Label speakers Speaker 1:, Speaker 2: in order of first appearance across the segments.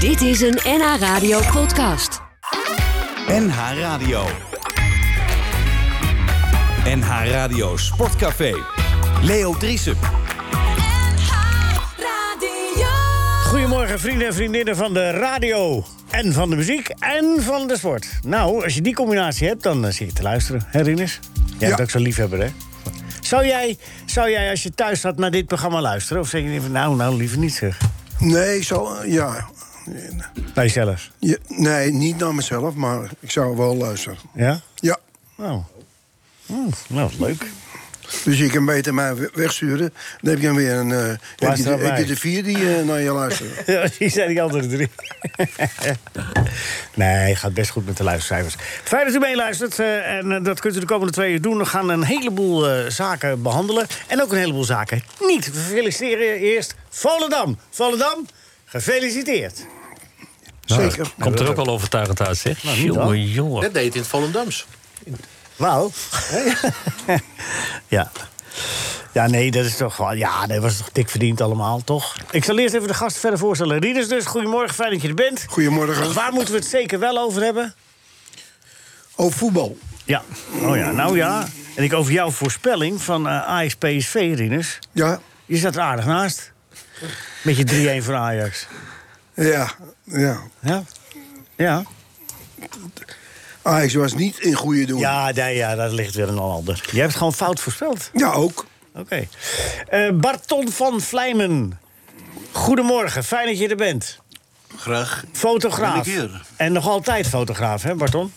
Speaker 1: Dit is een NH Radio podcast.
Speaker 2: NH Radio. NH Radio Sportcafé. Leo Driesen.
Speaker 3: Goedemorgen, vrienden en vriendinnen van de radio. En van de muziek en van de sport. Nou, als je die combinatie hebt, dan eh, zit je te luisteren. Hè, Rinus? Jij bent ook zo'n liefhebber, hè? Zou jij, zou jij, als je thuis zat, naar dit programma luisteren? Of zeg je van, nou, nou, liever niet, zeg.
Speaker 4: Nee, zo, ja.
Speaker 3: Bij jezelf,
Speaker 4: Je- nee, niet naar mezelf, maar ik zou wel luisteren.
Speaker 3: ja?
Speaker 4: Ja,
Speaker 3: Nou, Hm, nou leuk.
Speaker 4: dus je kan beter mij we- wegsturen. Dan heb je dan weer een. eh, heb, je
Speaker 3: Luister
Speaker 4: de,
Speaker 3: naar
Speaker 4: heb je
Speaker 3: mij.
Speaker 4: de vier die eh, naar je luisteren?
Speaker 3: Ja, die zijn die andere drie. nee, gaat best goed met de luistercijfers. Fijn dat u meeluistert. eh, en eh, dat kunt u de komende twee uur doen. We gaan een heleboel eh, zaken behandelen. En ook een heleboel zaken niet. We feliciteren eerst Volendam. Volendam, gefeliciteerd.
Speaker 4: Zeker.
Speaker 5: Nou, Komt er ook wel overtuigend uit, zeg.
Speaker 3: Nou, niet al.
Speaker 5: Jongen, jongen.
Speaker 6: Dat deed het in het Volendams.
Speaker 3: Wauw. ja. Ja, nee, dat is toch wel. Ja, dat was toch dik verdiend allemaal, toch? Ik zal eerst even de gasten verder voorstellen. Rieders dus, goedemorgen, fijn dat je er bent.
Speaker 4: Goedemorgen.
Speaker 3: Waar moeten we het zeker wel over hebben?
Speaker 4: Oh, voetbal.
Speaker 3: Ja, oh ja, nou ja. En ik over jouw voorspelling van eh Ajax PSV, Rinus.
Speaker 4: Ja,
Speaker 3: Je zat er aardig naast. Met je 3-1 voor Ajax.
Speaker 4: ja, ja.
Speaker 3: Ja? Ja.
Speaker 4: Ajax was niet in goede doen.
Speaker 3: Ja, nee, ja, dat ligt weer een ander. Je hebt gewoon fout voorspeld.
Speaker 4: Ja, ook.
Speaker 3: Oké. Eh, Barton van Vlijmen. Goedemorgen, fijn dat je er bent.
Speaker 7: Graag,
Speaker 3: Fotograaf.
Speaker 7: Ben ik hier.
Speaker 3: En nog altijd fotograaf, hè, Barton?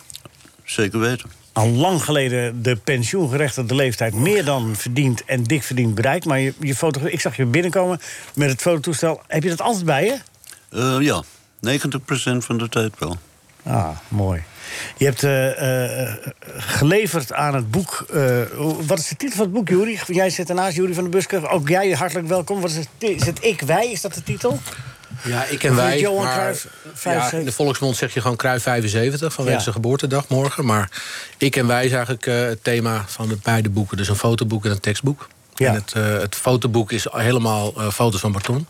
Speaker 7: zeker weten.
Speaker 3: Al lang geleden de pensioengerechtigde leeftijd meer dan verdiend en dik verdiend bereikt. Maar je, je fotogra- ik zag je binnenkomen met het fototoestel. Heb je dat altijd bij je?
Speaker 7: Eh, ja, 90% van de tijd wel.
Speaker 3: Ah, mooi. Je hebt eh, eh, geleverd aan het boek. eh, wat is de titel van het boek, Jury? Jij zit ernaast, Jury van de Busker. Ook jij hartelijk welkom. Wat is, het, ti- is het Ik Wij? Is dat de titel?
Speaker 6: Ja, ik en wij.
Speaker 3: Johan
Speaker 6: maar-
Speaker 3: Cruijff,
Speaker 6: ja,
Speaker 3: 75.
Speaker 6: in de volksmond zeg je gewoon Cruijff 75 vanwege
Speaker 3: Ja.
Speaker 6: zijn geboortedag morgen. Maar ik en wij is eigenlijk eh, het thema van de beide boeken. Dus een fotoboek en een tekstboek.
Speaker 3: Ja.
Speaker 6: En het, eh, het fotoboek is helemaal eh, foto's van Barton.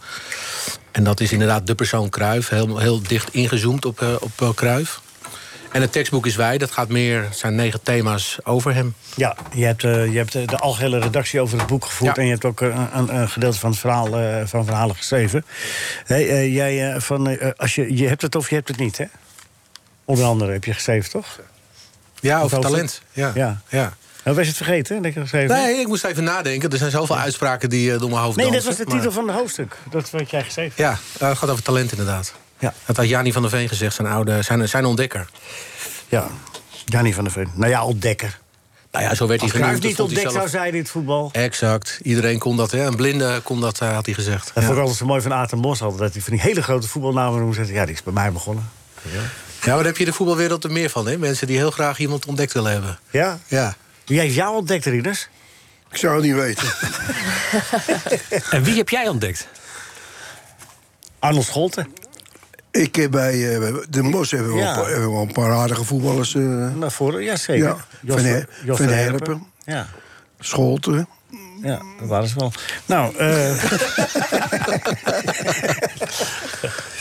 Speaker 6: En dat is inderdaad de persoon Cruijff. Heel, heel dicht ingezoomd op, eh op eh, Cruijff. En het tekstboek is wij. Dat gaat meer, het zijn negen thema's over hem.
Speaker 3: Ja, je hebt, eh, je hebt eh, de algehele redactie over het boek gevoerd.
Speaker 6: Ja.
Speaker 3: En je hebt ook eh, een, een gedeelte van, het verhaal, eh, van verhalen geschreven. Hey, eh, jij, eh, van, eh, als je, je hebt het of je hebt het niet, hè? Onder andere heb je geschreven, toch?
Speaker 6: Ja, over
Speaker 3: over-
Speaker 6: talent. Ja.
Speaker 3: Ja.
Speaker 6: ja.
Speaker 3: Nou, was je het vergeten dat ik het geschreven heb?
Speaker 6: Nee, ik moest even nadenken. Er zijn zoveel uitspraken die eh, door mijn hoofd
Speaker 3: Nee, dat
Speaker 6: dansen,
Speaker 3: was de
Speaker 6: maar-
Speaker 3: titel van het hoofdstuk. Dat is wat jij geschreven hebt.
Speaker 6: Ja, eh, het gaat over talent inderdaad.
Speaker 3: Ja.
Speaker 6: Dat had Jani van der Veen gezegd, zijn, oude, zijn, zijn ontdekker.
Speaker 3: Ja, Jannie van der Ven. Nou ja, ontdekker.
Speaker 6: Nou ja, zo werd hij
Speaker 3: Als Cruijff niet
Speaker 6: genoemd. dat vond hij
Speaker 3: ontdekt zou
Speaker 6: zelf-
Speaker 3: zijn in het voetbal.
Speaker 6: Exact. Iedereen kon dat, hè. Een blinde kon dat, eh, had hij gezegd.
Speaker 3: Dat
Speaker 6: Ja.
Speaker 3: vond ik altijd zo mooi van Aten Bos. Altijd, dat hij van die hele grote voetbalnamen noemde. Zei hij, Ja, die is bij mij begonnen.
Speaker 6: Ja, maar daar heb je de voetbalwereld er meer van, hè. Mensen die heel graag iemand ontdekt willen hebben.
Speaker 3: Ja?
Speaker 6: Ja.
Speaker 3: Wie heeft jou ontdekt, Rinus?
Speaker 4: Ik zou het niet weten.
Speaker 5: En wie heb jij ontdekt?
Speaker 3: Arnold Scholte.
Speaker 4: ik heb bij eh, de Mos hebben we
Speaker 3: Ja.
Speaker 4: wel een paar- hebben we wel een paar aardige voetballers. eh
Speaker 3: Naar voren, ja zeker.
Speaker 4: Ja, Van Her- Van Herpen.
Speaker 3: Ja,
Speaker 4: Scholten.
Speaker 3: ja, dat waren ze wel. Nou, eh,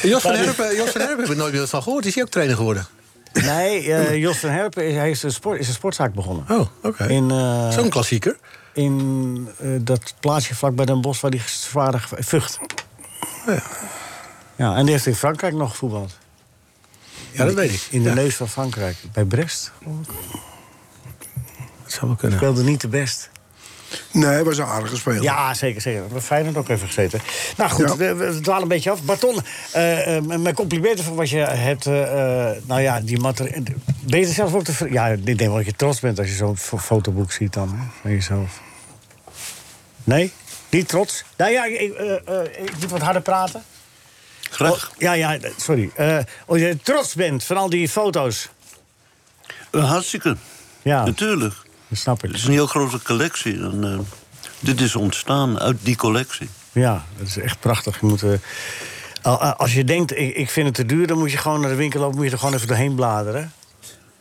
Speaker 6: Jos van Herpen, Jos van Herpen heb ik nooit meer van gehoord. Is hij ook trainer geworden?
Speaker 3: nee, eh, Jos van Herpen is, hij is, een sport, is een sportzaak begonnen.
Speaker 6: Oh, oké.
Speaker 3: In, eh,
Speaker 6: Zo'n klassieker.
Speaker 3: in eh, dat plaatsje vlak bij Den Bosch waar die zwaarder ge- vucht. Ja, en die heeft in Frankrijk nog gevoetbald.
Speaker 6: Ja, dat weet ik.
Speaker 3: In de
Speaker 6: ja,
Speaker 3: neus van Frankrijk, bij Brest.
Speaker 6: dat zou wel kunnen.
Speaker 3: Speelde niet de best.
Speaker 4: Nee, hij was een aardige speler.
Speaker 3: Ja, zeker, zeker. We Feyenoord ook even gezeten. Nou goed,
Speaker 4: Ja.
Speaker 3: we, we dwalen een beetje af. Barton, eh, eh, mijn complimenten voor wat je hebt... eh, eh, nou ja, die mater... Ben je er zelf ook te... ver- Ja, ik denk wel dat je trots bent als je zo'n fo- fotoboek ziet dan, hè, van jezelf. Nee? Niet trots? Nou ja, ik, eh, eh, ik moet wat harder praten.
Speaker 7: Graag.
Speaker 3: Ja, ja, eh, sorry. Eh oh, je trots bent van al die foto's.
Speaker 7: Eh, hartstikke,
Speaker 3: Ja,
Speaker 7: natuurlijk.
Speaker 3: dat snap
Speaker 7: Het
Speaker 3: ik.
Speaker 7: is een heel grote collectie. En, eh, dit is ontstaan uit die collectie.
Speaker 3: Ja, dat is echt prachtig. Je moet, eh, al- al- als je denkt, ik, ik vind het te duur, dan moet je gewoon naar de winkel lopen, moet je er gewoon even doorheen bladeren.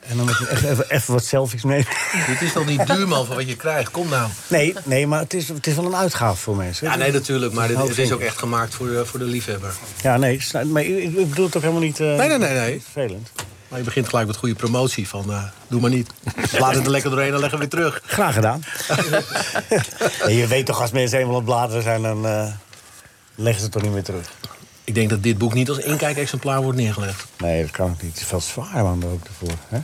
Speaker 3: En dan moet je even, even, even wat selfies mee.
Speaker 6: Dit is nog niet duur, man, van wat je krijgt. Kom nou.
Speaker 3: Nee, nee maar het is, het is wel een uitgave voor mensen.
Speaker 6: Ja, nee, natuurlijk. Maar dit,
Speaker 3: Nou,
Speaker 6: dit is ook echt gemaakt voor de, voor de liefhebber.
Speaker 3: Ja, nee, ik snap- maar ik, ik bedoel het ook helemaal niet... eh,
Speaker 6: Nee, nee, nee, nee.
Speaker 3: Vervelend.
Speaker 6: Maar je begint gelijk met goede promotie. Van, eh, doe maar niet. Laat het er lekker doorheen en leg hem weer terug.
Speaker 3: Graag gedaan. Nee, je weet toch, als mensen eenmaal op bladeren zijn, dan eh, leggen ze het toch niet meer terug.
Speaker 6: Ik denk dat dit boek niet als inkijkexemplaar wordt neergelegd.
Speaker 3: Nee, dat kan ook niet. Het is veel zwaar, man, ook ervoor. Hè?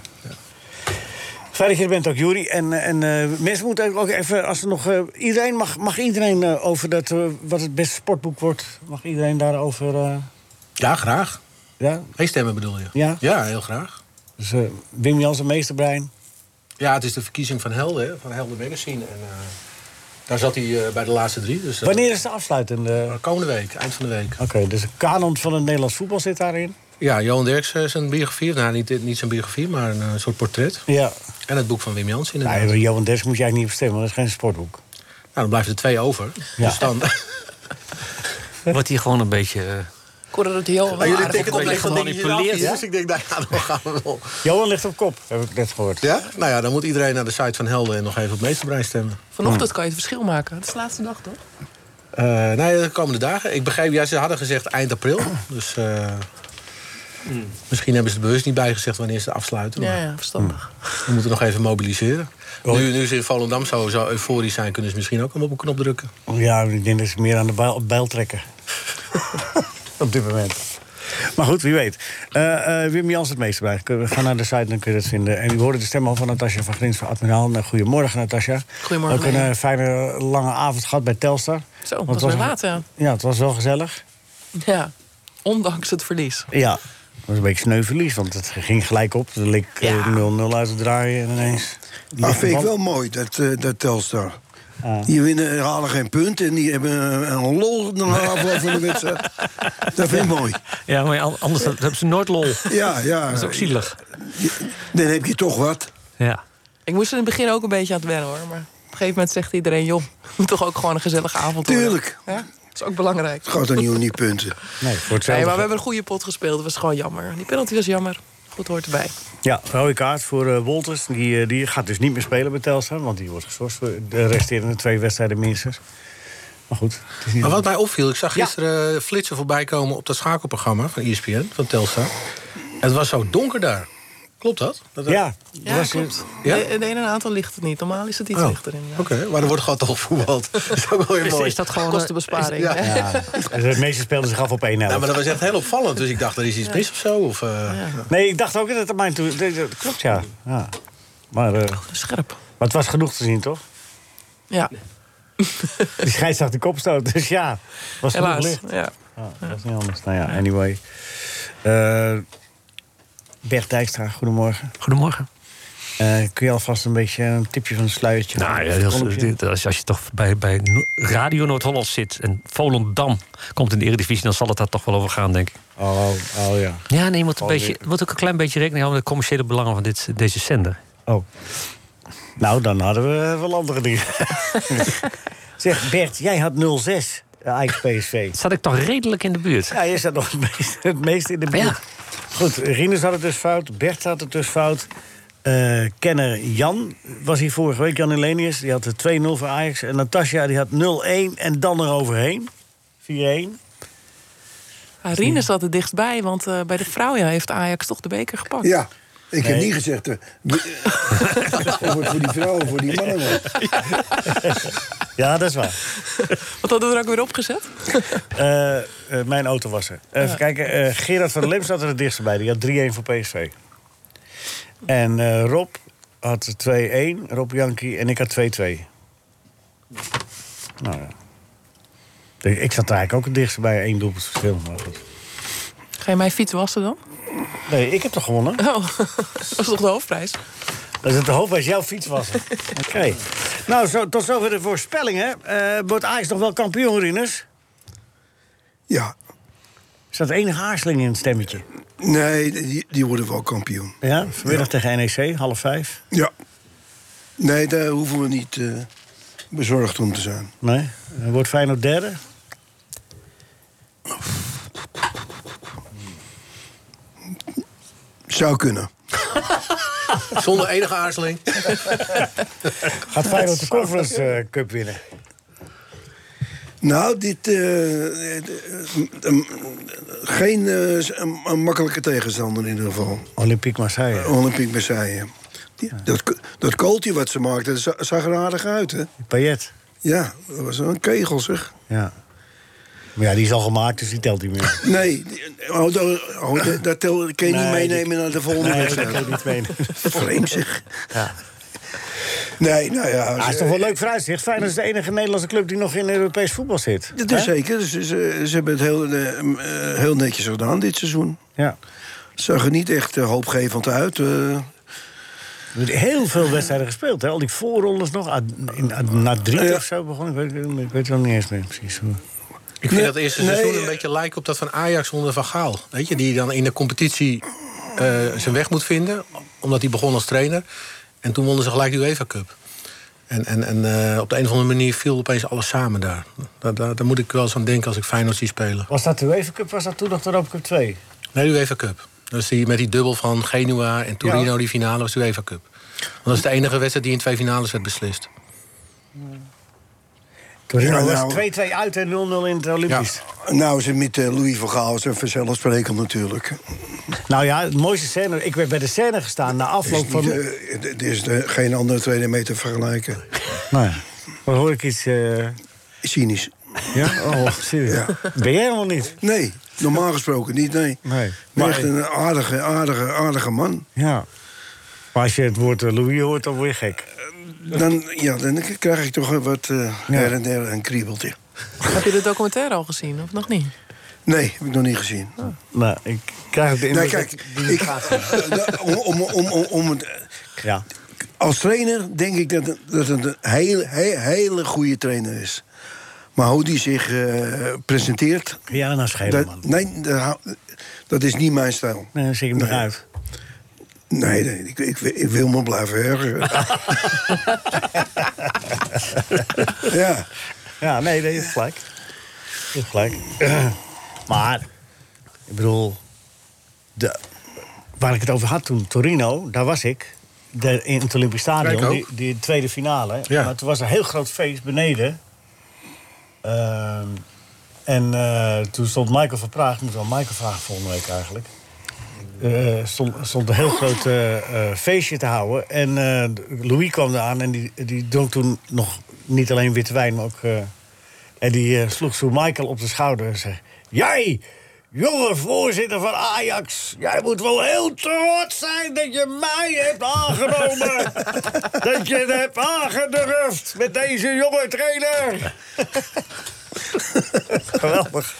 Speaker 3: Fijn dat je er bent ook, Juri. En, eh, en eh, mensen moeten eigenlijk ook even, als er nog... eh, iedereen mag, mag iedereen eh, over dat, eh, wat het beste sportboek wordt... mag iedereen daarover... eh,
Speaker 6: Ja, graag.
Speaker 3: ja?
Speaker 6: Meestemmen bedoel je?
Speaker 3: Ja.
Speaker 6: Ja, heel graag.
Speaker 3: Dus eh, Wim Jansen, meesterbrein.
Speaker 6: Ja, het is de verkiezing van Helden, hè, van Helden Magazine. En, eh, daar zat hij eh, bij de laatste drie. Dus, eh,
Speaker 3: Wanneer is de afsluitende...
Speaker 6: Komende week, eind van de week.
Speaker 3: Oké, dus de kanon van het Nederlands voetbal zit daarin.
Speaker 6: Ja, Johan Derks eh, zijn biografie. Nou, niet, niet zijn biografie, maar een eh, soort portret.
Speaker 3: Ja.
Speaker 6: En het boek van Wim Jans inderdaad.
Speaker 3: Nou, Johan Derks moet je eigenlijk niet bestemmen, want dat is geen sportboek.
Speaker 6: Nou, dan blijven er twee over.
Speaker 3: Ja.
Speaker 6: Dus dan...
Speaker 5: Wordt hier gewoon een beetje... eh,
Speaker 8: Ik hoorde dat heel
Speaker 6: Maar jullie
Speaker 8: aardig
Speaker 6: tikken
Speaker 8: op
Speaker 6: toch
Speaker 8: de
Speaker 6: echt
Speaker 8: lichaam
Speaker 6: van
Speaker 8: manipuleert,
Speaker 6: dingetjes
Speaker 8: hè?
Speaker 6: af, Dus ik denk, nou ja, dan gaan we wel.
Speaker 3: Johan ligt op kop, heb ik net gehoord.
Speaker 6: Ja? Nou ja, dan moet iedereen naar de site van Helden en nog even op meesterbrein stemmen.
Speaker 8: Vanochtend kan je het verschil maken. Oh, Het is de laatste dag, toch?
Speaker 6: Eh nee, de komende dagen. Ik begreep, ja, ze hadden gezegd eind april. Dus eh, misschien hebben ze er bewust niet bij gezegd wanneer ze afsluiten.
Speaker 8: Ja,
Speaker 6: Maar Hmm.
Speaker 8: ja, verstandig.
Speaker 6: we moeten nog even mobiliseren. Nu, nu ze in Volendam zo, zo euforisch zijn, kunnen ze misschien ook allemaal op een knop drukken.
Speaker 3: Ja, ik denk dat ze meer aan de bijl, bijl trekken. op dit moment. Maar goed, wie weet. Eh, eh, Wim Jans het meeste bij. Kun- Ga naar de site, dan kun je het vinden. En u hoorde de stem al van Natasja van Grins van Admiraal. Nou, goedemorgen, Natasja.
Speaker 8: Goedemorgen,
Speaker 3: Ook een
Speaker 8: Leen.
Speaker 3: eh, fijne lange avond gehad bij Telstar.
Speaker 8: Zo,
Speaker 3: Want
Speaker 8: dat was weer laat,
Speaker 3: ja.
Speaker 8: ja.
Speaker 3: Ja, het was wel gezellig.
Speaker 8: Ja, ondanks het verlies.
Speaker 3: Ja. Het was een beetje sneuverlies, want het ging gelijk op. Er leek eh,
Speaker 8: Ja.
Speaker 3: 0-0 uit te draaien en ineens...
Speaker 4: Maar Ah, vind ik
Speaker 3: Want-
Speaker 4: wel mooi, dat, eh, dat Telstar.
Speaker 3: Ah.
Speaker 4: Die winnen, eh, halen geen punten en die hebben een- een lol na afloop van de wedstrijd. Dat vind ik mooi.
Speaker 5: Ja, maar an- anders dan- dan hebben ze nooit lol. Dat
Speaker 4: Ja, ja.
Speaker 5: is ook zielig.
Speaker 4: Dan heb je toch wat.
Speaker 5: Ja.
Speaker 8: Ik moest er in het begin ook een beetje aan het wennen, hoor. Maar op een gegeven moment zegt iedereen... joh, het moet toch ook gewoon een gezellige avond worden.
Speaker 4: Tuurlijk.
Speaker 8: Ja, dat is ook belangrijk.
Speaker 4: Het gaat dan niet om die punten.
Speaker 3: Nee, voor hetzelfde
Speaker 8: Nee, maar
Speaker 3: geld.
Speaker 8: we hebben een goede pot gespeeld. Dat was gewoon jammer. Die penalty was jammer. Goed hoort erbij.
Speaker 3: Ja, rode kaart voor eh, Wolters. Die, eh, die gaat dus niet meer spelen bij Telstar. Want die wordt geschorst voor de resterende twee wedstrijden minstens. Maar goed. het is niet-
Speaker 6: Maar wat mij opviel, ik zag
Speaker 3: Ja.
Speaker 6: gisteren eh, flitsen voorbij komen op dat schakelprogramma van E ESPN, van Telstar. En het was zo donker daar. Klopt dat? dat dat-
Speaker 3: Ja,
Speaker 8: Ja,
Speaker 3: was-
Speaker 8: klopt. Eh,
Speaker 6: Ja?
Speaker 8: De, de ene aantal ligt het niet. Normaal is het iets
Speaker 6: Oh,
Speaker 8: lichter in.
Speaker 6: Oké, maar er wordt gewoon toch voetbald. dat is ook wel weer mooi.
Speaker 8: Is dat gewoon kostenbesparing?
Speaker 6: Ja.
Speaker 8: hè?
Speaker 3: ja. De meeste speelden zich af op 1
Speaker 6: Ja, Nou, maar dat was echt heel opvallend. Dus ik dacht, er is iets mis of zo. Of, eh,
Speaker 3: Nee, ik dacht ook dat het aan mij toe... nee, dat Klopt, ja. ja. Maar, eh, maar
Speaker 8: Scherp.
Speaker 3: het was genoeg te zien, toch?
Speaker 8: Ja,
Speaker 3: Die scheidsrechter de kop stoot, dus ja. Was genoeg
Speaker 8: helaas.
Speaker 3: licht.
Speaker 8: Ja.
Speaker 3: Ja, dat is niet anders. Nou ja, anyway. Eh Bert Dijkstra, goedemorgen.
Speaker 5: Goedemorgen.
Speaker 3: Eh, kun je alvast een beetje een tipje van het sluiertje?
Speaker 5: Nou ja, als, als, als je toch bij, bij No- Radio Noord-Holland zit... en Volendam komt in de Eredivisie... dan zal het daar toch wel over gaan, denk ik.
Speaker 3: Oh, oh ja.
Speaker 5: Ja, nee, je moet, een
Speaker 3: Alweer.
Speaker 5: beetje, je moet ook een klein beetje rekening houden... met de commerciële belangen van dit, deze zender.
Speaker 3: Oh. Nou, dan hadden we wel andere dingen. zeg, Bert, jij had 06 Ajax PSV.
Speaker 5: Zat ik toch redelijk in de buurt?
Speaker 3: Ja, je staat nog het meest, het meest in de buurt.
Speaker 5: Ja.
Speaker 3: Goed, Rinus had het dus fout. Bert had het dus fout. Eh, kenner Jan was hier vorige week, Jan Elenius. Die had de 2-0 voor Ajax. En Natasja die had 0-1 en dan eroverheen. 4-1.
Speaker 8: Ah, Rinus zat er dichtbij, want eh, bij de vrouw ja, heeft Ajax toch de beker gepakt.
Speaker 4: Ja. Ik heb
Speaker 3: Nee.
Speaker 4: niet gezegd. eh, we- of het voor die vrouwen, voor die mannen. wordt.
Speaker 3: Ja, dat is waar.
Speaker 8: Wat hadden we er ook weer opgezet?
Speaker 3: Eh, eh, mijn auto was er. Even kijken, eh, Gerard van der Lem zat er het dichtst bij. Die had 3-1 voor PSV. En eh, Rob had 2-1, Rob Jankie, en ik had 2-2. Nou ja. Ik ik zat er eigenlijk ook het dichtst bij, één doelpunt verschil. Maar goed.
Speaker 8: Ga je mijn fiets wassen dan?
Speaker 3: Nee, ik heb toch gewonnen?
Speaker 8: Oh, dat is toch de hoofdprijs?
Speaker 3: Dat is het de hoop als jouw fiets was. Oké. Nou, zo, tot zover de voorspellingen. Eh wordt Ajax nog wel kampioen, Rinus?
Speaker 4: Ja.
Speaker 3: Er zat één haarseling in het stemmetje.
Speaker 4: Nee, die, die worden wel kampioen.
Speaker 3: Ja, vanmiddag tegen NEC, half vijf.
Speaker 4: Ja. Nee, daar hoeven we niet eh, bezorgd om te zijn.
Speaker 3: Nee, Eh, wordt Feyenoord derde?
Speaker 4: Zou kunnen.
Speaker 6: Zonder enige aarzeling.
Speaker 3: Gaat Feyenoord de Conference eh, Cup winnen?
Speaker 4: Nou, dit. eh, eh, eh, geen eh, s- een- een makkelijke tegenstander in ieder geval.
Speaker 3: Olympique Marseille.
Speaker 4: Olympique Marseille. Die- Dat, k- dat kooltje wat ze maakten, dat za- zag er aardig uit, hè?
Speaker 3: Payet.
Speaker 4: Ja, dat was een kegel, zeg.
Speaker 3: Ja. Maar ja, die is al gemaakt, dus die telt niet meer.
Speaker 4: Nee, die- oh, dat, oh, dat- dat tel- kan je
Speaker 3: Nee,
Speaker 4: niet
Speaker 3: die-
Speaker 4: meenemen naar de volgende
Speaker 3: Nee, dat
Speaker 4: wedstrijd.
Speaker 3: kan niet mee.
Speaker 4: Vreemd, zeg. Nee, nou ja.
Speaker 3: Ah,
Speaker 4: ze-
Speaker 3: is toch wel leuk vooruitzicht. Feyenoord is de enige Nederlandse club die nog in Europees voetbal zit.
Speaker 4: Dat
Speaker 6: dus-
Speaker 4: is
Speaker 3: Hè?
Speaker 4: zeker. Ze, ze, ze hebben het heel, eh, m, eh, heel netjes gedaan dit seizoen.
Speaker 3: Ja.
Speaker 4: Zag er niet echt eh, hoopgevend uit. eh.
Speaker 3: Er wordt heel veel wedstrijden gespeeld. Hè? Al die voorrondes nog. Ah, Ad- in- ad- na drie
Speaker 4: Ja.
Speaker 3: of zo begon. Ik weet, ik weet het wel niet eens meer precies. hoe.
Speaker 6: Ik vind
Speaker 4: Nee,
Speaker 6: dat eerste
Speaker 4: nee,
Speaker 6: seizoen
Speaker 4: eh,
Speaker 6: een beetje lijkt op dat van Ajax onder Van Gaal. Weet je, die dan in de competitie eh, zijn weg moet vinden. Omdat hij begon als trainer. En toen wonnen ze gelijk de UEFA Cup. En, en, en eh, op de een of andere manier viel opeens alles samen daar. Daar, daar, daar moet ik wel eens aan denken als ik Feyenoord zie spelen.
Speaker 3: Was dat de UEFA Cup? Was dat toen nog de Europa Cup 2?
Speaker 6: Nee, de UEFA Cup. Dus die, met die dubbel van Genua en Torino, die finale was de UEFA Cup. Want dat is de enige wedstrijd die in twee finales werd beslist.
Speaker 3: Torino
Speaker 4: Ja, nou-
Speaker 3: was 2-2 uit en 0-0 in het Olympisch.
Speaker 4: nou, ze met eh, Louis van Gaal is een vanzelfsprekend natuurlijk.
Speaker 3: Nou ja, het mooiste scène. Ik werd bij de scène gestaan na
Speaker 4: Is
Speaker 3: afloop
Speaker 4: niet,
Speaker 3: van...
Speaker 4: eh, d- Er is eh, geen andere trainer mee te vergelijken.
Speaker 3: Nou ja, dan hoor ik iets... eh,
Speaker 4: Cynisch.
Speaker 3: Ja? Oh, serieus. Ben jij helemaal niet?
Speaker 4: Nee, normaal gesproken niet, nee.
Speaker 3: Nee.
Speaker 4: Maar
Speaker 3: Maar-
Speaker 4: echt een aardige, aardige, aardige man.
Speaker 3: Ja. Maar als je het woord eh, Louis hoort, dan word je gek.
Speaker 4: Dan, ja, dan krijg ik toch wat eh her en der een kriebeltje.
Speaker 8: Heb je de documentaire al gezien of nog niet?
Speaker 4: Nee, heb ik nog niet gezien.
Speaker 3: Nou, ik krijg ook de
Speaker 4: Nee,
Speaker 3: indruk...
Speaker 4: kijk,
Speaker 3: dat-
Speaker 4: ik, om, om, om, om, om het-
Speaker 3: Ja.
Speaker 4: als trainer denk ik dat, dat het een hele, he- hele goede trainer is. Maar hoe die zich eh, presenteert,
Speaker 3: Ja, nou schelen,
Speaker 4: dat,
Speaker 3: man.
Speaker 4: nee, dat, hou- dat is niet mijn stijl.
Speaker 3: Nee, dan zie ik hem eruit.
Speaker 4: Nee, nee ik, ik, ik wil me blijven ergeren. ja,
Speaker 3: Ja, nee, dat is gelijk. Dat is gelijk. maar, ik bedoel... De, waar ik het over had toen, Torino, daar was ik. De, in het Olympisch
Speaker 6: Ja,
Speaker 3: Stadion,
Speaker 6: ik
Speaker 3: Ah, die,
Speaker 6: ook.
Speaker 3: die tweede finale.
Speaker 6: Ja.
Speaker 3: Maar toen was er een heel groot feest beneden. Ehm, en eh, toen stond Michael van Praag... Ik moet wel Michael vragen volgende week eigenlijk. Eh, stond, stond een heel groot eh, eh, feestje te houden. En eh, Louis kwam eraan en die, die dronk toen nog niet alleen witte wijn, maar ook. eh, en die eh, sloeg zo Michael op de schouder en zei: Jij, jonge voorzitter van Ajax, jij moet wel heel trots zijn dat je mij hebt aangenomen. dat je het hebt aangedurfd met deze jonge trainer. Geweldig.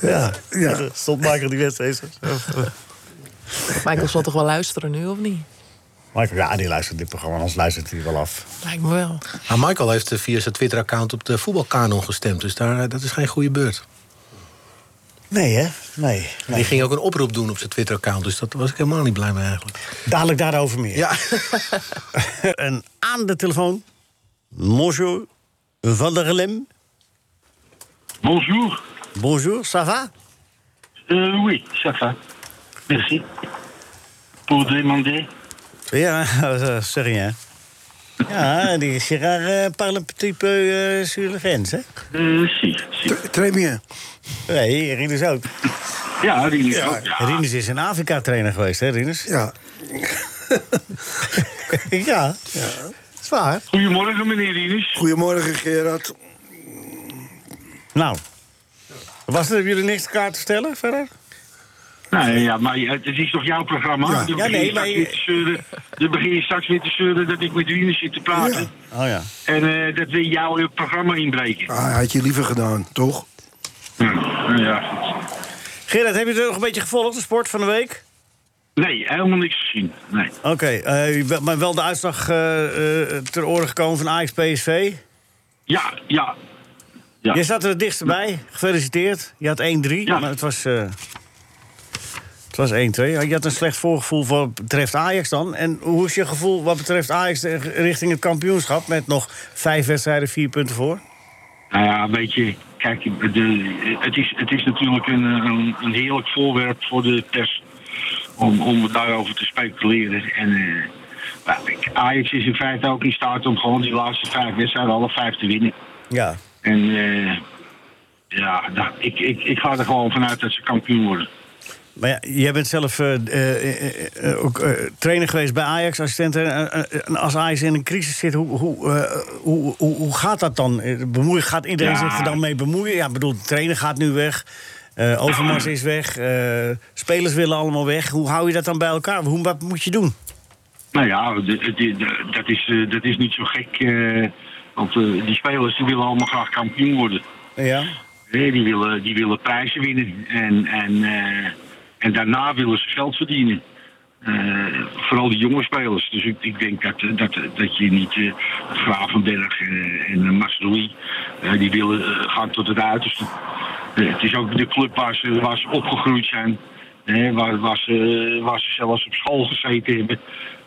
Speaker 3: Ja,
Speaker 4: ja.
Speaker 3: stond Michael die wedstrijd.
Speaker 8: Michael zal toch wel luisteren nu of niet?
Speaker 3: Michael, ja, die luistert dit programma, anders luistert hij wel af.
Speaker 8: Lijkt me wel.
Speaker 6: Maar Michael heeft eh, via zijn Twitter-account op de voetbalkanon gestemd. Dus daar, eh, dat is geen goede beurt.
Speaker 3: Nee, hè? Nee.
Speaker 6: En Die ging ook een oproep doen op zijn Twitter-account. Dus dat was ik helemaal niet blij mee eigenlijk.
Speaker 3: Dadelijk daarover meer.
Speaker 6: Ja.
Speaker 3: En aan de telefoon, Monsieur van der Lem.
Speaker 9: Bonjour.
Speaker 3: Bonjour, ça va?
Speaker 9: Euh, oui, ça va. Merci. Pour demander.
Speaker 3: Ja, eh, zeg je. Ja, die Gerard eh, parle een petit peu eh, sur le grens, hè?
Speaker 9: Euh, si, si.
Speaker 4: Tr- très bien.
Speaker 3: Nee, Rinus ook.
Speaker 9: Ja, die is ook.
Speaker 3: Rinus is een Afrika-trainer geweest, hè, Rinus?
Speaker 4: Ja.
Speaker 3: ja. ja. Zwaar.
Speaker 9: Goedemorgen, meneer Rinus.
Speaker 4: Goedemorgen, Gerard.
Speaker 3: Nou. Was er, hebben jullie niks elkaar te vertellen verder?
Speaker 9: Nou ja, maar je- het is toch jouw programma?
Speaker 4: Ja.
Speaker 9: Dan
Speaker 3: Ja,
Speaker 9: begin
Speaker 3: nee,
Speaker 9: Ah, je straks
Speaker 3: maar-
Speaker 9: weer te zeuren- Dan begin je straks weer te zeuren dat ik met Rinus zit te praten.
Speaker 3: Oh ja.
Speaker 9: En eh, dat we jouw programma inbreken.
Speaker 4: Ah, had je liever gedaan, toch?
Speaker 9: Hm, nou ja, goed.
Speaker 3: Gerard, heb je het nog een beetje gevolgd, de sport van de week?
Speaker 9: Nee, helemaal niks gezien. Nee.
Speaker 3: Oké, eh, u bent- maar wel de uitslag eh, eh, ter oren gekomen van Ajax PSV.
Speaker 9: Ja, ja. Ja.
Speaker 3: Jij zat er het dichtst bij. Gefeliciteerd. Je had 1-3,
Speaker 9: Ja.
Speaker 3: maar het was, eh, het was 1-2. Je had een slecht voorgevoel voor wat betreft Ajax dan. En hoe is je gevoel wat betreft Ajax eh, richting het kampioenschap... met nog vijf wedstrijden, vier punten voor?
Speaker 9: Nou ja, weet je, kijk, de, het, is, het is natuurlijk een, een, een heerlijk voorwerp voor de pers. om, om daarover te speculeren. En eh, nou, ik- Ajax is in feite ook in staat om gewoon die laatste vijf wedstrijden alle vijf te winnen.
Speaker 3: Ja.
Speaker 9: En eh, ja, nou, ik, ik, ik ga er gewoon vanuit dat ze kampioen worden.
Speaker 3: Maar ja, jij bent zelf eh, eh, eh, eh, ook eh, trainer geweest bij Ajax, assistent. eh, eh, eh, en als Ajax in een crisis zit, hoe, hoe, eh, hoe, hoe, hoe gaat dat dan? Eh, Bemoeien, gaat iedereen
Speaker 9: Ja.
Speaker 3: zich er dan mee bemoeien? Ja, ik bedoel, de trainer gaat nu weg. eh, Overmars is weg. eh, spelers willen allemaal weg. Hoe hou je dat dan bij elkaar? Hoe, wat moet je doen?
Speaker 9: Nou ja, de- de- de- dat is, eh, dat is niet zo gek. eh, want eh, die spelers die willen allemaal graag kampioen worden.
Speaker 3: Ja.
Speaker 9: Nee, die willen, die willen prijzen winnen. En, en, eh, en daarna willen ze geld verdienen. Eh, vooral de jonge spelers. Dus ik, ik denk dat, dat, dat je niet eh, Gravenberg eh, en uh, die willen eh, gaan tot het uiterste. Eh, het is ook de club waar ze, waar ze opgegroeid zijn. Eh, waar, waar, ze, waar ze zelfs op school gezeten hebben.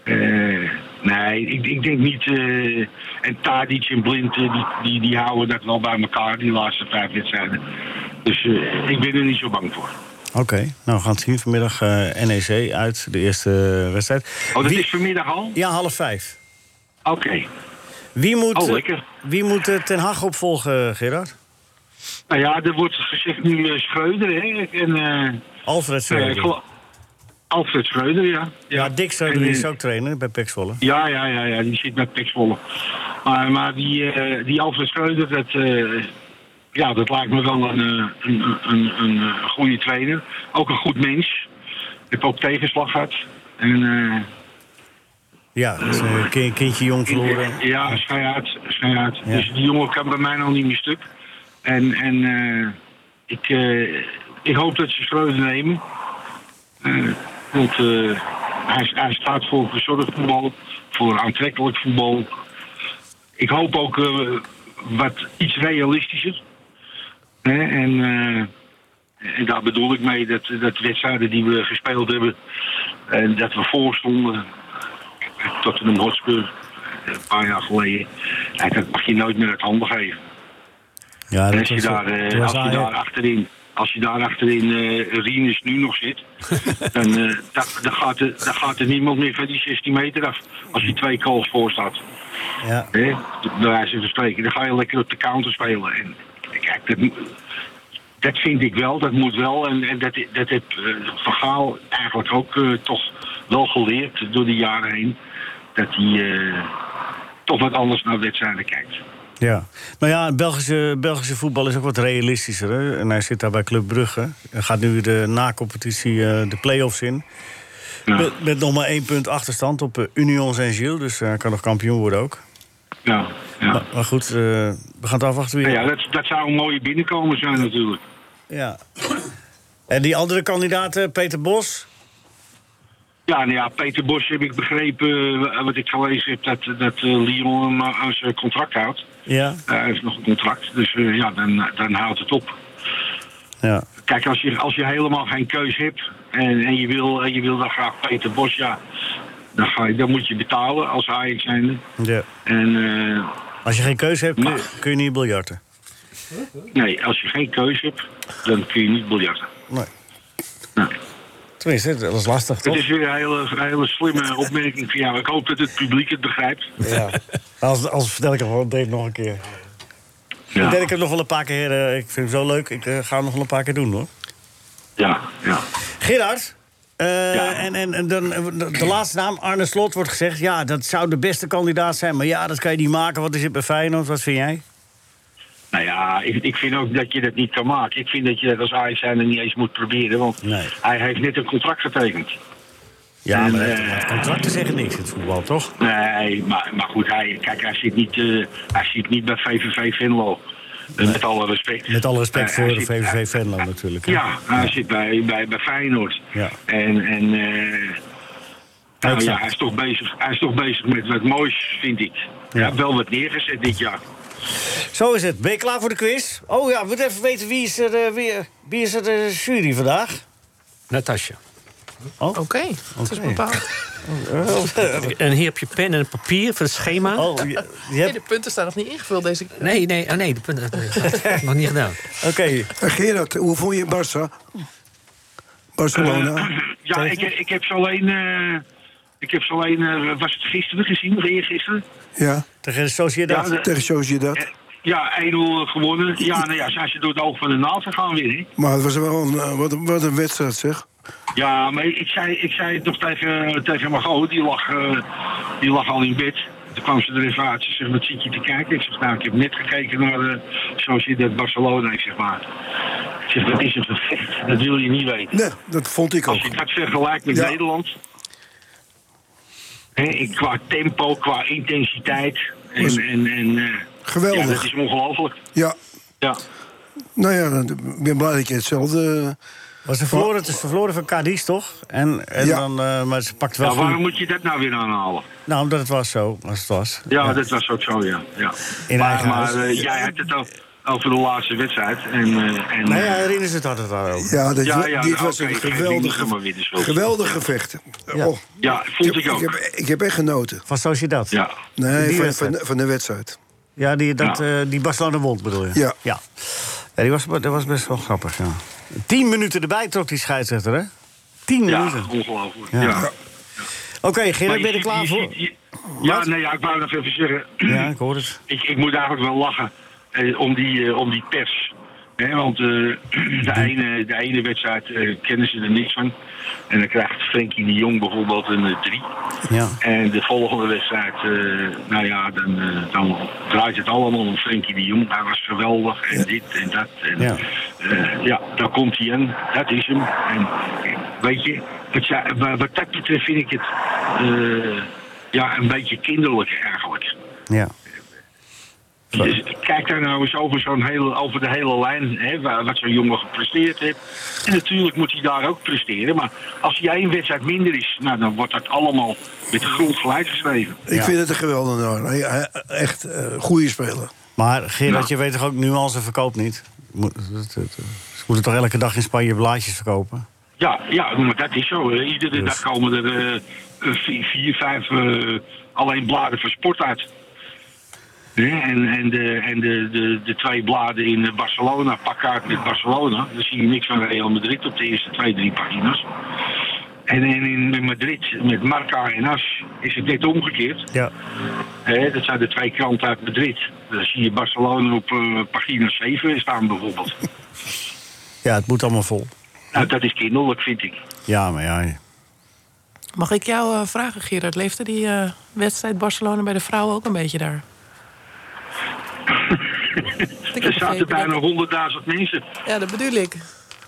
Speaker 9: Eh, nee, ik, ik denk niet. eh, en Tadic en Blind, eh, die, die, die houden dat wel bij elkaar, die laatste vijf wedstrijden. Dus eh, ik ben er niet zo bang voor.
Speaker 3: Oké, nou we gaan het zien vanmiddag eh, NEC uit, de eerste wedstrijd.
Speaker 9: Oh, dat
Speaker 3: Wie-
Speaker 9: is vanmiddag al?
Speaker 3: Ja, half vijf.
Speaker 9: Oké.
Speaker 3: Wie moet,
Speaker 9: Oh, lekker.
Speaker 3: Wie moet eh, Ten Hag opvolgen, Gerard?
Speaker 9: Nou ja, er wordt gezegd nu eh, Schreuder, hè? En, eh,
Speaker 3: Alfred
Speaker 9: eh,
Speaker 3: Schreuder.
Speaker 9: gelo- Alfred Schreuder, ja.
Speaker 3: Ja, Dick Schreuder
Speaker 9: En,
Speaker 3: is
Speaker 9: eh,
Speaker 3: ook trainer bij Pek Zwolle.
Speaker 9: Ja, ja, ja, ja, die zit met Pek Zwolle. Maar, maar die, eh, die Alfred Schreuder, dat, eh, ja, dat lijkt me wel een, eh, een, een, een, een, eh, goede trainer. Ook een goed mens. Ik heb ook tegenslag gehad. En, eh,
Speaker 3: Ja, dat is een ki- kindje jong verloren.
Speaker 9: Ja, schei uit. Schei uit.
Speaker 3: Ja.
Speaker 9: Dus die jongen kan bij mij nog niet meer stuk. En, en eh, ik, eh, ik hoop dat ze Schreuder nemen. Eh, want eh, hij, hij staat voor verzorgd voetbal, voor aantrekkelijk voetbal. Ik hoop ook eh, wat iets realistischer. Hè, en, eh, en daar bedoel ik mee dat, dat de wedstrijden die we gespeeld hebben, en dat we voorstonden, Tottenham Hotspur, een paar jaar geleden. Ja, dat mag je nooit meer uit handen geven.
Speaker 3: Ja,
Speaker 9: En als je
Speaker 3: was-
Speaker 9: daar, eh,
Speaker 3: toen was
Speaker 9: als je
Speaker 3: Ajax-
Speaker 9: daar achterin, als je daar achterin eh Rinus nu nog zit, dan, eh, dat- dan, gaat er, dan gaat er niemand meer van die 16 meter af. Als je twee calls voor staat.
Speaker 3: Ja,
Speaker 9: Hè? Bij wijze van spreken, dan ga je lekker op de counter spelen. En kijk, dat, moet- dat vind ik wel, dat moet wel. En, en dat, dat heb eh, Van Gaal eigenlijk ook eh, toch wel geleerd door de jaren heen. Dat hij eh, toch wat anders naar wedstrijden kijkt.
Speaker 3: ja. Nou ja, Belgische, Belgische voetbal is ook wat realistischer. Hè? En hij zit daar bij Club Brugge. Hij gaat nu de na-competitie eh, de play-offs in.
Speaker 9: Ja.
Speaker 3: Met, met nog maar één punt achterstand op eh, Union Saint-Gilles. Dus eh, hij kan nog kampioen worden ook.
Speaker 9: Ja, ja.
Speaker 3: Maar, maar goed, eh, we gaan het afwachten
Speaker 9: Nou
Speaker 3: weer.
Speaker 9: ja dat, dat zou een mooie binnenkomen zijn natuurlijk.
Speaker 3: Ja. En die andere kandidaat, eh, Peter Bos.
Speaker 9: Ja, nou ja, Peter Bosch heb ik begrepen, eh, wat ik gelezen heb, dat, dat eh, Lyon hem aan zijn contract houdt.
Speaker 3: Ja.
Speaker 9: Eh, Hij heeft nog een contract, dus eh, ja, dan, dan houdt het op.
Speaker 3: ja.
Speaker 9: Kijk, als je, als je helemaal geen keus hebt en, en je, wil, en je wil dan graag Peter Bosch, ja, dan, ga je, dan moet je betalen als Ajax zijnde.
Speaker 3: ja.
Speaker 9: En eh,
Speaker 3: Als je geen keuze hebt, kun je,
Speaker 9: Maar-
Speaker 3: kun je niet biljarten.
Speaker 9: nee, als je geen keus hebt, dan kun je niet biljarten.
Speaker 3: Nee.
Speaker 9: Nee.
Speaker 3: Tenminste, dat was lastig,
Speaker 9: Het
Speaker 3: toch?
Speaker 9: is weer een hele, een hele slimme opmerking van jou. Ik hoop dat het publiek het begrijpt.
Speaker 3: Ja. Als, als vertel ik hem gewoon, deed nog een keer.
Speaker 9: Ja.
Speaker 3: Deed ik hem nog wel een paar keer. eh, ik vind hem zo leuk. Ik eh, ga hem nog wel een paar keer doen, hoor.
Speaker 9: Ja, ja.
Speaker 3: Gerard. eh,
Speaker 9: Ja.
Speaker 3: En, en, en dan, eh, de, de laatste naam, Arne Slot, wordt gezegd... ja, dat zou de beste kandidaat zijn. Maar ja, dat kan je niet maken. Wat is het bij Feyenoord? Wat vind jij?
Speaker 9: Nou ja, ik, ik vind ook dat je dat niet kan maken. Ik vind dat je dat als Ajax zijnde niet eens moet proberen. Want
Speaker 3: Nee.
Speaker 9: hij heeft net een contract getekend.
Speaker 3: Ja,
Speaker 9: En,
Speaker 3: maar
Speaker 9: eh,
Speaker 3: eh, contracten zeggen niks in het voetbal, toch?
Speaker 9: Nee, maar, maar goed, hij, kijk, hij zit, niet, eh, hij zit niet bij VVV Venlo. Eh, Met alle respect.
Speaker 3: Met alle respect
Speaker 9: Eh,
Speaker 3: voor
Speaker 9: hij
Speaker 3: de
Speaker 9: zit- hij-
Speaker 3: VVV Venlo natuurlijk. hè?
Speaker 9: Ja, hij zit bij, bij, bij Feyenoord.
Speaker 3: Ja.
Speaker 9: En, en eh, nou ja,
Speaker 3: Exact.
Speaker 9: hij, is toch bezig, hij is toch bezig met wat moois, vind ik.
Speaker 3: Ja.
Speaker 9: Hij heeft wel wat neergezet dit jaar.
Speaker 3: Zo is het. Ben je klaar voor de quiz? Oh ja, we moeten even weten wie is er, eh, weer, wie is er de jury vandaag. Oh.
Speaker 5: Natasja.
Speaker 8: Oké, dat is bepaald.
Speaker 5: En hier heb je pen en papier voor het schema.
Speaker 3: Oh, je, je
Speaker 8: Nee,
Speaker 3: hebt...
Speaker 8: de punten staan nog niet ingevuld deze keer.
Speaker 5: Nee, nee, oh nee, de punten. nog niet gedaan.
Speaker 3: Oké.
Speaker 4: Eh, Gerard, hoe vond je Barça? Barcelona?
Speaker 9: Ja, ik, ik heb ze alleen. eh, ik heb ze alleen. eh, was het gisteren gezien? Eergisteren?
Speaker 4: Ja,
Speaker 3: Tegen de Sociedad.
Speaker 9: Ja, de-
Speaker 4: tegen Sociedad.
Speaker 9: Eh, Ja, 1-0 gewonnen. Ja, nou ja, zijn ze door het oog van de naald gegaan weer. Hè?
Speaker 4: Maar het was wel een, eh, wat, een- wat een wedstrijd, zeg.
Speaker 9: Ja, maar ik zei, ik zei het nog tegen, tegen Margot, die lag, eh, die lag al in bed. Toen kwam ze er even uit. Ze zegt, wat zit je te kijken? Ik zeg, nou, ik heb net gekeken naar eh, zoals je dat Barcelona. Ik zeg, maar, ik zeg, dat is een gevecht. Dat wil je niet weten.
Speaker 4: Nee, dat vond ik
Speaker 9: Als
Speaker 4: ook.
Speaker 9: je dat vergelijkt met
Speaker 4: Ja.
Speaker 9: Nederland. Hè, ik- qua tempo, qua intensiteit.
Speaker 4: Was-
Speaker 9: En, en, en, eh,
Speaker 4: Geweldig.
Speaker 9: Ja, dat is ongelooflijk.
Speaker 4: Ja,
Speaker 9: Ja.
Speaker 4: nou ja, dan- ik ben blij dat je hetzelfde... eh,
Speaker 3: Was ze verloren, het is verloren van Cadiz, toch? En, en
Speaker 4: Ja.
Speaker 3: dan, eh, maar ze pakt wel
Speaker 9: Ja, waarom
Speaker 3: goed.
Speaker 9: moet je dat nou weer aanhalen?
Speaker 3: Nou, omdat het was zo, als het was.
Speaker 9: Ja, dat was ook zo, ja. ja.
Speaker 3: In
Speaker 9: maar
Speaker 3: eigen
Speaker 9: maar
Speaker 3: huis.
Speaker 9: eh, jij hebt het al over de laatste wedstrijd. En, eh, en,
Speaker 3: Nou ja,
Speaker 9: eh,
Speaker 3: herinneren ze het altijd wel over.
Speaker 4: Ja, dit,
Speaker 9: Ja, ja,
Speaker 4: dit
Speaker 9: nou,
Speaker 4: was
Speaker 9: oké,
Speaker 4: een
Speaker 9: ik ga het
Speaker 4: geweldig,
Speaker 9: niet noemen, maar dit is wel-
Speaker 4: geweldig gevecht. Oh,
Speaker 9: ja, vond ik, ook.
Speaker 4: Ik heb, ik heb echt genoten.
Speaker 3: Van Sociedad.
Speaker 9: ja.
Speaker 3: Die
Speaker 4: Nee, van,
Speaker 3: wedstrijd.
Speaker 4: van, van de wedstrijd.
Speaker 3: Ja, die, dat,
Speaker 9: Ja.
Speaker 3: eh, die Barcelona wond bedoel je?
Speaker 4: Ja.
Speaker 3: ja. Ja, die was, dat was best wel grappig, ja. Tien minuten erbij trok die scheidsrechter, hè? Tien
Speaker 9: ja,
Speaker 3: minuten.
Speaker 9: ongelooflijk.
Speaker 3: Ja.
Speaker 9: Ja.
Speaker 3: Ja. Oké,
Speaker 9: Maar
Speaker 3: Gerrit, ben je er klaar
Speaker 9: ziet-
Speaker 3: voor?
Speaker 9: je- ja,
Speaker 3: Wat?
Speaker 9: nee, ja, ik wou nog even zeggen.
Speaker 3: Ja, ik hoor het.
Speaker 9: Ik, ik moet eigenlijk wel lachen eh, om, die, eh, om die pers. Hè, want eh, de, ene, de ene wedstrijd eh, kennen ze er niks van. En dan krijgt Frenkie de Jong bijvoorbeeld een 3.
Speaker 3: Ja.
Speaker 9: En de volgende wedstrijd, eh, nou ja, dan, eh, dan draait het allemaal om Frenkie de Jong. Hij was geweldig en dit en dat. En,
Speaker 3: Ja.
Speaker 9: ja. ja, daar komt hij in. Dat is hem. En eh, weet je, wat, zij- wa- wat dat betreft vind ik het eh, ja, een beetje kinderlijk eigenlijk.
Speaker 3: Ja.
Speaker 9: Dus kijk daar nou eens over, zo'n hele, over de hele lijn, hè, wa- wat zo'n jongen gepresteerd heeft. En natuurlijk moet hij daar ook presteren. Maar als hij één wedstrijd minder is, nou, dan wordt dat allemaal met grond gelijk geschreven.
Speaker 4: Ik vind het een geweldig Hij, hij- echt eh goede speler.
Speaker 3: Maar Gerard,
Speaker 9: Ja.
Speaker 3: je weet toch ook, nuance verkoopt niet? Moet- dat- dat- Ze moeten toch elke dag in Spanje blaadjes verkopen?
Speaker 9: Ja, ja maar dat is zo. hè. Iedere dag komen er eh, eh, vier, vier, vijf eh, alleen bladen van sport uit. Hè, en en, de, en de, de, de twee bladen in eh, Barcelona, pak uit met Barcelona. Daar zie je niks van Real Madrid op de eerste twee, drie pagina's. En in, in in Madrid, met Marca en As, is het net omgekeerd.
Speaker 3: Ja.
Speaker 9: Hè, dat zijn de twee kranten uit Madrid. Daar zie je Barcelona op eh, pagina 7 staan bijvoorbeeld.
Speaker 3: Ja, het moet allemaal vol.
Speaker 9: Nou, dat is kinderlijk, vind ik.
Speaker 3: Ja, maar ja.
Speaker 8: Mag ik jou eh, vragen, Gerard? Leefde die eh, wedstrijd Barcelona bij de vrouwen ook een beetje daar? Want ik heb
Speaker 9: Er
Speaker 8: begrepen
Speaker 9: zaten bijna
Speaker 8: dat-
Speaker 9: 100.000 mensen.
Speaker 8: Ja, dat bedoel ik.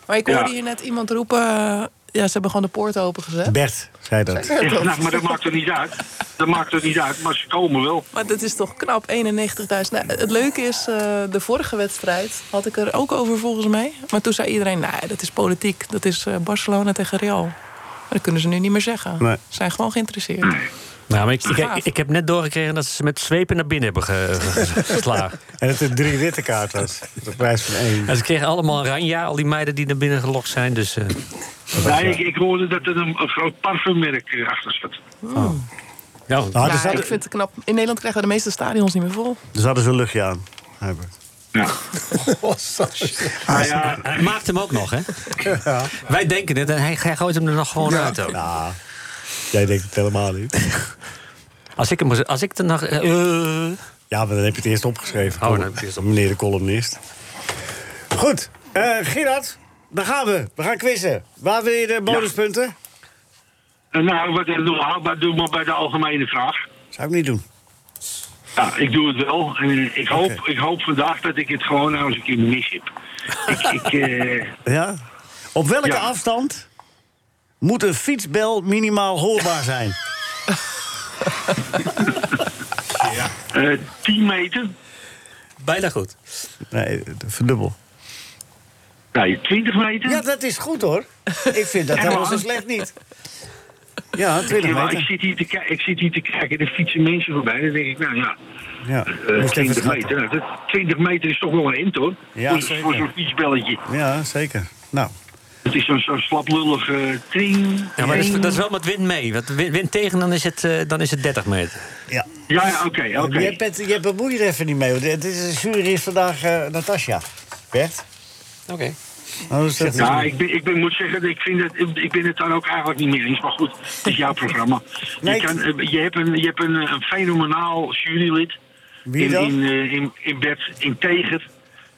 Speaker 8: Maar ik
Speaker 9: Ja.
Speaker 8: hoorde hier net iemand roepen... eh, ja, ze hebben gewoon de poort opengezet.
Speaker 3: Bert zei dat.
Speaker 8: Ja,
Speaker 9: Ja,
Speaker 8: dat-
Speaker 9: nou, maar dat maakt er niet uit. Dat maakt er niet uit, maar ze komen wel.
Speaker 8: Maar dat is toch knap, 91.000. Nou, het leuke is, eh, de vorige wedstrijd had ik er ook over volgens mij. Maar toen zei iedereen, nou, dat is politiek. Dat is eh, Barcelona tegen Real. Maar dat kunnen ze nu niet meer zeggen.
Speaker 3: Nee.
Speaker 8: Ze zijn gewoon geïnteresseerd.
Speaker 5: Nou, maar ik,
Speaker 9: Ah,
Speaker 5: ik,
Speaker 8: Gaaf.
Speaker 5: ik, ik heb net doorgekregen dat ze ze met zwepen naar binnen hebben ge- ge- geslagen.
Speaker 3: En dat het drie witte kaart was. De prijs van één.
Speaker 5: En ze kregen allemaal ranja, al die meiden die naar binnen gelokt zijn. Dus, eh,
Speaker 9: Nee, ik, ik hoorde dat er een, een groot parfummerk eh, achter zat.
Speaker 5: ja,
Speaker 3: Nou,
Speaker 8: Ja,
Speaker 3: er, zat,
Speaker 8: ik vind het knap. In Nederland krijgen we de meeste stadions niet meer vol.
Speaker 3: er zat dus een luchtje aan. Herbert.
Speaker 9: Ja.
Speaker 3: Oh, Ah,
Speaker 5: hij, hij maakt hem ook nog, hè? Wij denken het en hij, hij gooit hem er nog gewoon uit. ook.
Speaker 3: Nou, jij denkt het helemaal niet.
Speaker 5: Als ik hem als ik er nog. eh, eh,
Speaker 3: Ja, maar dan heb je het eerst opgeschreven.
Speaker 5: Oh, dan heb ik het eerst
Speaker 3: Meneer de columnist. Goed, eh, Gerard, daar gaan we. We gaan quizzen. Waar wil je de bonuspunten?
Speaker 9: En nou, wat eh, doe, hou- maar doe maar bij de algemene vraag.
Speaker 3: Zou ik niet doen.
Speaker 9: Ja, ik doe het wel. En eh, ik hoop, ik hoop vandaag dat ik het gewoon nou eens een keer mis heb. ik, ik, eh,
Speaker 3: Ja? Op welke
Speaker 9: Ja.
Speaker 3: afstand moet een fietsbel minimaal hoorbaar zijn?
Speaker 9: eh, 10 meter?
Speaker 5: bijna goed.
Speaker 3: nee, verdubbel.
Speaker 9: Nee, 20 meter?
Speaker 3: Ja, dat is goed hoor. Ik vind dat
Speaker 9: Ja,
Speaker 3: helemaal
Speaker 9: man.
Speaker 3: zo slecht niet. Ja, 20
Speaker 9: Ja, maar ik
Speaker 3: meter.
Speaker 9: zit, hier te ki- ik zit hier te kijken, er fietsen mensen voorbij. Dan denk ik, nou ja,
Speaker 3: Ja,
Speaker 9: eh,
Speaker 3: moest even
Speaker 9: 20
Speaker 3: schatten.
Speaker 9: meter. Nou, dat- 20 meter is toch wel een end, hoor.
Speaker 3: Ja,
Speaker 9: voor
Speaker 3: zeker.
Speaker 9: voor zo'n fietsbelletje.
Speaker 3: ja zeker. Nou,
Speaker 9: Het is zo'n zo slaplullig eh tring.
Speaker 5: Ja, maar dat is,
Speaker 9: tring.
Speaker 5: dat is wel met wind mee. Want wind, wind tegen, dan is, het, eh, dan is het 30 meter.
Speaker 3: ja.
Speaker 9: Ja, ja, oké, oké.
Speaker 3: Je, bent, je bemoeit er even niet mee. hoor. Dit is, de jury is vandaag eh, Natasja. Bert?
Speaker 5: Oké.
Speaker 3: Oh, is dat-
Speaker 9: Ja, ik, ben, ik ben, moet zeggen, ik, vind het, ik- ik ben het daar ook eigenlijk niet mee eens. Maar goed, het is jouw programma.
Speaker 3: Nee,
Speaker 9: Je, kan, eh, je hebt, een, je hebt een, eh, een fenomenaal jurylid.
Speaker 3: Wie
Speaker 9: in,
Speaker 3: dan?
Speaker 9: In, eh, in, in bed, in tegen.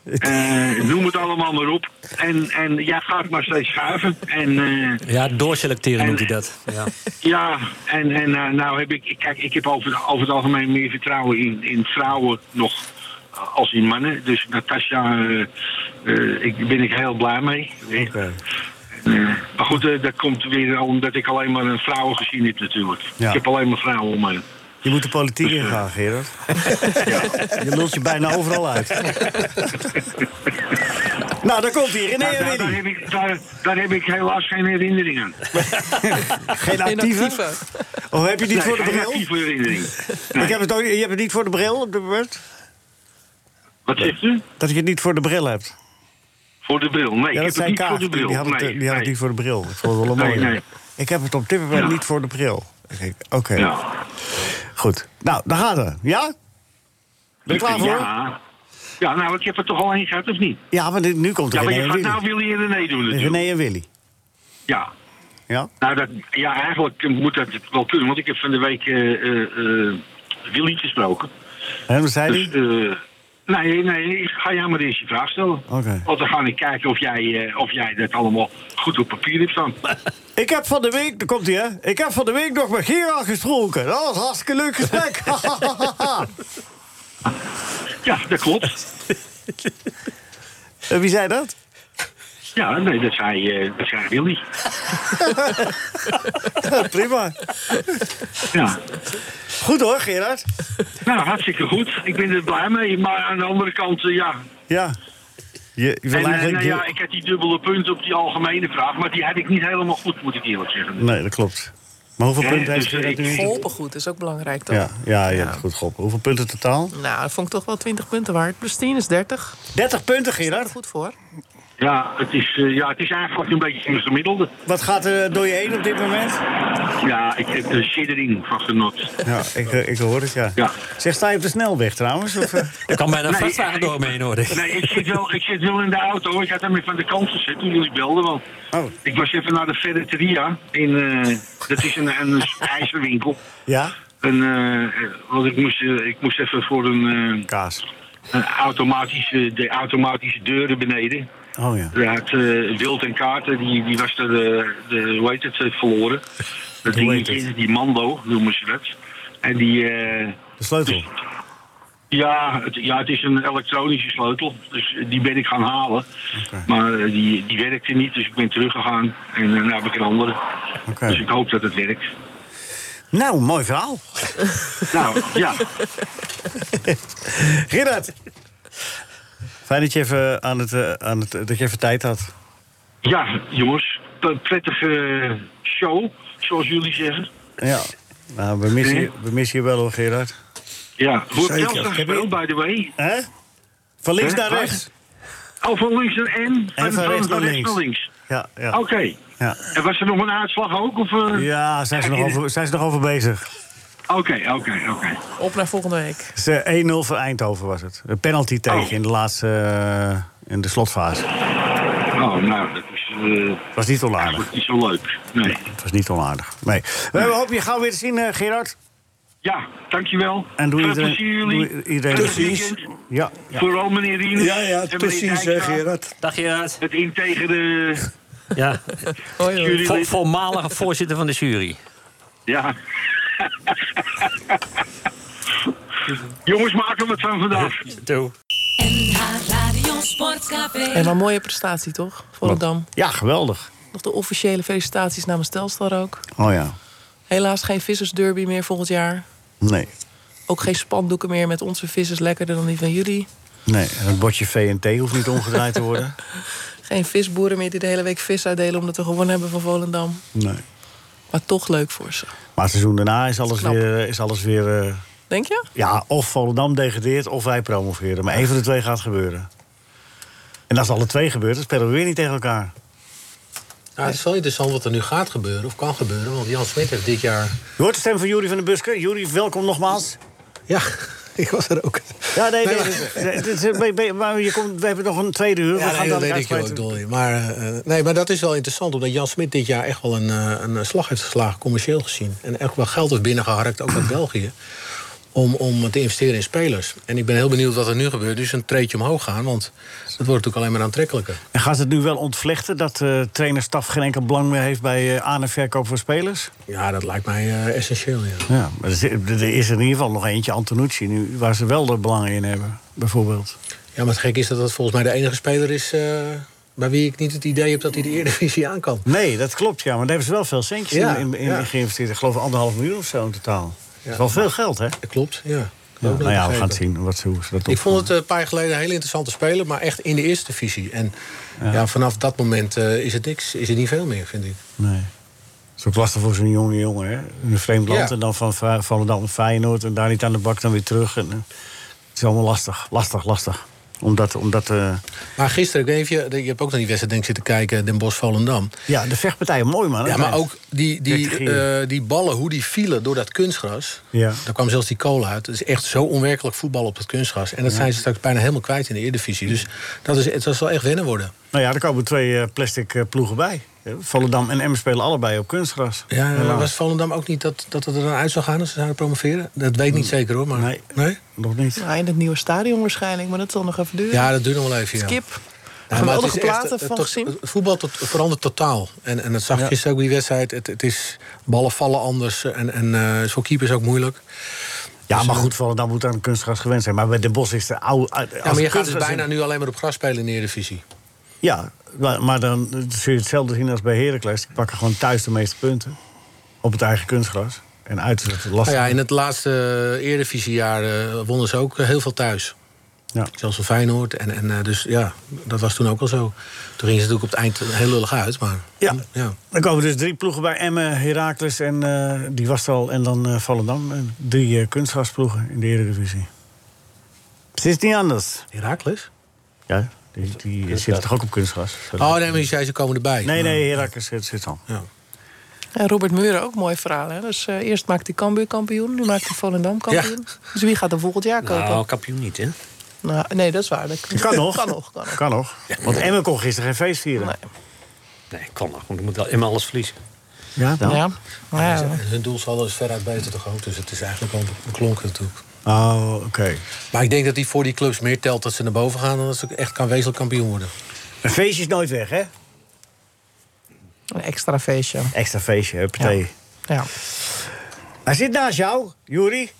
Speaker 9: Eh, noem het allemaal maar op. En, en jij gaat maar steeds schuiven. En eh,
Speaker 5: Ja, doorselecteren
Speaker 9: En-
Speaker 5: noemt hij dat. Ja.
Speaker 9: ja, en, en eh, nou heb ik, kijk, ik heb over, over het algemeen meer vertrouwen in, in vrouwen nog eh, als in mannen. Dus Natasja, eh, eh, ik ben ik heel blij mee.
Speaker 3: Oké.
Speaker 9: Maar goed, eh, dat komt weer omdat ik alleen maar een vrouwen gezien heb natuurlijk.
Speaker 3: Ja.
Speaker 9: Ik heb alleen maar vrouwen om me. heen.
Speaker 3: Je moet de politiek ingaan, Gerard. Je lult je bijna overal uit. nou, daar komt hij. René
Speaker 9: Maar daar,
Speaker 3: en
Speaker 9: daar,
Speaker 3: Winnie.
Speaker 9: heb ik, daar, daar heb ik helaas geen herinnering aan.
Speaker 3: Geen
Speaker 8: Geen
Speaker 3: actieve?
Speaker 8: actieve.
Speaker 3: Oh, heb je die
Speaker 9: Nee,
Speaker 3: voor de
Speaker 9: geen
Speaker 3: bril?
Speaker 9: actieve herinnering.
Speaker 3: Ik heb het ook, je hebt het niet voor de bril op de beurt?
Speaker 9: Wat zegt u?
Speaker 3: Dat je het niet voor de bril hebt.
Speaker 9: Voor de bril. Nee,
Speaker 3: Ja,
Speaker 9: ik
Speaker 3: dat
Speaker 9: heb het
Speaker 3: zijn
Speaker 9: niet voor de
Speaker 3: kaarten.
Speaker 9: bril.
Speaker 3: Die had het, eh,
Speaker 9: nee,
Speaker 3: die had het
Speaker 9: nee.
Speaker 3: niet voor de bril. Ik vond het wel een
Speaker 9: Nee,
Speaker 3: mooie.
Speaker 9: nee.
Speaker 3: Ik heb het op dit moment
Speaker 9: Ja.
Speaker 3: niet voor de bril. Ik denk, Oké,
Speaker 9: Ja.
Speaker 3: goed. Nou, daar gaat het. Ja? Ben je klaar voor? Ja,
Speaker 9: Ja. ja, nou, ik heb er toch al één gehad, of niet?
Speaker 3: maar dit- nu komt
Speaker 9: Ja, maar
Speaker 3: René
Speaker 9: je
Speaker 3: en
Speaker 9: gaat
Speaker 3: Willy.
Speaker 9: nou Willy en René doen natuurlijk.
Speaker 3: René en Willy.
Speaker 9: Ja.
Speaker 3: Ja?
Speaker 9: Nou, dat, ja, eigenlijk moet dat wel kunnen. Want ik heb van de week eh, eh, eh, Willy gesproken.
Speaker 3: En wat zei
Speaker 9: Dus,
Speaker 3: hij?
Speaker 9: eh, nee, nee, ik ga jou maar eens je vraag stellen.
Speaker 3: Oké.
Speaker 9: Want dan ga ik kijken of jij, eh, of jij dat allemaal goed op papier hebt staan.
Speaker 3: Ik heb van de week, daar komt hij hè. Ik heb van de week nog met Gerard gesproken. Dat was een hartstikke leuk gesprek.
Speaker 9: Ja, dat klopt.
Speaker 3: En Eh, Wie zei dat?
Speaker 9: Ja, nee, dat zei, eh, dat zei Willy.
Speaker 3: Prima.
Speaker 9: Ja.
Speaker 3: Goed hoor, Gerard.
Speaker 9: Nou, hartstikke goed. Ik ben er blij mee. Maar aan de andere kant, eh, ja,
Speaker 3: Ja. Je, je wil
Speaker 9: En, eh,
Speaker 3: eigenlijk...
Speaker 9: nou ja,
Speaker 3: je-
Speaker 9: ik had die dubbele punt op die algemene vraag, maar die had ik niet helemaal goed, moet ik eerlijk zeggen.
Speaker 3: Nee, dat klopt. Maar hoeveel
Speaker 9: Ja,
Speaker 3: punten heeft
Speaker 9: dus
Speaker 3: Gerard
Speaker 9: ik-
Speaker 3: nu?
Speaker 8: Geholpen goed is ook belangrijk, toch?
Speaker 3: Ja, ja, je hebt het goed geholpen. Hoeveel punten totaal?
Speaker 8: Nou, dat vond ik toch wel 20 punten waard. Plus 10 is 30.
Speaker 3: 30 punten,
Speaker 8: Daar
Speaker 3: Gerard.
Speaker 8: goed voor.
Speaker 9: Ja, het is, eh, ja, het is eigenlijk een beetje een gemiddelde.
Speaker 3: Wat gaat er eh, door je heen op dit moment?
Speaker 9: Ja, ik heb de shiddering van genot.
Speaker 3: Ja, ik, eh, ik hoor het, ja.
Speaker 9: Ja.
Speaker 3: Zeg, sta je op de snelweg trouwens? Of, eh?
Speaker 5: Er kan bijna een
Speaker 9: Nee,
Speaker 5: vrachtwagen
Speaker 9: ik-
Speaker 5: door me
Speaker 3: Oh,
Speaker 5: heen, hoor ik.
Speaker 9: Nee, ik zit, wel, ik zit wel in de auto. Ik had hem van de kant gezet toen jullie belden. Want
Speaker 3: Oh.
Speaker 9: Ik was even naar de Ferreteria. In, eh, dat is een, een ijzerwinkel.
Speaker 3: Ja?
Speaker 9: En, eh, want ik moest, eh, ik moest even voor een, eh,
Speaker 3: Kaas.
Speaker 9: een automatische, de automatische deuren beneden.
Speaker 3: Oh ja.
Speaker 9: Ja, het eh, Wild en Kaarten, die, die was er, eh, de, hoe heet het, eh, verloren. Dat
Speaker 3: Hoe heet
Speaker 9: dingetje, die Mando noemen ze dat. En die, eh,
Speaker 3: De sleutel.
Speaker 9: ja, het, ja, het is een elektronische sleutel, dus eh, die ben ik gaan halen. Maar eh, die, die werkte niet, dus ik ben teruggegaan en eh, nou heb ik een andere.
Speaker 3: Oké.
Speaker 9: Dus ik hoop dat het werkt.
Speaker 3: Nou, mooi verhaal.
Speaker 9: Nou, ja,
Speaker 3: Gerard. Fijn dat je even, aan het, eh, aan het, eh, dat je even tijd had.
Speaker 9: ja jongens, een prettige show, zoals jullie zeggen.
Speaker 3: Ja. Nou, we missen, je,
Speaker 9: Nee.
Speaker 3: we missen je wel hoor, Gerard.
Speaker 9: Ja, hoe heb
Speaker 4: Zeker.
Speaker 9: Telstra
Speaker 4: Heb
Speaker 9: gespeeld, by the way?
Speaker 3: Hè? Van links
Speaker 9: Hè?
Speaker 3: naar rechts.
Speaker 9: Oh, van links naar en?
Speaker 3: van rechts naar links.
Speaker 9: links.
Speaker 3: Ja, ja.
Speaker 9: Oké.
Speaker 3: Ja,
Speaker 9: En was er nog een uitslag ook? Of, eh?
Speaker 3: ja zijn, ze nog over, zijn ze nog over bezig.
Speaker 9: Oké, oké, oké.
Speaker 8: Op naar volgende week.
Speaker 3: Dus, eh, 1-0 voor Eindhoven was het. Een penalty tegen in de laatste... eh, in de slotfase.
Speaker 9: Oh, nou, dat is eh,
Speaker 3: Was niet onaardig.
Speaker 9: eigenlijk niet zo leuk. Nee.
Speaker 3: Het was niet onaardig. Nee. We hopen je gauw weer te zien, eh, Gerard.
Speaker 9: Ja, dankjewel.
Speaker 3: En doe
Speaker 9: Veel
Speaker 3: iedereen-
Speaker 9: plezier jullie.
Speaker 3: doe iedereen-
Speaker 9: Prettig
Speaker 4: Precies.
Speaker 9: weekend.
Speaker 3: Ja. ja.
Speaker 9: Vooral meneer Rienes.
Speaker 4: Ja, ja,
Speaker 9: en meneer
Speaker 4: precies, hè,
Speaker 9: Dijkstra.
Speaker 4: Gerard.
Speaker 5: Dag Gerard.
Speaker 9: Het integere
Speaker 5: Ja,
Speaker 8: Hoi, hoi.
Speaker 9: jullie.
Speaker 5: vo- voormalige voorzitter van de jury.
Speaker 9: Ja. Jongens, maak er wat van vandaag.
Speaker 5: Doe.
Speaker 1: NH Radio Sportcafé.
Speaker 8: En wel een mooie prestatie, toch? Volendam.
Speaker 3: Ja, geweldig.
Speaker 8: Nog de officiële felicitaties namens Telstar ook.
Speaker 3: Oh ja.
Speaker 8: Helaas geen vissersderby meer volgend jaar.
Speaker 3: Nee.
Speaker 8: Ook geen spandoeken meer met onze vissers lekkerder dan die van jullie.
Speaker 3: Nee, en het bordje VNT hoeft niet omgedraaid te worden.
Speaker 8: Geen visboeren meer die de hele week vis uitdelen omdat we gewonnen hebben van Volendam.
Speaker 3: Nee.
Speaker 8: Maar toch leuk voor ze.
Speaker 3: Maar het seizoen daarna is alles
Speaker 8: Knap.
Speaker 3: weer... Is alles weer eh,
Speaker 8: Denk je?
Speaker 3: ja, of Volendam degradeert of wij promoveren. Maar één van de twee gaat gebeuren. En als alle twee gebeurt, dan spelen we weer niet tegen elkaar.
Speaker 6: Nou, het is wel interessant wat er nu gaat gebeuren, of kan gebeuren. Want Jan Smit heeft dit jaar...
Speaker 3: Je hoort de stem van Jury van den Buske. Jury, welkom nogmaals.
Speaker 6: Ja, ik was er ook.
Speaker 3: Ja, nee, nee.
Speaker 6: maar-
Speaker 3: dit- dit- dit is- be- be- Maar je komt, we hebben nog een tweede uur. we
Speaker 6: Ja,
Speaker 3: gaan
Speaker 6: nee, dat weet
Speaker 3: dadelijk
Speaker 6: ik heel
Speaker 3: uitsluiten.
Speaker 6: dol in. Maar, eh, eh, nee, maar dat is wel interessant, omdat Jan Smit dit jaar echt wel een, eh, een eh, slag heeft geslagen, commercieel gezien. En echt wel geld heeft binnengeharkt, ook uit België. Om, om te investeren in spelers. En ik ben heel benieuwd wat er nu gebeurt. Dus een treetje omhoog gaan, want dat wordt natuurlijk alleen maar aantrekkelijker.
Speaker 3: En gaat het nu wel ontvlechten dat eh trainerstaf geen enkel belang meer heeft bij eh aan- en verkoop van spelers?
Speaker 6: Ja, dat lijkt mij eh, essentieel. Ja.
Speaker 3: Ja, maar er zit- er is in ieder geval nog eentje, Antonucci, nu, waar ze wel er belang in hebben, bijvoorbeeld.
Speaker 6: ja, maar het gek is dat dat volgens mij de enige speler is. eh, bij wie ik niet het idee heb dat hij de Eredivisie aan kan.
Speaker 3: Nee, dat klopt, ja, maar daar hebben ze wel veel centjes
Speaker 6: Ja,
Speaker 3: in, in,
Speaker 6: ja.
Speaker 3: in geïnvesteerd. Ik geloof anderhalf miljoen of zo in totaal. dat is wel veel geld, hè?
Speaker 6: Dat klopt, ja.
Speaker 3: Ja,
Speaker 6: Ook
Speaker 3: nou ja, we
Speaker 6: vergeten.
Speaker 3: gaan het zien wat ze, hoe ze dat
Speaker 6: Ik vond
Speaker 3: opvangen.
Speaker 6: het eh, een paar jaar geleden een hele interessante speler, maar echt in de eerste divisie. En ja. vanaf dat moment eh, is het niks, is het niet veel meer, vind ik.
Speaker 3: Nee. Het is ook lastig voor zo'n jonge jongen, hè? In een vreemd land
Speaker 6: Ja.
Speaker 3: en dan van Va- Volendam naar Feyenoord... en daar niet aan de bak, dan weer terug. En, eh, het is allemaal lastig, lastig, lastig. Omdat, omdat eh,
Speaker 6: Maar gisteren, ik weet niet of je, je hebt ook naar die wedstrijd denk ik, zitten kijken, eh, Den Bosch Volendam.
Speaker 3: ja, de vechtpartijen mooi, man. hè?
Speaker 6: Ja, maar ook die, die,
Speaker 3: Dertig
Speaker 6: eh, die ballen, hoe die vielen door dat kunstgras.
Speaker 3: Ja.
Speaker 6: Daar kwam zelfs die kool uit. Het is echt zo onwerkelijk voetbal op het kunstgras. En dat zijn ze straks bijna helemaal kwijt in de Eredivisie. Dus dat, is, het zal echt wennen worden.
Speaker 3: Nou ja, er komen twee eh, plastic eh, ploegen bij. Eh, Volendam en Emmen spelen allebei op kunstgras.
Speaker 6: Ja, eh,
Speaker 3: Helaas.
Speaker 6: was Volendam ook niet dat, dat het er dan uit zou gaan als ze zouden promoveren? Dat weet ik niet zeker hoor. Maar...
Speaker 3: Nee.
Speaker 6: nee?
Speaker 3: Nog niet.
Speaker 8: Nou, in het nieuwe stadion waarschijnlijk, maar dat zal nog even duren.
Speaker 6: Ja, dat duurt nog wel even. Ja.
Speaker 8: Skip.
Speaker 6: Ja, maar het
Speaker 8: Geweldige
Speaker 6: is echt,
Speaker 8: platen
Speaker 6: eh,
Speaker 8: van
Speaker 6: tot-
Speaker 8: gezien.
Speaker 6: Het voetbal tot, verandert totaal. En, en dat zag je gisteren ook bij die wedstrijd. Het, het is ballen vallen anders. En, en eh, is voor keepers ook moeilijk. Dus
Speaker 3: Ja, maar goed, Volendam moet aan kunstgras gewend zijn. Maar bij Den Bosch is de oude... eh,
Speaker 6: Ja, maar je gaat dus bijna nu alleen maar op gras spelen in de Eredivisie.
Speaker 3: Ja, maar maar dan eh, zul je hetzelfde zien als bij Heracles. Die pakken gewoon thuis de meeste punten. Op het eigen kunstgras. En uit is het lastig.
Speaker 6: Nou ja, in het laatste eh, Eredivisiejaar eh, wonnen ze ook eh, heel veel thuis.
Speaker 3: Ja.
Speaker 6: Zelfs van Feyenoord. En, en eh, dus ja, dat was toen ook al zo. Toen gingen ze natuurlijk op het eind heel lullig uit. Maar,
Speaker 3: Ja.
Speaker 6: ja.
Speaker 3: Er komen dus drie ploegen bij Emmen, Heracles en eh, die was er al. En dan eh, Volendam. En Drie eh, kunstgrasploegen in de Eredivisie. Het is niet anders.
Speaker 6: Herakles?
Speaker 3: Ja, die, die zitten toch ook op kunstgras?
Speaker 6: Oh nee, maar je zei ze komen erbij.
Speaker 3: Nee, nee, Heracles zit, zit al.
Speaker 6: Ja.
Speaker 8: En Robert Muren ook mooi verhaal. Hè? Dus eh, eerst maakt hij Cambuur kampioen, nu maakt hij Volendam kampioen. Dus wie gaat er volgend jaar kopen?
Speaker 5: Nou, kampioen niet, hè?
Speaker 8: Nou, nee, dat is waar. Dat
Speaker 3: Kan nog.
Speaker 8: Kan nog, kan nog.
Speaker 3: Kan nog. Want Emmen kon gisteren geen feest vieren.
Speaker 8: Nee.
Speaker 5: Nee, kan nog. Want ik moet wel immer alles verliezen.
Speaker 3: Ja, dan?
Speaker 8: Ja. Nou ja.
Speaker 6: En hun doelsaldo is veruit beter toch ook. Dus het is eigenlijk al een klonk natuurlijk.
Speaker 3: Oh, oké.
Speaker 6: Maar ik denk dat die voor die clubs meer telt dat ze naar boven gaan... dan dat ze echt kan wezenlijk kampioen worden.
Speaker 3: Een feestje is nooit weg, hè?
Speaker 8: Een extra feestje.
Speaker 3: Extra feestje, huppatee.
Speaker 8: Ja. Ja.
Speaker 3: Hij zit naast jou, Juri. Je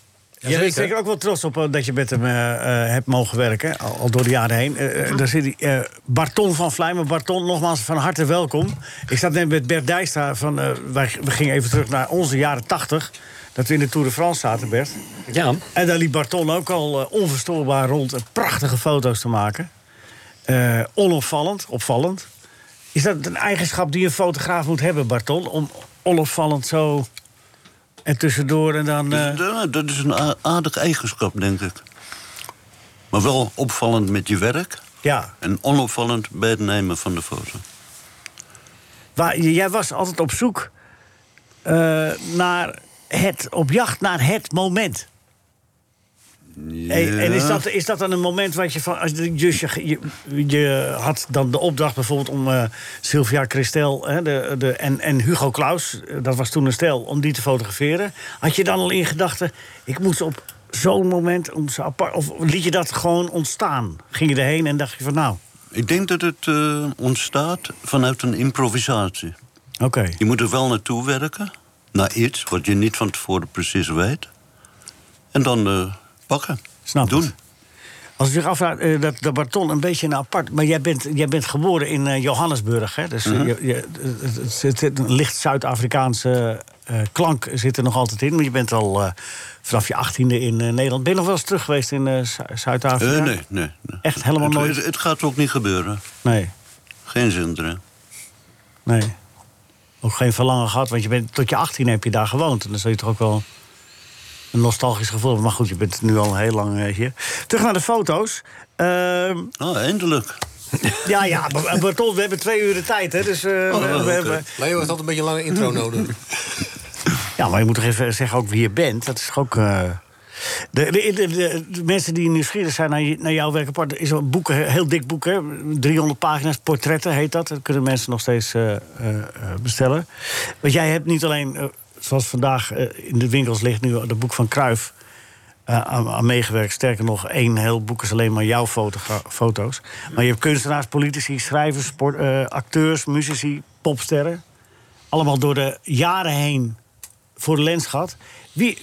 Speaker 3: bent
Speaker 6: Jazeker.
Speaker 3: zeker ook wel trots op eh, dat je met hem eh, eh, hebt mogen werken, al, al door de jaren heen. Eh, eh, daar zit hij, eh, Barton van Vlijmen. Barton, nogmaals van harte welkom. Ik zat net met Bert Dijstra, van, eh, wij, we gingen even terug naar onze jaren 80, Dat we in de Tour de France zaten, Bert.
Speaker 5: Ja,
Speaker 3: En daar liep Barton ook al eh, onverstoorbaar rond eh, prachtige foto's te maken. Eh, onopvallend, opvallend. Is dat een eigenschap die een fotograaf moet hebben, Barton? Om onopvallend zo en tussendoor en dan... eh,
Speaker 7: Ja, dat is een a- aardig eigenschap, denk ik. Maar wel opvallend met je werk
Speaker 3: ja,
Speaker 7: en onopvallend bij het nemen van de foto.
Speaker 3: Waar- j- jij was altijd op zoek eh, naar het, op jacht naar het moment. En, en is, dat, is dat dan een moment wat je van. Als, je- dus je, je, je had dan de opdracht bijvoorbeeld om eh, Sylvia Christel hè, de, de, en, en Hugo Klaus, eh, dat was toen een stel, om die te fotograferen. Had je dan al in gedachten, ik moet ze op zo'n moment om ze apart. Of liet je dat gewoon ontstaan? Ging je erheen en dacht je van nou,
Speaker 7: Ik denk dat het eh, ontstaat vanuit een improvisatie.
Speaker 3: oké.
Speaker 7: Je moet er wel naartoe werken, naar iets wat je niet van tevoren precies weet. En dan eh, pakken.
Speaker 3: Snap
Speaker 7: Doen.
Speaker 3: het. Als ik zich afvraag, eh, dat, dat Barton een beetje een apart... Maar jij bent, jij bent geboren in eh, Johannesburg, hè? Dus eh,
Speaker 7: Mhm.
Speaker 3: je, je- het, het zit- het- een licht Zuid-Afrikaanse eh, klank zit er nog altijd in. Maar je bent al eh, vanaf je aštiende in eh, Nederland. Ben je nog wel eens terug geweest in eh, Zu-
Speaker 7: Eh,
Speaker 3: Zuid-Afrika?
Speaker 7: nee, nee, nee.
Speaker 3: Echt helemaal
Speaker 7: het,
Speaker 3: nooit?
Speaker 7: Het, het gaat ook niet gebeuren.
Speaker 3: Nee,
Speaker 7: Geen zin erin.
Speaker 3: nee. Ook geen verlangen gehad, want je bent, tot je 18 heb je daar gewoond. En dan zul je toch ook wel een nostalgisch gevoel hebben. Maar goed, je bent nu al heel lang eh, hier. Terug naar de foto's. Ehm,
Speaker 7: Oh, eindelijk.
Speaker 3: Ja, ja, maar- maar Tom, we hebben twee uur de tijd, hè? Dus, eh, we, we
Speaker 7: Oh, oké.
Speaker 3: hebben...
Speaker 6: Leo heeft altijd een beetje lange intro nodig.
Speaker 3: Ja, maar je moet toch even zeggen ook wie je bent? Dat is toch ook... eh, De, de, de- de- de mensen die nieuwsgierig zijn naar, je- naar jouw werk apart... is een boek, een heel dik boek, hè? 300 pagina's, portretten heet dat. Dat kunnen mensen nog steeds eh, eh, eh, bestellen. Want jij hebt niet alleen, eh, zoals vandaag eh, in de winkels ligt... nu het boek van Kruif aan, aan meegewerkt. Sterker nog, één heel boek is alleen maar jouw fotogra- foto's. Maar je hebt kunstenaars, politici, schrijvers, sport- eh, acteurs, muzici, popsterren. Allemaal door de jaren heen voor de lens gehad. Wie,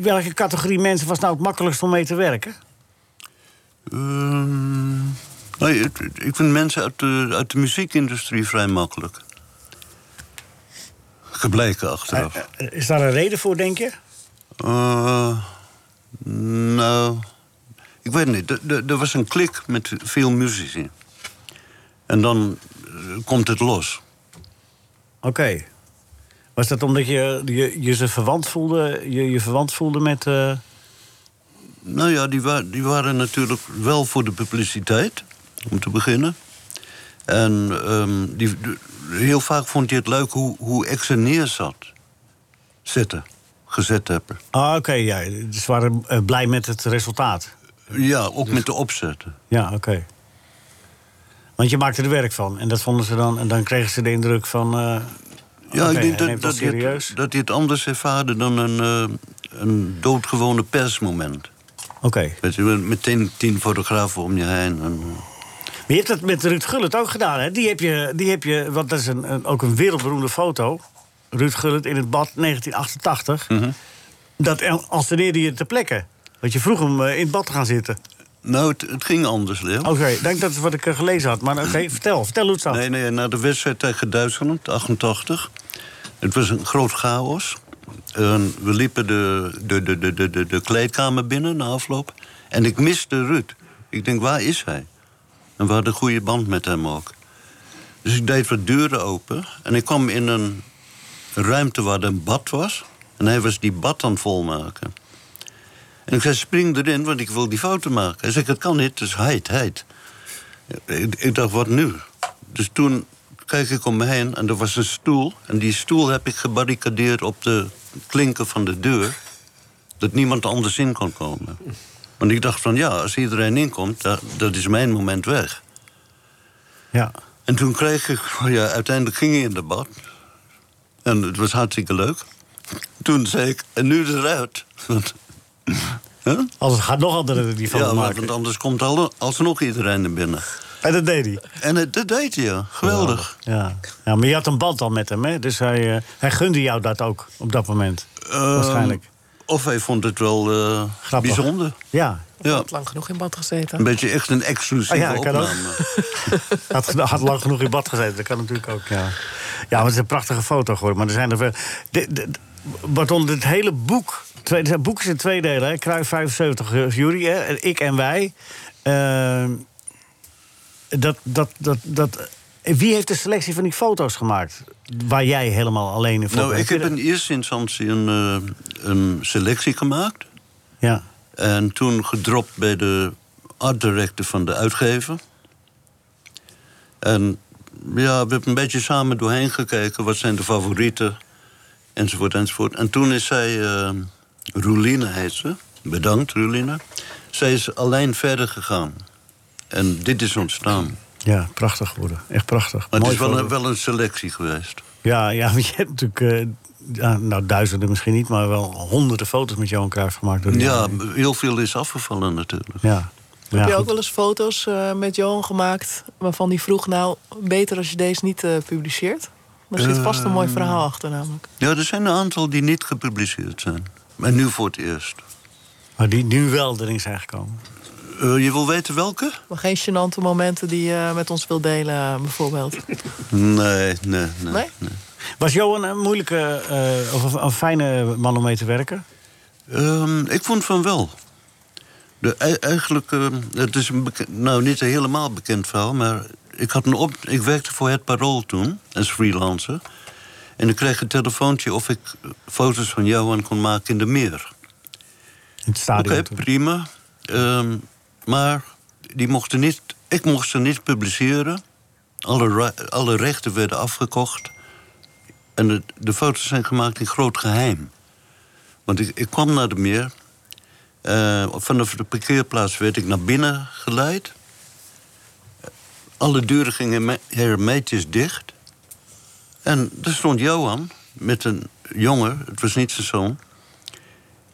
Speaker 3: welke categorie mensen was nou het makkelijkst om mee te werken?
Speaker 7: Ehm, nou, ik, ik vind mensen uit de, uit de muziekindustrie vrij makkelijk. Gebleken achteraf.
Speaker 3: Eh, Is daar een reden voor, denk je?
Speaker 7: Eh, nou, ik weet niet. Er- Er er was een klik met veel muzici. En dan eh, komt het los.
Speaker 3: Oké. Was dat omdat je je, je ze verwant voelde, je, je verwant voelde met... eh,
Speaker 7: Nou ja, die, wa- die waren natuurlijk wel voor de publiciteit, om te beginnen. En ehm, die, de- heel vaak vond je het leuk hoe, hoe ik ze neerzat. Zetten, gezet hebben.
Speaker 3: Ah, oké, ja. Ze waren eh, blij met het resultaat.
Speaker 7: Ja,
Speaker 3: Dus-
Speaker 7: ook met de opzetten.
Speaker 3: Ja, oké. Want je maakte er werk van. En dat vonden ze dan. En dan kregen ze de indruk van. eh, oké,
Speaker 7: Ja, ik denk
Speaker 3: hij
Speaker 7: dat,
Speaker 3: neemt
Speaker 7: dat,
Speaker 3: ons
Speaker 7: hij het-
Speaker 3: serieus.
Speaker 7: dat hij het anders ervaarde dan een, eh, een doodgewone persmoment.
Speaker 3: Oké.
Speaker 7: Weet je, wel, meteen tien fotografen om je heen. En,
Speaker 3: Maar je hebt dat met Ruud Gullit ook gedaan, hè? Die heb je. Die heb je want dat is een, een- ook een wereldberoemde foto. Ruud Gullit in het bad 1988.
Speaker 7: Mhm.
Speaker 3: Dat el- alterneerde je te plekken. Want je vroeg hem eh, in het bad te gaan zitten.
Speaker 7: nou, het, het ging anders, Leo.
Speaker 3: Oké, ik denk dat is wat ik eh, gelezen had. Maar oké, vertel. Vertel hoe het zat.
Speaker 7: Nee, nee, na de wedstrijd tegen Duitsland, 88. Het was een groot chaos. En we liepen de, de, de, de, de, de, de kleedkamer binnen na afloop. En ik miste Ruud. Ik denk, waar is hij? En we hadden een goede band met hem ook. Dus ik deed wat deuren open. En ik kwam in een ruimte waar een bad was. En hij was die bad aan het volmaken. En ik zei, spring erin, want ik wil die fouten maken. Hij zei, dat kan niet, dus heid, heid. Ik, ik dacht, wat nu? Dus toen kijk ik om me heen en er was een stoel. En die stoel heb ik gebarricadeerd op de klinken van de deur. Dat niemand anders in kon komen. Want ik dacht van, ja, als iedereen inkomt, dat, dat is mijn moment weg.
Speaker 3: Ja.
Speaker 7: En toen kreeg ik, ja, uiteindelijk ging hij in de bad. En het was hartstikke leuk. Toen zei ik, en nu eruit. Want, Huh?
Speaker 3: Als het gaat nog anderen die foto
Speaker 7: ja, want-
Speaker 3: maken.
Speaker 7: want anders komt alle- alsnog iedereen er binnen.
Speaker 3: En dat deed hij.
Speaker 7: En het, dat deed hij, ja. Geweldig.
Speaker 3: Ja. ja, maar je had een band al met hem, hè? Dus hij, eh, hij gunde jou dat ook op dat moment.
Speaker 7: Ehm,
Speaker 3: Waarschijnlijk.
Speaker 7: Of hij vond het wel eh,
Speaker 3: Grappig.
Speaker 7: bijzonder.
Speaker 3: Ja,
Speaker 7: Ja,
Speaker 8: Had lang genoeg in bad
Speaker 7: een
Speaker 8: gezeten.
Speaker 7: beetje echt een exclusieve
Speaker 3: Ah ja, kan ook.
Speaker 7: opname.
Speaker 3: had, geno- had lang genoeg in bad gezeten. Dat kan natuurlijk ook, ja. Ja, maar het is een prachtige foto geworden. Maar er zijn er veel... De, de, de- Barton, dit hele boek... Twee, het boek is in twee delen, hè. Kruif 75, eh, jury, hè. en Ik en Wij. Ehm, dat, dat, dat, dat... Wie heeft de selectie van die foto's gemaakt? Waar jij helemaal alleen in
Speaker 7: Nou,
Speaker 3: voorkomt?
Speaker 7: ik heb in eerste instantie een, eh, een selectie gemaakt.
Speaker 3: Ja,
Speaker 7: En toen gedropt bij de art director van de uitgever. En ja, we hebben een beetje samen doorheen gekeken. Wat zijn de favorieten? Enzovoort, enzovoort. En toen is zij, eh Roeline heet ze. Bedankt, Roeline. Zij is alleen verder gegaan. En dit is ontstaan.
Speaker 3: ja, prachtig geworden. Echt prachtig.
Speaker 7: Maar het
Speaker 3: Mooi
Speaker 7: is wel
Speaker 3: foto.
Speaker 7: een, wel een selectie geweest.
Speaker 3: Ja, ja, want je hebt natuurlijk... eh, ja, nou, duizenden misschien niet, maar wel honderden foto's met Johan Cruijff gemaakt. Door die
Speaker 7: Ja,
Speaker 3: man.
Speaker 7: heel veel is afgevallen natuurlijk.
Speaker 3: Ja. Ja,
Speaker 8: Heb je
Speaker 3: goed.
Speaker 8: ook wel eens foto's eh, met Johan gemaakt waarvan die vroeg... nou, beter als je deze niet eh, publiceert? Daar zit vast een mooi
Speaker 3: Ehm.
Speaker 8: verhaal achter namelijk.
Speaker 7: Ja, er zijn een aantal die niet gepubliceerd zijn. Maar nu voor het eerst.
Speaker 3: Maar die nu wel erin zijn gekomen.
Speaker 7: Eh, je wil weten welke?
Speaker 8: Maar geen gênante momenten die je eh, met ons wil delen eh, bijvoorbeeld.
Speaker 7: Nee, nee, nee.
Speaker 8: Nee?
Speaker 3: Was Johan een moeilijke eh, of een, een fijne man om mee te werken?
Speaker 7: Ehm, ik vond van wel. De, ei- eigenlijk, ehm, het is een beke- nou niet een helemaal bekend verhaal, maar ik, had een op, ik werkte voor het Parool toen, als freelancer. En ik kreeg een telefoontje of ik eh, foto's van Johan kon maken in de meer.
Speaker 3: In het
Speaker 7: Oké,
Speaker 3: stadion. toen.
Speaker 7: prima. Ehm, maar die mochten niet, ik mocht ze niet publiceren. Alle, ra- alle rechten werden afgekocht. En de, de foto's zijn gemaakt in groot geheim. Want ik, ik kwam naar de meer. Eh, vanaf de parkeerplaats werd ik naar binnen geleid. Alle deuren gingen me- hermetisch dicht. En daar stond Johan met een jongen, het was niet zijn zoon.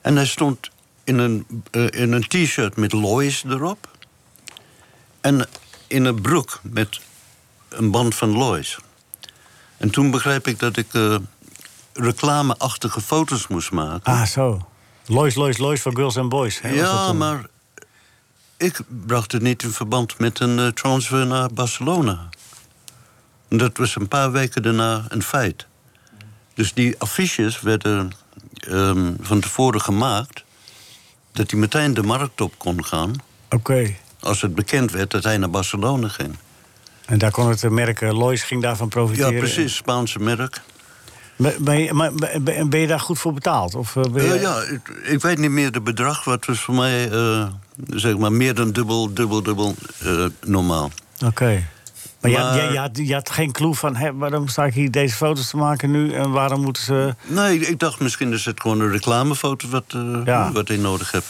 Speaker 7: En hij stond in een, eh, in een t-shirt met Lois erop. En in een broek met een band van Lois. En toen begreep ik dat ik eh, reclameachtige foto's moest maken.
Speaker 3: Ah, zo. Lois, Lois, Lois van Girls and Boys. hè, was dat
Speaker 7: Ja,
Speaker 3: toen?
Speaker 7: maar ik bracht het niet in verband met een eh, transfer naar Barcelona. En Dat was een paar weken daarna een feit. Dus die affiches werden ehm, van tevoren gemaakt... dat hij meteen de markt op kon gaan...
Speaker 3: Oké.
Speaker 7: als het bekend werd dat hij naar Barcelona ging.
Speaker 3: En daar kon het eh, merken. Lois ging daarvan
Speaker 7: Ja,
Speaker 3: profiteren.
Speaker 7: precies, Spaanse merk.
Speaker 3: Ben, ben je, maar ben- ben ben je daar goed voor betaald? Of eh, ben je...
Speaker 7: Eh, ja, ik, ik weet niet meer het bedrag, wat was voor mij eh, zeg maar meer dan dubbel, dubbel, dubbel eh, normaal.
Speaker 3: Oké. Maar, je had-
Speaker 7: Maar-
Speaker 3: Je, je, had, je had geen clue van, hè, waarom sta ik hier deze foto's te maken nu en waarom moeten ze...
Speaker 7: Nee, ik dacht misschien is het gewoon een reclamefoto wat, eh,
Speaker 3: Ja.
Speaker 7: wat hij nodig hebt.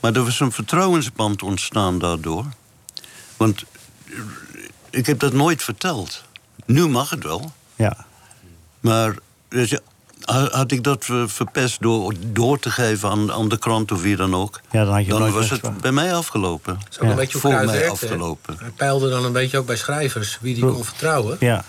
Speaker 7: Maar er was een vertrouwensband ontstaan daardoor. Want eh, ik heb dat nooit verteld. Nu mag het wel.
Speaker 3: Ja.
Speaker 7: Maar weet je, ha- had ik dat eh, verpest door, door te geven aan, aan de krant of wie dan ook...
Speaker 3: Ja, dan had je
Speaker 7: dan
Speaker 3: nooit
Speaker 7: was
Speaker 3: weggebracht.
Speaker 7: het bij mij afgelopen.
Speaker 6: is ook een beetje hoe
Speaker 7: Voor
Speaker 6: Cruijff
Speaker 7: mij
Speaker 6: werkte, hè?
Speaker 7: afgelopen.
Speaker 6: Hij peilde dan een beetje ook bij schrijvers wie die kon vertrouwen.
Speaker 3: Ja.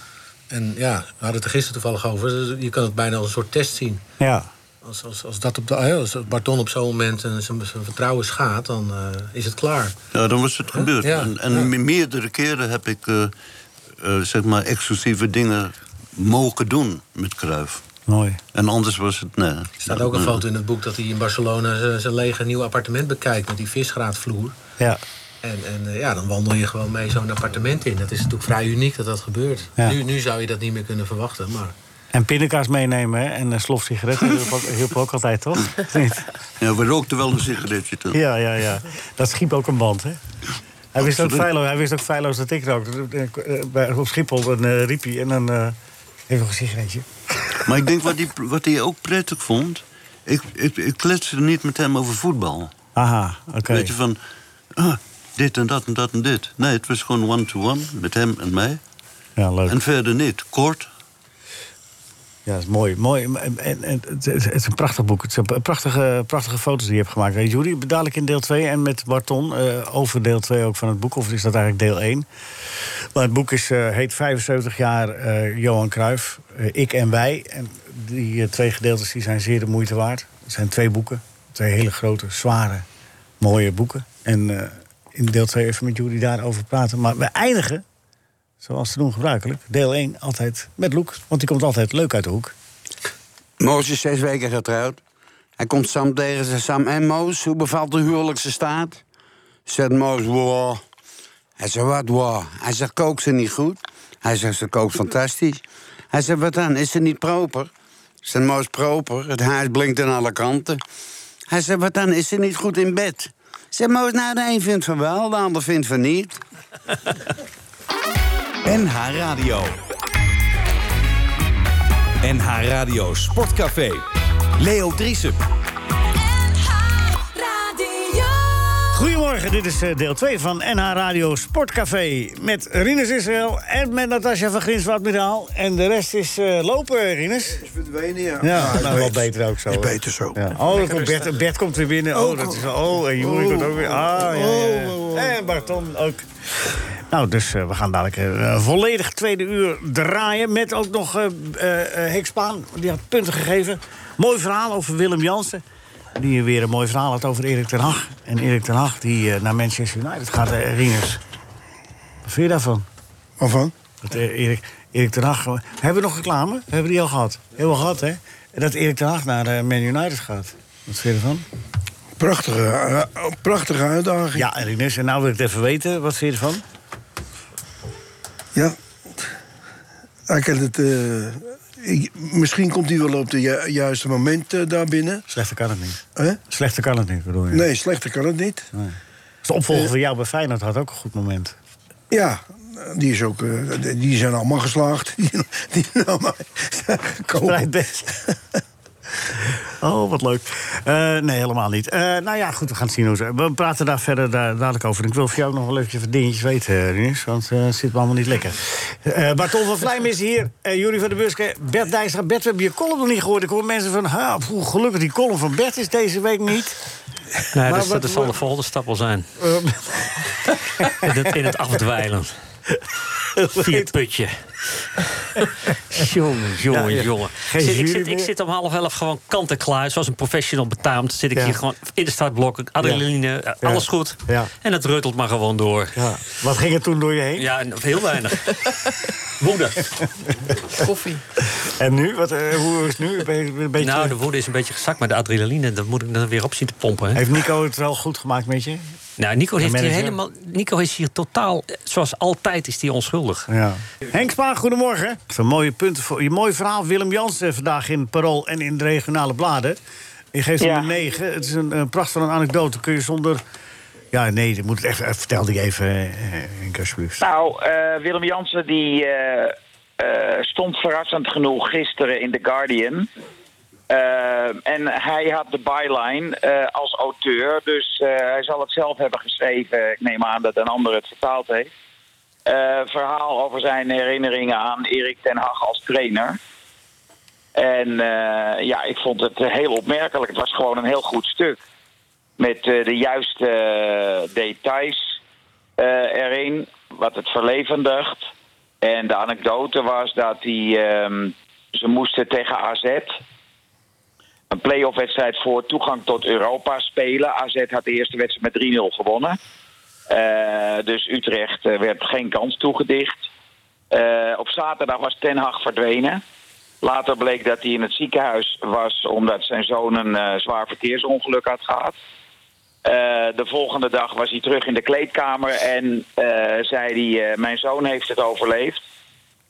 Speaker 6: En ja, we hadden het er gisteren toevallig over. dus Je kan het bijna als een soort test zien.
Speaker 3: Ja.
Speaker 6: Als, als, als, dat op de, hè, als Barton op zo'n moment eh, zijn, zijn vertrouwen schaadt, dan eh, is het klaar.
Speaker 7: Ja, dan was het gebeurd.
Speaker 6: Ja,
Speaker 7: En, en me- meerdere keren heb ik eh, eh, zeg maar exclusieve dingen mogen doen met Kruif.
Speaker 3: Mooi.
Speaker 7: En anders was het nee.
Speaker 6: Er staat ook een foto in het boek dat hij in Barcelona zijn- zijn lege nieuw appartement bekijkt met die visgraadvloer.
Speaker 3: Ja.
Speaker 6: En, en eh, ja, dan wandel je gewoon mee zo'n appartement in. Dat is natuurlijk vrij uniek dat dat gebeurt.
Speaker 3: Ja.
Speaker 6: Nu, nu zou je dat niet meer kunnen verwachten, maar...
Speaker 3: En pindakaas meenemen hè, en een slof sigaretten hielp ook, hielp ook altijd, toch? Of niet?
Speaker 7: Ja, we rookten wel een sigaretje toen.
Speaker 3: ja, ja, ja. Dat schiep ook een band, hè? Hij wist, ook
Speaker 7: Absoluut.
Speaker 3: feilloos, hij wist ook feilloos dat ik rookte. Eh, eh, bij- Op Schiphol een eh, riepie en dan... eh even nog een sigaretje.
Speaker 7: Maar ik denk wat hij, wat hij ook prettig vond. Ik, ik, ik kletste niet met hem over voetbal.
Speaker 3: Aha, oké.
Speaker 7: Weet je van. ah, dit en dat en dat en dit. Nee, het was gewoon one-to-one met hem en mij.
Speaker 3: Ja, leuk.
Speaker 7: En verder niet. Kort.
Speaker 3: Ja, dat is mooi. mooi. En, en, en het, is, het is een prachtig boek. Het zijn prachtige, prachtige foto's die je hebt gemaakt. Eh, Jury, dadelijk in deel 2 en met Barton eh, over deel 2 ook van het boek. Of is dat eigenlijk deel 1? Maar het boek is, eh, heet 75 jaar eh, Johan Cruijff, eh, Ik en Wij. En die eh, twee gedeeltes die zijn zeer de moeite waard. Het zijn twee boeken. Twee hele grote, zware, mooie boeken. En eh, in deel 2 even met Jury daarover praten. Maar we eindigen, zoals te doen gebruikelijk, deel 1 altijd met Loek. Want die komt altijd leuk uit de hoek.
Speaker 10: Moos is zes weken getrouwd. Hij komt Sam tegen zijn Sam en Moos, hoe bevalt de huwelijkse staat? Zegt Moos, wow. Hij zegt, wat wow? Hij zegt, kookt ze niet goed? Hij zegt, ze kookt fantastisch. Hij zegt, wat dan, is ze niet proper? Zegt Moos, proper, het huis blinkt aan alle kanten. Hij zegt, wat dan, is ze niet goed in bed? Zegt Moos, nou, de een vindt van wel, de ander vindt van niet.
Speaker 2: NH Radio. NH Radio Sportcafé. Leo Driesen.
Speaker 1: Radio.
Speaker 3: Goedemorgen, dit is eh, deel 2 van NH Radio Sportcafé. Met Rinus Israël en met Natasja van Grinswaard-Miraal. En de rest is eh, lopen, Rinus.
Speaker 4: Is verdwenen, ja. Ah,
Speaker 3: Ja,
Speaker 4: is
Speaker 3: nou, wel beter ook zo.
Speaker 4: Is
Speaker 3: hè.
Speaker 4: beter zo.
Speaker 3: Ja. Oh, dan komt Bert, Bert komt weer binnen. Oh, dat is, oh en Joeri komt ook weer. Ah, ja, ja.
Speaker 4: Oh,
Speaker 3: En Barton ook. Nou, dus eh, we gaan dadelijk eh, een volledig tweede uur draaien. Met ook nog eh eh, eh, Henk Spaan, die had punten gegeven. Mooi verhaal over Willem Jansen. Die weer een mooi verhaal had over Erik ten Hag. En Erik ten Hag, die eh, naar Manchester United gaat. eh, Rinus, wat vind je daarvan?
Speaker 4: Waarvan?
Speaker 3: Dat eh, Erik, Erik ten Hag... gewoon- Hebben we nog reclame? Hebben we die al gehad? Heel gehad, hè? Dat Erik ten Hag naar eh, Man United gaat. Wat vind je ervan?
Speaker 4: Prachtige, eh, eh, prachtige uitdaging.
Speaker 3: Ja, en Rinus, en nou wil ik het even weten. Wat vind je ervan?
Speaker 4: Ja. Hij kan het, eh, ik- misschien komt hij wel op het juiste moment eh, daar binnen.
Speaker 3: Slechter kan het niet.
Speaker 4: Hè?
Speaker 3: Slechter kan het niet, bedoel je?
Speaker 4: Nee, slechter kan het niet.
Speaker 3: Dus
Speaker 4: Eh,
Speaker 3: De opvolger van jou bij Feyenoord had ook een goed moment.
Speaker 4: Ja, die, is ook, eh, die zijn allemaal geslaagd. Die, die allemaal,
Speaker 3: Spreid best. Oh, wat leuk. Eh, nee, helemaal niet. Eh, nou ja, goed, we gaan het zien hoe ze... We praten daar verder daar, dadelijk over. En ik wil voor jou nog wel eventjes wat dingetjes weten, Rinus. Want eh, het zit me allemaal niet lekker. Eh Bartol van Vlijm is hier. Eh Jury van der Buske. Bert Dijstra. Bert, we hebben je column nog niet gehoord. Ik hoor mensen van... Ha, poeh, gelukkig die column van Bert is deze week niet.
Speaker 5: Nee,
Speaker 3: Maar
Speaker 5: dat, is-
Speaker 3: wat-
Speaker 5: dat zal de volgende stap wel zijn. in, het, in het afdwijlen. Via het putje. jongen, jongen,
Speaker 3: Ja, ja.
Speaker 5: jongen.
Speaker 3: Geen
Speaker 5: Zit- ik,
Speaker 3: jury
Speaker 5: zit, ik
Speaker 3: meer.
Speaker 5: zit om half elf gewoon kant en klaar. Zoals een professional betaamt. Zit ik
Speaker 3: Ja.
Speaker 5: hier gewoon in de startblokken. Adrenaline, eh, alles goed.
Speaker 3: Ja.
Speaker 5: En het ruttelt maar gewoon door.
Speaker 3: Ja. Wat ging er toen door je heen?
Speaker 5: Ja, en heel weinig. Woede.
Speaker 8: Koffie.
Speaker 3: En nu? Wat, eh, hoe is het nu? Ben je Een beetje...
Speaker 5: Nou, de woede is een beetje gezakt, maar de adrenaline, dat moet ik dan weer op zien te pompen. Hè.
Speaker 3: Heeft Nico het wel goed gemaakt met je?
Speaker 5: Nou, Nico,
Speaker 3: De
Speaker 5: heeft hier
Speaker 3: manager?
Speaker 5: helemaal, Nico is hier totaal, eh, zoals altijd, is hij onschuldig.
Speaker 3: Ja. Henk Spaan, goedemorgen. Van mooie punten voor je mooi verhaal. Willem Jansen vandaag in Parool en in de regionale bladen. Je geeft hem
Speaker 11: Ja.
Speaker 3: een 9. Het is een, een pracht van een anekdote. Kun je zonder. Ja, nee, dat moet ik echt. eh, Vertel die even, eh, Henk, alsjeblieft.
Speaker 11: Nou, eh, Willem Jansen die eh, eh, stond verrassend genoeg gisteren in The Guardian. Eh, en hij had de byline eh, als auteur, dus eh, hij zal het zelf hebben geschreven. Ik neem aan dat een ander het vertaald heeft. Eh, verhaal over zijn herinneringen aan Erik ten Hag als trainer. En eh, ja, ik vond het eh, heel opmerkelijk. Het was gewoon een heel goed stuk. Met eh, de juiste eh, details eh, erin, wat het verlevendigt. En de anekdote was dat hij, ehm, ze moesten tegen AZ een play-off wedstrijd voor toegang tot Europa spelen. AZ had de eerste wedstrijd met 3-0 gewonnen. Eh, dus Utrecht eh, werd geen kans toegedicht. Eh, op zaterdag was Ten Hag verdwenen. Later bleek dat hij in het ziekenhuis was omdat zijn zoon een eh, zwaar verkeersongeluk had gehad. Eh, de volgende dag was hij terug in de kleedkamer en eh, zei hij: eh, Mijn zoon heeft het overleefd.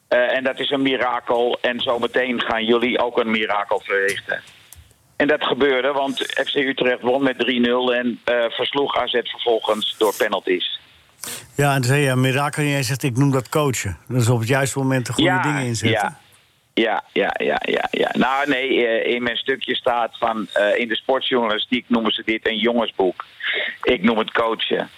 Speaker 11: Eh, en dat is een mirakel. En zometeen gaan jullie ook een mirakel verrichten. En dat gebeurde, want FC Utrecht won met 3-0 en eh, versloeg AZ vervolgens door penalties.
Speaker 3: Ja, en toen zei je, ja, Mirakel, en jij zegt, ik noem dat coachen. Dus op het juiste moment de goede dingen inzetten.
Speaker 11: Ja. Ja, ja, ja, ja, ja. Nou nee, eh, in mijn stukje staat van eh, in de sportjournalistiek noemen ze dit een jongensboek. Ik noem het coachen.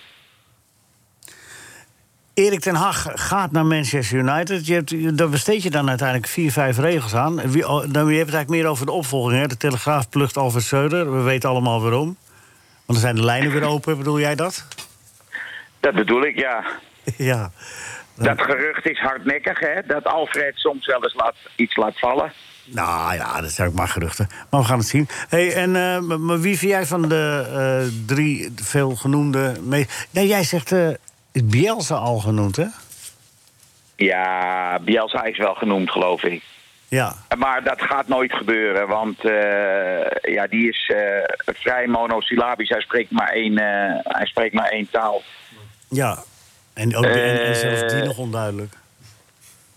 Speaker 3: Erik ten Hag gaat naar Manchester United. Je hebt, daar besteed je dan uiteindelijk vier, vijf regels aan. Wie, oh, dan, je hebt het eigenlijk meer over de opvolging. Hè? De Telegraaf plucht Alfred Söder. We weten allemaal waarom. Want dan zijn de lijnen weer open, bedoel jij dat?
Speaker 11: Dat bedoel ik, ja.
Speaker 3: ja.
Speaker 11: Dat gerucht is hardnekkig, hè? Dat Alfred soms wel eens laat, iets laat vallen.
Speaker 3: Nou ja, dat zijn ook maar geruchten. Maar we gaan het zien. Hey, en eh, maar- maar wie vind jij van de eh, drie veel genoemde... me- Nee, jij zegt eh Bielsa al genoemd, hè?
Speaker 11: Ja, Bielsa is wel genoemd, geloof ik.
Speaker 3: Ja.
Speaker 11: Maar dat gaat nooit gebeuren, want eh, ja, die is eh, vrij monosyllabisch. Hij spreekt maar één, eh, hij spreekt maar één taal.
Speaker 3: Ja. En, ook, en, en zelfs die
Speaker 11: Eh,
Speaker 3: nog onduidelijk.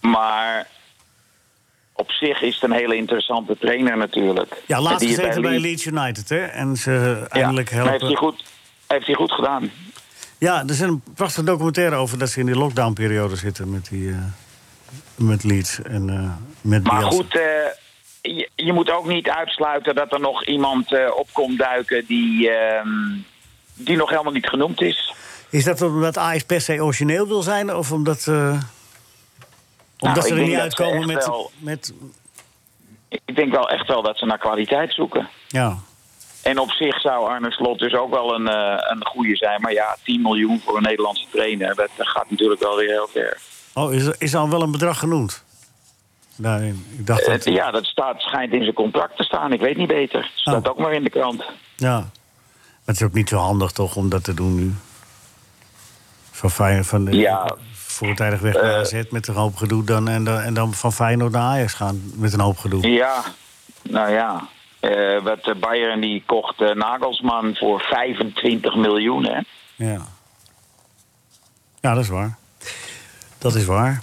Speaker 11: Maar op zich is het een hele interessante trainer natuurlijk.
Speaker 3: Ja, laatst
Speaker 11: Die is
Speaker 3: gezeten bij
Speaker 11: Leeds-
Speaker 3: Leeds United, hè? En ze
Speaker 11: Ja,
Speaker 3: eindelijk
Speaker 11: maar heeft hij
Speaker 3: helpen.
Speaker 11: goed, heeft hij goed gedaan.
Speaker 3: Ja, er zijn een prachtige documentaire over dat ze in die lockdownperiode zitten met, die, eh, met Leeds en eh, met
Speaker 11: Maar
Speaker 3: Bielsa.
Speaker 11: goed, eh, je, je moet ook niet uitsluiten dat er nog iemand eh, op komt duiken die, ehm, die nog helemaal niet genoemd is.
Speaker 3: Is dat omdat Ajax per se origineel wil zijn? Of omdat, eh, omdat
Speaker 11: Nou, ik
Speaker 3: ze er
Speaker 11: denk
Speaker 3: niet
Speaker 11: dat ze
Speaker 3: uitkomen
Speaker 11: echt
Speaker 3: met...
Speaker 11: wel-
Speaker 3: met
Speaker 11: Ik denk wel echt wel dat ze naar kwaliteit zoeken.
Speaker 3: ja.
Speaker 11: En op zich zou Arne Slot dus ook wel een, eh, een goede zijn. Maar ja, 10 miljoen voor een Nederlandse trainer, dat, dat gaat natuurlijk wel weer heel ver.
Speaker 3: Oh, is, is al wel een bedrag genoemd? Daarin. Ik dacht dat...
Speaker 11: Eh, ja, dat staat, schijnt in zijn contract te staan. Ik weet niet beter. Het
Speaker 3: Ah.
Speaker 11: staat ook maar in de krant.
Speaker 3: Ja. Maar het is ook niet zo handig toch om dat te doen nu. Van Feyenoord van de,
Speaker 11: Ja. Eh,
Speaker 3: voortijdig weg naar AZ met een hoop gedoe. Dan, en, dan, en dan van Feyenoord naar Ajax gaan met een hoop gedoe.
Speaker 11: Ja, nou ja. Eh, wat eh, Bayern die kocht eh, Nagelsman voor 25 miljoen, hè?
Speaker 3: Ja. Ja, dat is waar. Dat is waar.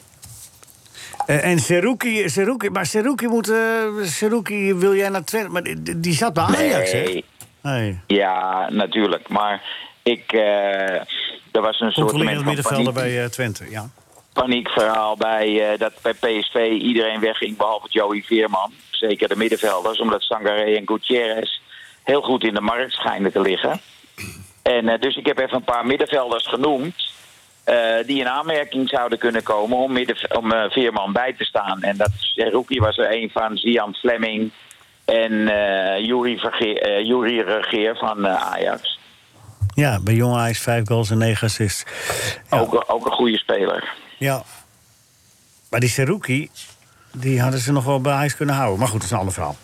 Speaker 3: Eh, en Seruki, Seruki, maar Seruki moet, eh, Seruki wil jij naar Twente, maar die, die zat bij Ajax,
Speaker 11: Nee.
Speaker 3: hè? Nee.
Speaker 11: Ja, natuurlijk. Maar ik... eh, er was een soort
Speaker 3: Controlerend
Speaker 11: moment van
Speaker 3: middenvelder
Speaker 11: paniek.
Speaker 3: bij eh, Twente, ja.
Speaker 11: paniekverhaal bij, eh, dat bij PSV iedereen wegging behalve Joey Veerman. Zeker de middenvelders, omdat Sangaré en Gutierrez heel goed in de markt schijnen te liggen. En eh, dus ik heb even een paar middenvelders genoemd. eh, die in aanmerking zouden kunnen komen om, middenve- om eh, Veerman bij te staan. En dat eh, Roekie was er een van, Zian Fleming en eh Juri, Verge- eh, Juri Regeer van eh, Ajax.
Speaker 3: Ja, bij Jong Ajax vijf goals en negen assists.
Speaker 11: Ook, ook een goede speler.
Speaker 3: Ja. Maar die Seruki, die hadden ze nog wel bij huis kunnen houden. Maar goed, dat is een ander verhaal.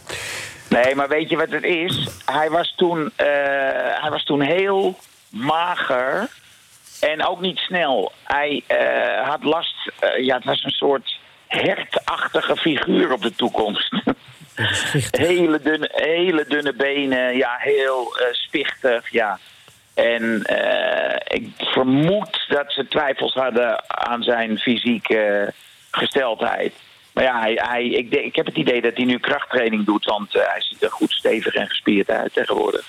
Speaker 11: Nee, maar weet je wat het is? Hij was toen, eh, hij was toen heel mager en ook niet snel. Hij eh, had last, eh, ja, het was een soort hertachtige figuur op de toekomst. hele, dunne, hele dunne benen, ja, heel eh, spichtig, ja. En eh, ik vermoed dat ze twijfels hadden aan zijn fysieke gesteldheid. Maar ja, hij, hij, ik, de- ik heb het idee dat hij nu krachttraining doet, want eh, hij ziet er goed stevig en gespierd uit tegenwoordig.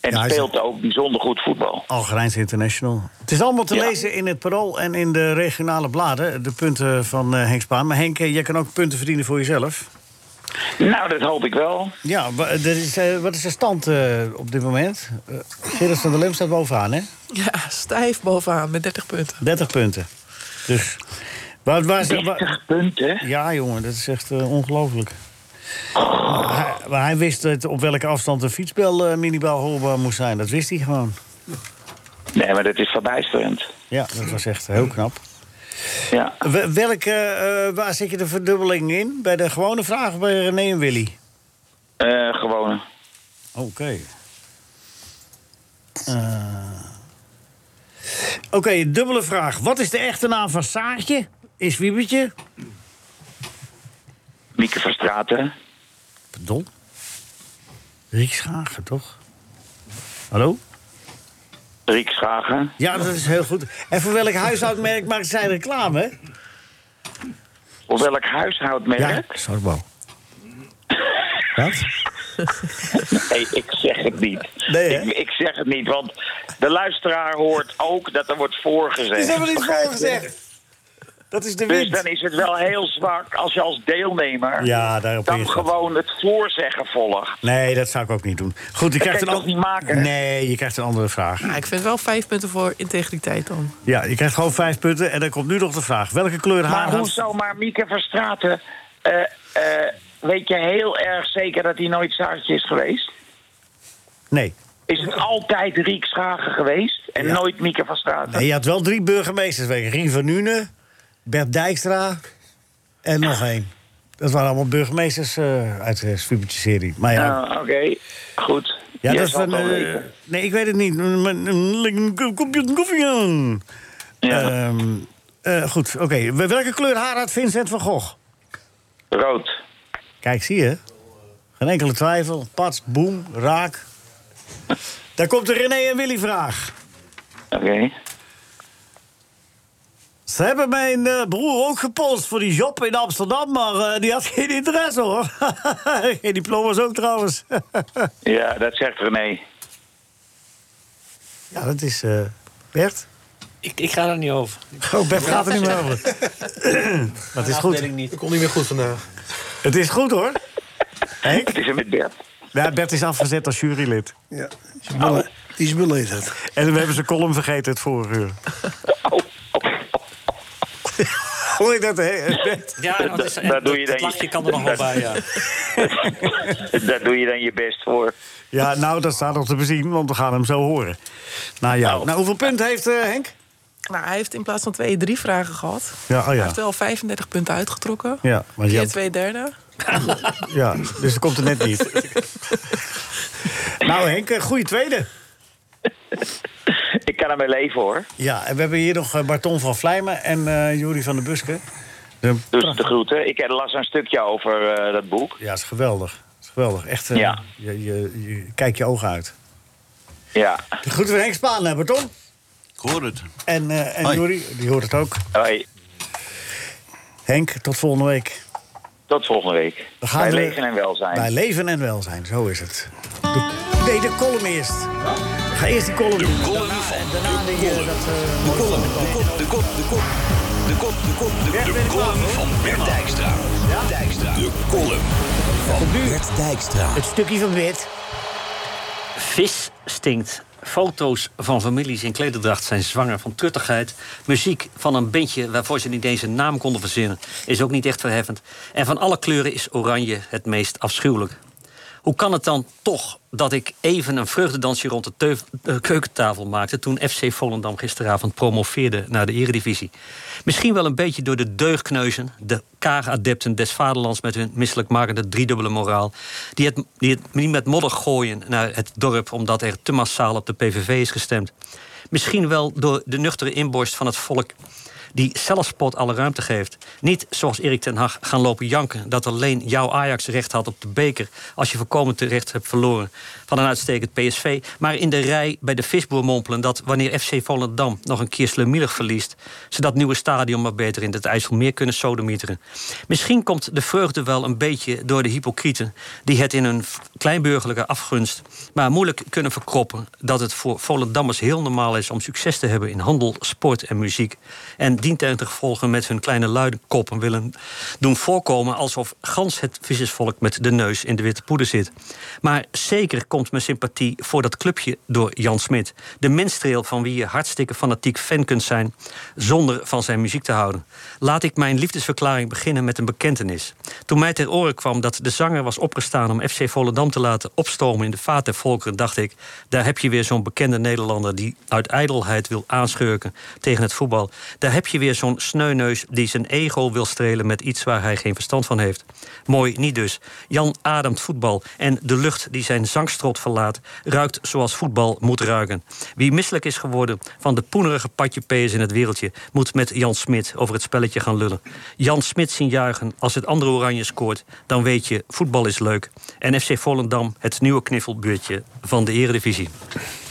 Speaker 11: En speelt ook bijzonder goed voetbal.
Speaker 3: Algerijns International. Het is allemaal te
Speaker 11: Ja.
Speaker 3: lezen in het Parool en in de regionale bladen. De punten van eh, Henk Spaan. Maar Henk, eh, jij kan ook punten verdienen voor jezelf.
Speaker 11: Nou, dat hoop ik wel.
Speaker 3: Ja, wa- er is, eh, wat is de stand eh, op dit moment? Eh, Gerrit van der Lem staat bovenaan, hè?
Speaker 8: Ja, stijf bovenaan met 30 punten.
Speaker 3: 30 punten. Dus... Waar, waar,
Speaker 8: 30
Speaker 11: punten?
Speaker 3: Ja, jongen, dat is echt eh, ongelooflijk. Maar hij- Maar hij wist het, op welke afstand een fietsbel eh minibaal holbaar moest zijn. Dat wist hij gewoon.
Speaker 11: Nee, maar dat is verbijsterend.
Speaker 3: Ja, dat was echt heel knap.
Speaker 11: Ja.
Speaker 3: We- Welke, eh, waar zit je de verdubbeling in? Bij de gewone vraag of bij René en Willy?
Speaker 11: Eh gewone.
Speaker 3: Oké. Eh, Oké, dubbele vraag. Wat is de echte naam van Saartje? Is Wiebertje?
Speaker 11: Mieke Verstraten.
Speaker 3: Pardon? Riek Schagen, toch? Hallo?
Speaker 11: Riek Schagen.
Speaker 3: Ja, dat is heel goed. En voor welk huishoudmerk maakt zij reclame?
Speaker 11: Of welk huishoudmerk?
Speaker 3: Sarbo. Wat?
Speaker 11: Nee, ik zeg het niet. ik, ik zeg het niet, want de luisteraar hoort ook dat er wordt voorgezegd.
Speaker 3: Die is helemaal niet
Speaker 11: Begrijp je?
Speaker 3: voorgezegd. Dat is de
Speaker 11: Dus
Speaker 3: wind.
Speaker 11: dan is het wel heel zwak als je als deelnemer
Speaker 3: Ja, daarop is
Speaker 11: dan
Speaker 3: dat.
Speaker 11: gewoon het voorzeggen volgt.
Speaker 3: Nee, dat zou ik ook niet doen. Goed, je
Speaker 8: Dat
Speaker 3: krijgt
Speaker 8: kan
Speaker 3: een
Speaker 8: je toch niet maken, hè?
Speaker 3: Nee, je krijgt een andere vraag.
Speaker 8: Nou, ik vind wel vijf punten voor integriteit dan.
Speaker 3: Ja, je krijgt gewoon vijf punten en dan komt nu nog de vraag. Welke kleur haar
Speaker 11: Maar
Speaker 3: had-
Speaker 11: hoezo maar Mieke Verstraten? eh, eh, weet je heel erg zeker dat hij nooit Saartje is geweest?
Speaker 3: Nee.
Speaker 11: Is het altijd Riek Schagen geweest en nooit Mieke Verstraten?
Speaker 3: nee. Je had wel drie burgemeesters weken. Rien van Nuenen, Bert Dijkstra en nog één. Dat waren allemaal burgemeesters eh, uit de Spubertje-serie. Maar ja,
Speaker 11: Ah, Oké, goed.
Speaker 3: Ja,
Speaker 11: Jij
Speaker 3: dat is
Speaker 11: zal
Speaker 3: van.
Speaker 11: het wel
Speaker 3: eh,
Speaker 11: weten.
Speaker 3: nee, ik weet het niet. Maar, eh, lik een ko- Kopje koffie aan. Ehm, eh, goed, oké. Wel- Welke kleur haar had Vincent van Gogh?
Speaker 11: Rood.
Speaker 3: Kijk, zie je? Geen enkele twijfel. Pats, boem, raak. Daar komt de René en Willy vraag.
Speaker 11: Oké.
Speaker 3: Ze hebben mijn eh, broer ook gepost voor die job in Amsterdam, maar eh, die had geen interesse hoor. geen diploma's ook trouwens.
Speaker 11: Ja, dat zegt René.
Speaker 3: ja, dat is eh, Bert.
Speaker 5: Ik, ik ga daar niet over.
Speaker 3: Oh, Bert gaat er niet meer over. Dat is goed.
Speaker 6: Ik kom niet meer goed vandaag.
Speaker 3: Het is goed hoor. Henk?
Speaker 11: Het is met Bert.
Speaker 3: Ja, Bert is afgezet als jurylid.
Speaker 4: Ja. Die is beledigd.
Speaker 3: Nou, eh. En we hebben zijn column vergeten het vorige uur. Hoor je dat, hè? Bert?
Speaker 5: Ja, dat, is, en
Speaker 11: dat doe je
Speaker 5: dat
Speaker 11: dan-
Speaker 5: lachje kan er nog wel bij, ja.
Speaker 11: Daar doe je dan je best voor.
Speaker 3: Ja, nou, dat staat nog te bezien, want we gaan hem zo horen. Nou ja, nou, hoeveel punten heeft eh, Henk?
Speaker 8: Nou, hij heeft in plaats van twee, drie vragen gehad.
Speaker 3: Ja, oh ja.
Speaker 8: Hij heeft wel 35 punten uitgetrokken.
Speaker 3: Ja, maar je
Speaker 8: Keer
Speaker 3: had-
Speaker 8: twee derde.
Speaker 3: Ja, dus dat komt er net niet. nou, Henk, een goede tweede.
Speaker 11: Ik kan ermee leven hoor.
Speaker 3: Ja, en we hebben hier nog eh, Barton van Vlijmen en eh Juri van der Busken.
Speaker 11: Dus de groeten. Ik las een stukje over eh, dat boek.
Speaker 3: Ja, is geweldig. is geweldig. Echt, eh,
Speaker 11: Ja.
Speaker 3: je, je, je- kijk je ogen uit.
Speaker 11: Ja.
Speaker 3: De groeten van Henk Spaan, hè, Barton?
Speaker 7: Ik hoor het.
Speaker 3: En, eh, en
Speaker 7: Hoi.
Speaker 3: Juri, die hoort het ook.
Speaker 11: Hoi.
Speaker 3: Henk, tot volgende week.
Speaker 11: Tot volgende week.
Speaker 3: We gaan
Speaker 11: Bij
Speaker 3: er-
Speaker 11: leven en welzijn.
Speaker 3: Bij leven en welzijn, zo is het. De, nee, de column eerst. Ga eerst die column doen.
Speaker 2: De column van. De column. De kop, de kop, de kop.
Speaker 12: De kop, de kop, de, de column van Bert Dijkstra. Dijkstra. De column van Bert Dijkstra.
Speaker 3: Het stukje van wit.
Speaker 5: Vis stinkt. Foto's van families in klederdracht zijn zwanger van truttigheid. Muziek van een bandje waarvoor ze niet eens een naam konden verzinnen... is ook niet echt verheffend. En van alle kleuren is oranje het meest afschuwelijk. Hoe kan het dan toch dat ik even een vreugdedansje rond de, teuf- eh, keukentafel maakte... toen FC Volendam gisteravond promoveerde naar de eredivisie? Misschien wel een beetje door de deugkneuzen... de kaagadepten des vaderlands met hun misselijkmakende driedubbele moraal... die het, die het niet met modder gooien naar het dorp... omdat er te massaal op de PVV is gestemd. Misschien wel door de nuchtere inborst van het volk die zelfspot alle ruimte geeft. Niet zoals Erik ten Hag gaan lopen janken... dat alleen jouw Ajax recht had op de beker... als je voorkomen terecht hebt verloren van een uitstekend PSV... maar in de rij bij de visboer mompelen dat wanneer FC Volendam... nog een keer slemielig verliest... ze dat nieuwe stadion maar beter in het IJsselmeer kunnen sodemieteren. Misschien komt de vreugde wel een beetje door de hypocrieten... die het in hun kleinburgerlijke afgunst... maar moeilijk kunnen verkroppen dat het voor Volendammers heel normaal is... om succes te hebben in handel, sport en muziek. En dientengevolge met hun kleine luidenkoppen willen doen voorkomen... alsof gans het vissersvolk met de neus in de witte poeder zit. Maar zeker komt mijn sympathie voor dat clubje door Jan Smit. De minstreel van wie je hartstikke fanatiek fan kunt zijn... zonder van zijn muziek te houden. Laat ik mijn liefdesverklaring beginnen met een bekentenis. Toen mij ter oren kwam dat de zanger was opgestaan... om FC Volendam te laten opstomen in de vaat der volkeren... dacht ik, daar heb je weer zo'n bekende Nederlander... die uit ijdelheid wil aanschurken tegen het voetbal. Daar heb je weer zo'n sneuneus die zijn ego wil strelen... met iets waar hij geen verstand van heeft. Mooi niet dus. Jan ademt voetbal en de lucht die zijn zangstrot verlaat... ruikt zoals voetbal moet ruiken. Wie misselijk is geworden van de poenerige patjepees in het wereldje... moet met Jan Smit over het spelletje gaan lullen. Jan Smit zien juichen als het andere oranje scoort... dan weet je, voetbal is leuk. En FC Volendam, het nieuwe kniffelbuurtje van de Eredivisie.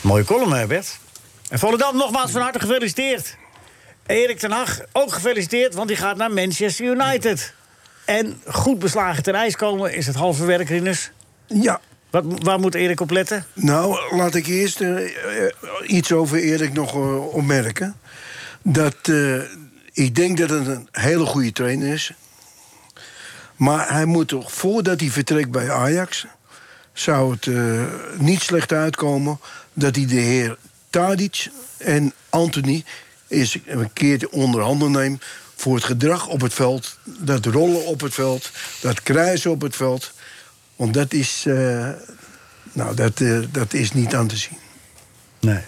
Speaker 3: Mooie column, hè, Bert. En Volendam, nogmaals van harte gefeliciteerd. Erik ten Hag, ook gefeliciteerd, want die gaat naar Manchester United. En goed beslagen ten ijs komen is het halve werk, Rinus.
Speaker 4: Ja.
Speaker 3: Wat, waar moet Erik op letten?
Speaker 4: Nou, laat ik eerst eh, eh, iets over Erik nog eh, opmerken. Dat eh, ik denk dat het een hele goede trainer is. Maar hij moet toch, voordat hij vertrekt bij Ajax... zou het eh, niet slecht uitkomen dat hij de heer Tadic en Anthony... eens een keer onder handen neemt voor het gedrag op het veld... dat rollen op het veld, dat kruisen op het veld. Want dat is, eh, nou, dat, eh, dat is niet aan te zien.
Speaker 3: Nee.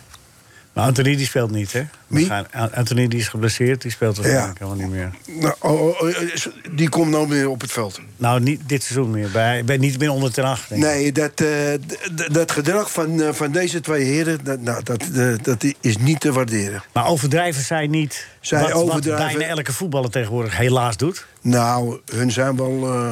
Speaker 3: Maar Anthony die speelt niet, hè?
Speaker 4: Wie?
Speaker 3: Anthony die is geblesseerd, die speelt waarschijnlijk
Speaker 4: Ja.
Speaker 3: helemaal niet meer.
Speaker 4: Nou, oh, oh, oh, die komt nou weer op het veld.
Speaker 3: Nou, niet dit seizoen meer. Bij, bij, niet meer onder ten acht, denk ik.
Speaker 4: Nee, dat, eh, d- d- dat gedrag van, eh, van deze twee heren, dat, nou, dat, eh, dat is niet te waarderen.
Speaker 3: Maar overdrijven zij niet
Speaker 4: Zij
Speaker 3: wat,
Speaker 4: overdrijven-
Speaker 3: wat bijna elke voetballer tegenwoordig helaas doet?
Speaker 4: Nou, hun zijn wel. eh,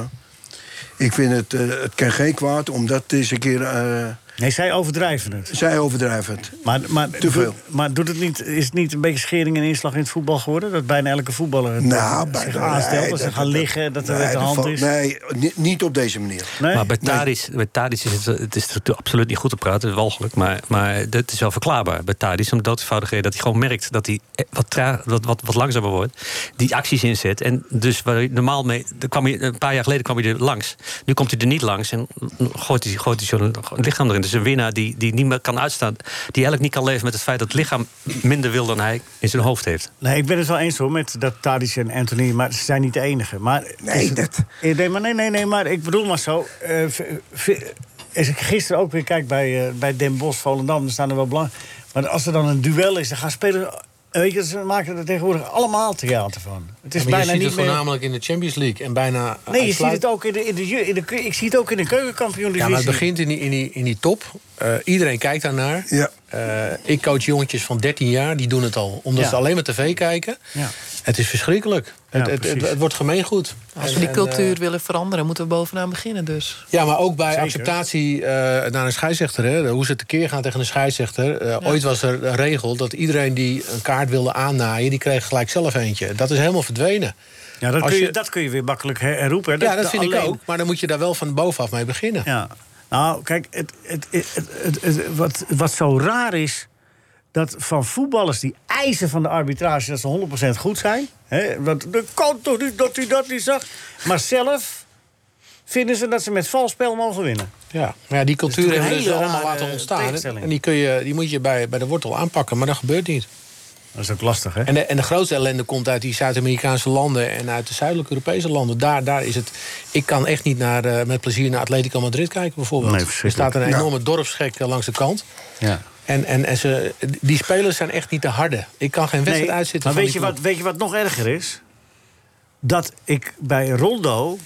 Speaker 4: ik vind het, eh, het kan geen kwaad, omdat deze keer. eh,
Speaker 3: Nee, zij overdrijven het.
Speaker 4: zij overdrijven het.
Speaker 3: Maar, maar,
Speaker 4: Te veel.
Speaker 3: doet- maar doet het niet, is het niet een beetje schering en inslag in het voetbal geworden? Dat bijna elke voetballer het
Speaker 4: Nou,
Speaker 3: eh,
Speaker 4: bij
Speaker 3: zich aanstelt, dat ze gaan liggen, dat er uit de hand is?
Speaker 4: Nee, ni- niet op deze manier.
Speaker 5: Maar bij Tadic, bij Tadic is het, het is natuurlijk absoluut niet goed te praten, het is walgelijk. Maar, maar dat is wel verklaarbaar bij Tadic. Om de doodvoudigheid dat hij gewoon merkt dat hij eh, wat, tra- wat, wat, wat langzamer wordt. Die acties inzet. En dus waar hij normaal mee. daar kwam hij, een paar jaar geleden kwam hij er langs. Nu komt hij er niet langs en gooit hij, gooit hij zo'n lichaam erin. Dus een winnaar die, die niet meer kan uitstaan. Die eigenlijk niet kan leven met het feit dat het lichaam minder wil dan hij in zijn hoofd heeft.
Speaker 3: Nee, ik ben het wel eens hoor met dat Tadic en Anthony, maar ze zijn niet de enige. Maar, nee, dat... Eh, nee, maar nee, nee, nee, maar ik bedoel maar zo. eh, v- v- als ik gisteren ook weer kijk bij, eh, bij Den Bosch, Volendam, dan staan er wel belang. Maar als er dan een duel is, dan gaan spelers. Weet je, ze maken er tegenwoordig allemaal theater van. Het is
Speaker 6: Maar
Speaker 3: bijna
Speaker 6: je ziet
Speaker 3: niet
Speaker 6: het
Speaker 3: meer.
Speaker 6: voornamelijk in de Champions League. En bijna eh,
Speaker 3: Nee, je ziet
Speaker 6: uitsluitend-
Speaker 3: het ook in de, in de, ju- in de, keu- ik zie het ook in de
Speaker 6: Ja,
Speaker 3: keukenkampioen-divisie.
Speaker 6: maar het begint in die, in die, in die top. Eh, iedereen kijkt daarnaar.
Speaker 4: Ja.
Speaker 6: Eh, ik coach jongetjes van 13 jaar, die doen het al. Omdat
Speaker 8: Ja.
Speaker 6: ze alleen maar tv kijken.
Speaker 3: Ja.
Speaker 6: Het is verschrikkelijk. het, het, het,
Speaker 8: precies.
Speaker 6: het wordt gemeengoed.
Speaker 8: Als we
Speaker 6: En-
Speaker 8: die
Speaker 6: en,
Speaker 8: cultuur
Speaker 6: eh,
Speaker 8: willen veranderen, moeten we bovenaan beginnen dus.
Speaker 6: ja, maar ook bij acceptatie eh, naar een scheidsrechter. Hè, hoe ze tekeer gaan tegen een scheidsrechter. Eh, Ooit was er een regel dat iedereen die een kaart wilde aannaaien... die kreeg gelijk zelf eentje. Dat is helemaal verdwenen.
Speaker 3: Ja, dat
Speaker 6: Als
Speaker 3: kun, je,
Speaker 6: je-
Speaker 3: dat kun je weer makkelijk her- herroepen. hè.
Speaker 6: ja, dat vind ik
Speaker 3: alleen-
Speaker 6: ook. Maar dan moet je daar wel van bovenaf mee beginnen.
Speaker 3: Ja. Nou, kijk, het, het, het, het- het- wat, wat zo raar is... dat van voetballers die eisen van de arbitrage dat ze 100% goed zijn... hè, Hè, want dat kan toch niet dat hij dat niet zag. Maar zelf vinden ze dat ze met vals spel mogen winnen.
Speaker 6: Ja, maar ja, die cultuur
Speaker 3: natuurlijk
Speaker 6: hebben we
Speaker 3: een
Speaker 6: dus
Speaker 3: hele
Speaker 6: allemaal
Speaker 3: rare
Speaker 6: laten ontstaan.
Speaker 3: tegenstelling.
Speaker 6: En die, kun je, die moet je bij, bij de wortel aanpakken, maar dat gebeurt niet.
Speaker 3: Dat is ook lastig, hè?
Speaker 6: En de, en de grootste ellende komt uit die Zuid-Amerikaanse landen... en uit de zuidelijke Europese landen. Daar, daar is het... Ik kan echt niet naar, eh, met plezier naar Atletico Madrid kijken, bijvoorbeeld.
Speaker 3: Nee,
Speaker 6: er
Speaker 3: verschrikkelijk.
Speaker 6: staat een
Speaker 3: Ja.
Speaker 6: enorme dorpsgek eh, langs de kant.
Speaker 3: Ja.
Speaker 6: En, en, en ze, die spelers zijn echt niet te harde. Ik kan geen wedstrijd
Speaker 3: Nee, Maar
Speaker 6: uitzitten van
Speaker 3: weet je,
Speaker 6: die
Speaker 3: wat,
Speaker 6: ploeg.
Speaker 3: weet je wat nog erger is? Dat ik bij Rondo,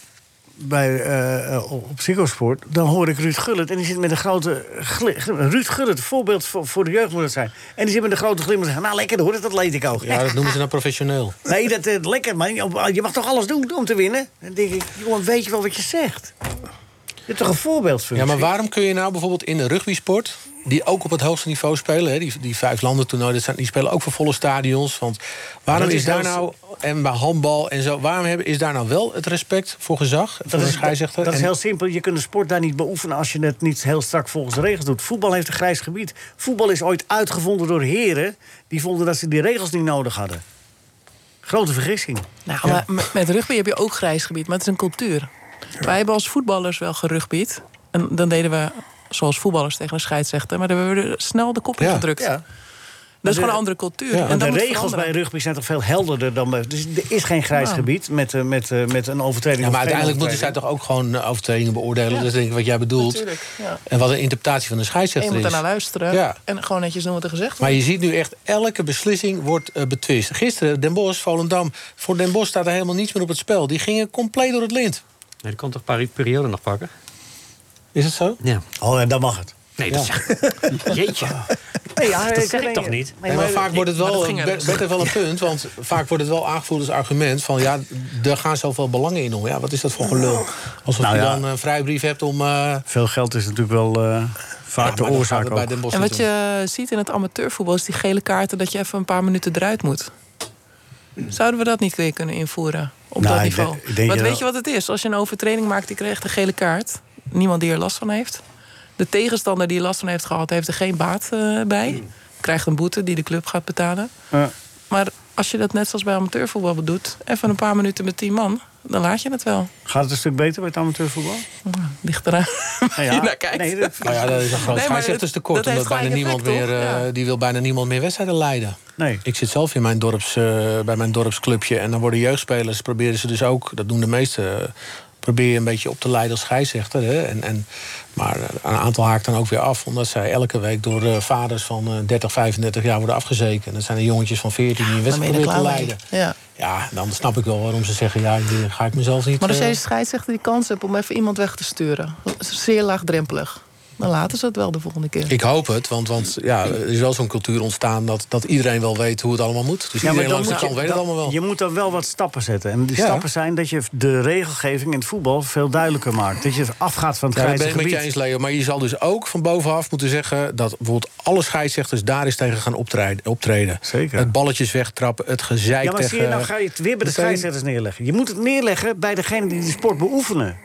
Speaker 3: bij, eh, eh, op op Psychosport, dan hoor ik Ruud Gullit. En die zit met een grote gli- glim- Ruud Gullit, voorbeeld voor, voor de jeugd moet het zijn. En die zit met een grote glimlach. en zegt, Nou, lekker, hoor, dat Atletico.
Speaker 6: Ja, dat noemen ze nou professioneel.
Speaker 3: Nee, dat is lekker, man. Je je mag toch alles doen om te winnen? Dan denk ik, jongen, weet je wel wat je zegt? Je hebt toch een voorbeeldfunctie?
Speaker 6: Ja, maar waarom kun je nou bijvoorbeeld in de rugbysport... die ook op het hoogste niveau spelen, hè, die, die vijf landen toernooi... dat zijn- die spelen ook voor volle stadions. Want waarom
Speaker 3: dat
Speaker 6: is,
Speaker 3: is
Speaker 6: daar
Speaker 3: heel-
Speaker 6: nou, en bij handbal en zo... waarom hebben, is daar nou wel het respect voor gezag, voor
Speaker 3: Dat
Speaker 6: een
Speaker 3: is,
Speaker 6: scheidsrechter?
Speaker 3: dat is
Speaker 6: en-
Speaker 3: heel simpel. Je kunt de sport daar niet beoefenen als je het niet heel strak volgens de regels doet. Voetbal heeft een grijs gebied. Voetbal is ooit uitgevonden door heren die vonden dat ze die regels niet nodig hadden. Grote vergissing.
Speaker 8: Nou, maar met- met rugby heb je ook grijs gebied, maar het is een cultuur. Wij hebben als voetballers wel gerugbied. En dan deden we, zoals voetballers tegen een scheidsrechter... maar dan hebben we er snel de kop in
Speaker 3: Ja.
Speaker 8: gedrukt.
Speaker 3: Ja.
Speaker 8: Dat is
Speaker 3: Maar
Speaker 8: gewoon
Speaker 3: de-
Speaker 8: een andere
Speaker 3: Ja.
Speaker 8: cultuur. En
Speaker 3: En
Speaker 8: dat
Speaker 3: de
Speaker 8: moet
Speaker 3: regels bij
Speaker 8: veranderen.
Speaker 3: rugby zijn toch veel helderder dan bij. Dus er is geen grijs
Speaker 6: Ja.
Speaker 3: gebied met, eh, met, eh, met een overtreding.
Speaker 6: Ja, maar
Speaker 3: of geen
Speaker 6: uiteindelijk moeten zij
Speaker 3: overtreding.
Speaker 6: toch ook gewoon eh, overtredingen beoordelen. Dat is denk ik wat jij bedoelt.
Speaker 8: Natuurlijk, ja.
Speaker 6: En wat de interpretatie van de
Speaker 8: En je
Speaker 6: scheidsrechter
Speaker 8: moet
Speaker 6: is.
Speaker 8: daarnaar luisteren
Speaker 6: Ja.
Speaker 8: en gewoon netjes doen wat er gezegd wordt.
Speaker 6: Maar je ziet nu echt, elke beslissing wordt eh, betwist. Gisteren, Den Bosch, Volendam. Voor Den Bosch staat er helemaal niets meer op het spel. Die gingen compleet door het lint.
Speaker 5: Nee, die kon toch pari- periode nog pakken?
Speaker 6: Is het zo?
Speaker 5: Ja.
Speaker 3: Oh, en dan mag het.
Speaker 5: Nee, dat is... Jeetje.
Speaker 3: Nee, ja,
Speaker 5: dat
Speaker 3: ik
Speaker 5: zeg ik
Speaker 3: denk-
Speaker 5: toch niet?
Speaker 6: Ah. Nee, maar vaak wordt het
Speaker 5: Maar dat
Speaker 6: wel,
Speaker 5: ging er-
Speaker 6: werd- werd er wel een punt, want vaak wordt het wel aangevoerd als argument van ja, er gaan zoveel belangen in om. Ja, wat is dat voor gelul? Alsof
Speaker 3: Nou
Speaker 6: je
Speaker 3: ja.
Speaker 6: dan een vrijbrief hebt om. eh,
Speaker 3: Veel geld is natuurlijk wel eh, vaak
Speaker 6: Ja,
Speaker 3: de
Speaker 6: maar dan gaat
Speaker 3: oorzaak.
Speaker 6: het bij
Speaker 3: ook.
Speaker 6: Den Bosch
Speaker 8: En wat je ziet in het amateurvoetbal is die gele kaarten... dat je even een paar minuten eruit moet. Zouden we dat niet weer kunnen invoeren op
Speaker 3: Nou,
Speaker 8: dat
Speaker 3: ik
Speaker 8: niveau?
Speaker 3: denk- ik denk
Speaker 8: Want
Speaker 3: je
Speaker 8: weet
Speaker 3: wel-
Speaker 8: je wat het is? Als je een overtreding maakt, die krijgt een gele kaart. Niemand die er last van heeft. De tegenstander die er last van heeft gehad, heeft er geen baat eh, bij.
Speaker 6: Hmm.
Speaker 8: Krijgt een boete die de club gaat betalen.
Speaker 3: Ja.
Speaker 8: Maar als je dat net zoals bij amateurvoetbal doet... even een paar minuten met tien man, dan laat je het wel.
Speaker 3: Gaat het een stuk beter bij het amateurvoetbal?
Speaker 8: Ligt eraan.
Speaker 3: ja.
Speaker 8: je naar kijkt.
Speaker 3: Nee, dat-
Speaker 6: Nou ja, dat is een groot
Speaker 8: Nee, maar
Speaker 6: scheidsrechterstekort.
Speaker 8: dat- dat
Speaker 6: omdat
Speaker 8: heeft
Speaker 6: bijna
Speaker 8: gelijk
Speaker 6: niemand
Speaker 8: effect,
Speaker 6: meer,
Speaker 8: toch?
Speaker 6: eh, die wil bijna niemand meer wedstrijden leiden.
Speaker 3: Nee.
Speaker 6: Ik zit zelf in mijn dorps, eh, bij mijn dorpsclubje. En dan worden jeugdspelers, proberen ze dus ook, dat doen de meesten. eh, Probeer je een beetje op te leiden als scheidsrechter. Hè? En, en, maar eh, een aantal haakt dan ook weer af. Omdat zij elke week door eh, vaders van eh, 30, 35 jaar worden afgezeken. En dat zijn de jongetjes van 14 die een
Speaker 8: Dan ben
Speaker 6: wedstrijd
Speaker 8: je er
Speaker 6: proberen te
Speaker 8: klaar mee.
Speaker 6: leiden.
Speaker 8: Ja.
Speaker 6: Ja, dan snap ik wel waarom ze zeggen... ja, hier ga ik mezelf niet...
Speaker 8: Maar als
Speaker 6: eh,
Speaker 8: jij als scheidsrechter die kans hebt om even iemand weg te sturen, zeer laagdrempelig, dan laten ze het wel de volgende keer.
Speaker 6: Ik hoop het, want, want ja, er is wel zo'n cultuur ontstaan dat, dat iedereen wel weet hoe het allemaal moet. Dus iedereen langs de kant weet het
Speaker 3: dan-
Speaker 6: allemaal wel.
Speaker 3: je moet dan wel wat stappen zetten. En die
Speaker 6: Ja.
Speaker 3: stappen zijn dat je de regelgeving in het voetbal veel duidelijker maakt. Dat je afgaat van het
Speaker 6: Ja, dat
Speaker 3: grijze
Speaker 6: ben ik met
Speaker 3: gebied.
Speaker 6: je eens, Leo. Maar je zal dus ook van bovenaf moeten zeggen... dat bijvoorbeeld alle scheidsrechters daar eens tegen gaan optreden. optreden.
Speaker 3: Zeker.
Speaker 6: Het balletjes wegtrappen, het gezeik
Speaker 3: ja, maar
Speaker 6: tegen...
Speaker 3: zie je, nou ga je het weer bij de
Speaker 6: meteen-
Speaker 3: scheidsrechters neerleggen. Je moet het neerleggen bij degene die de sport beoefenen.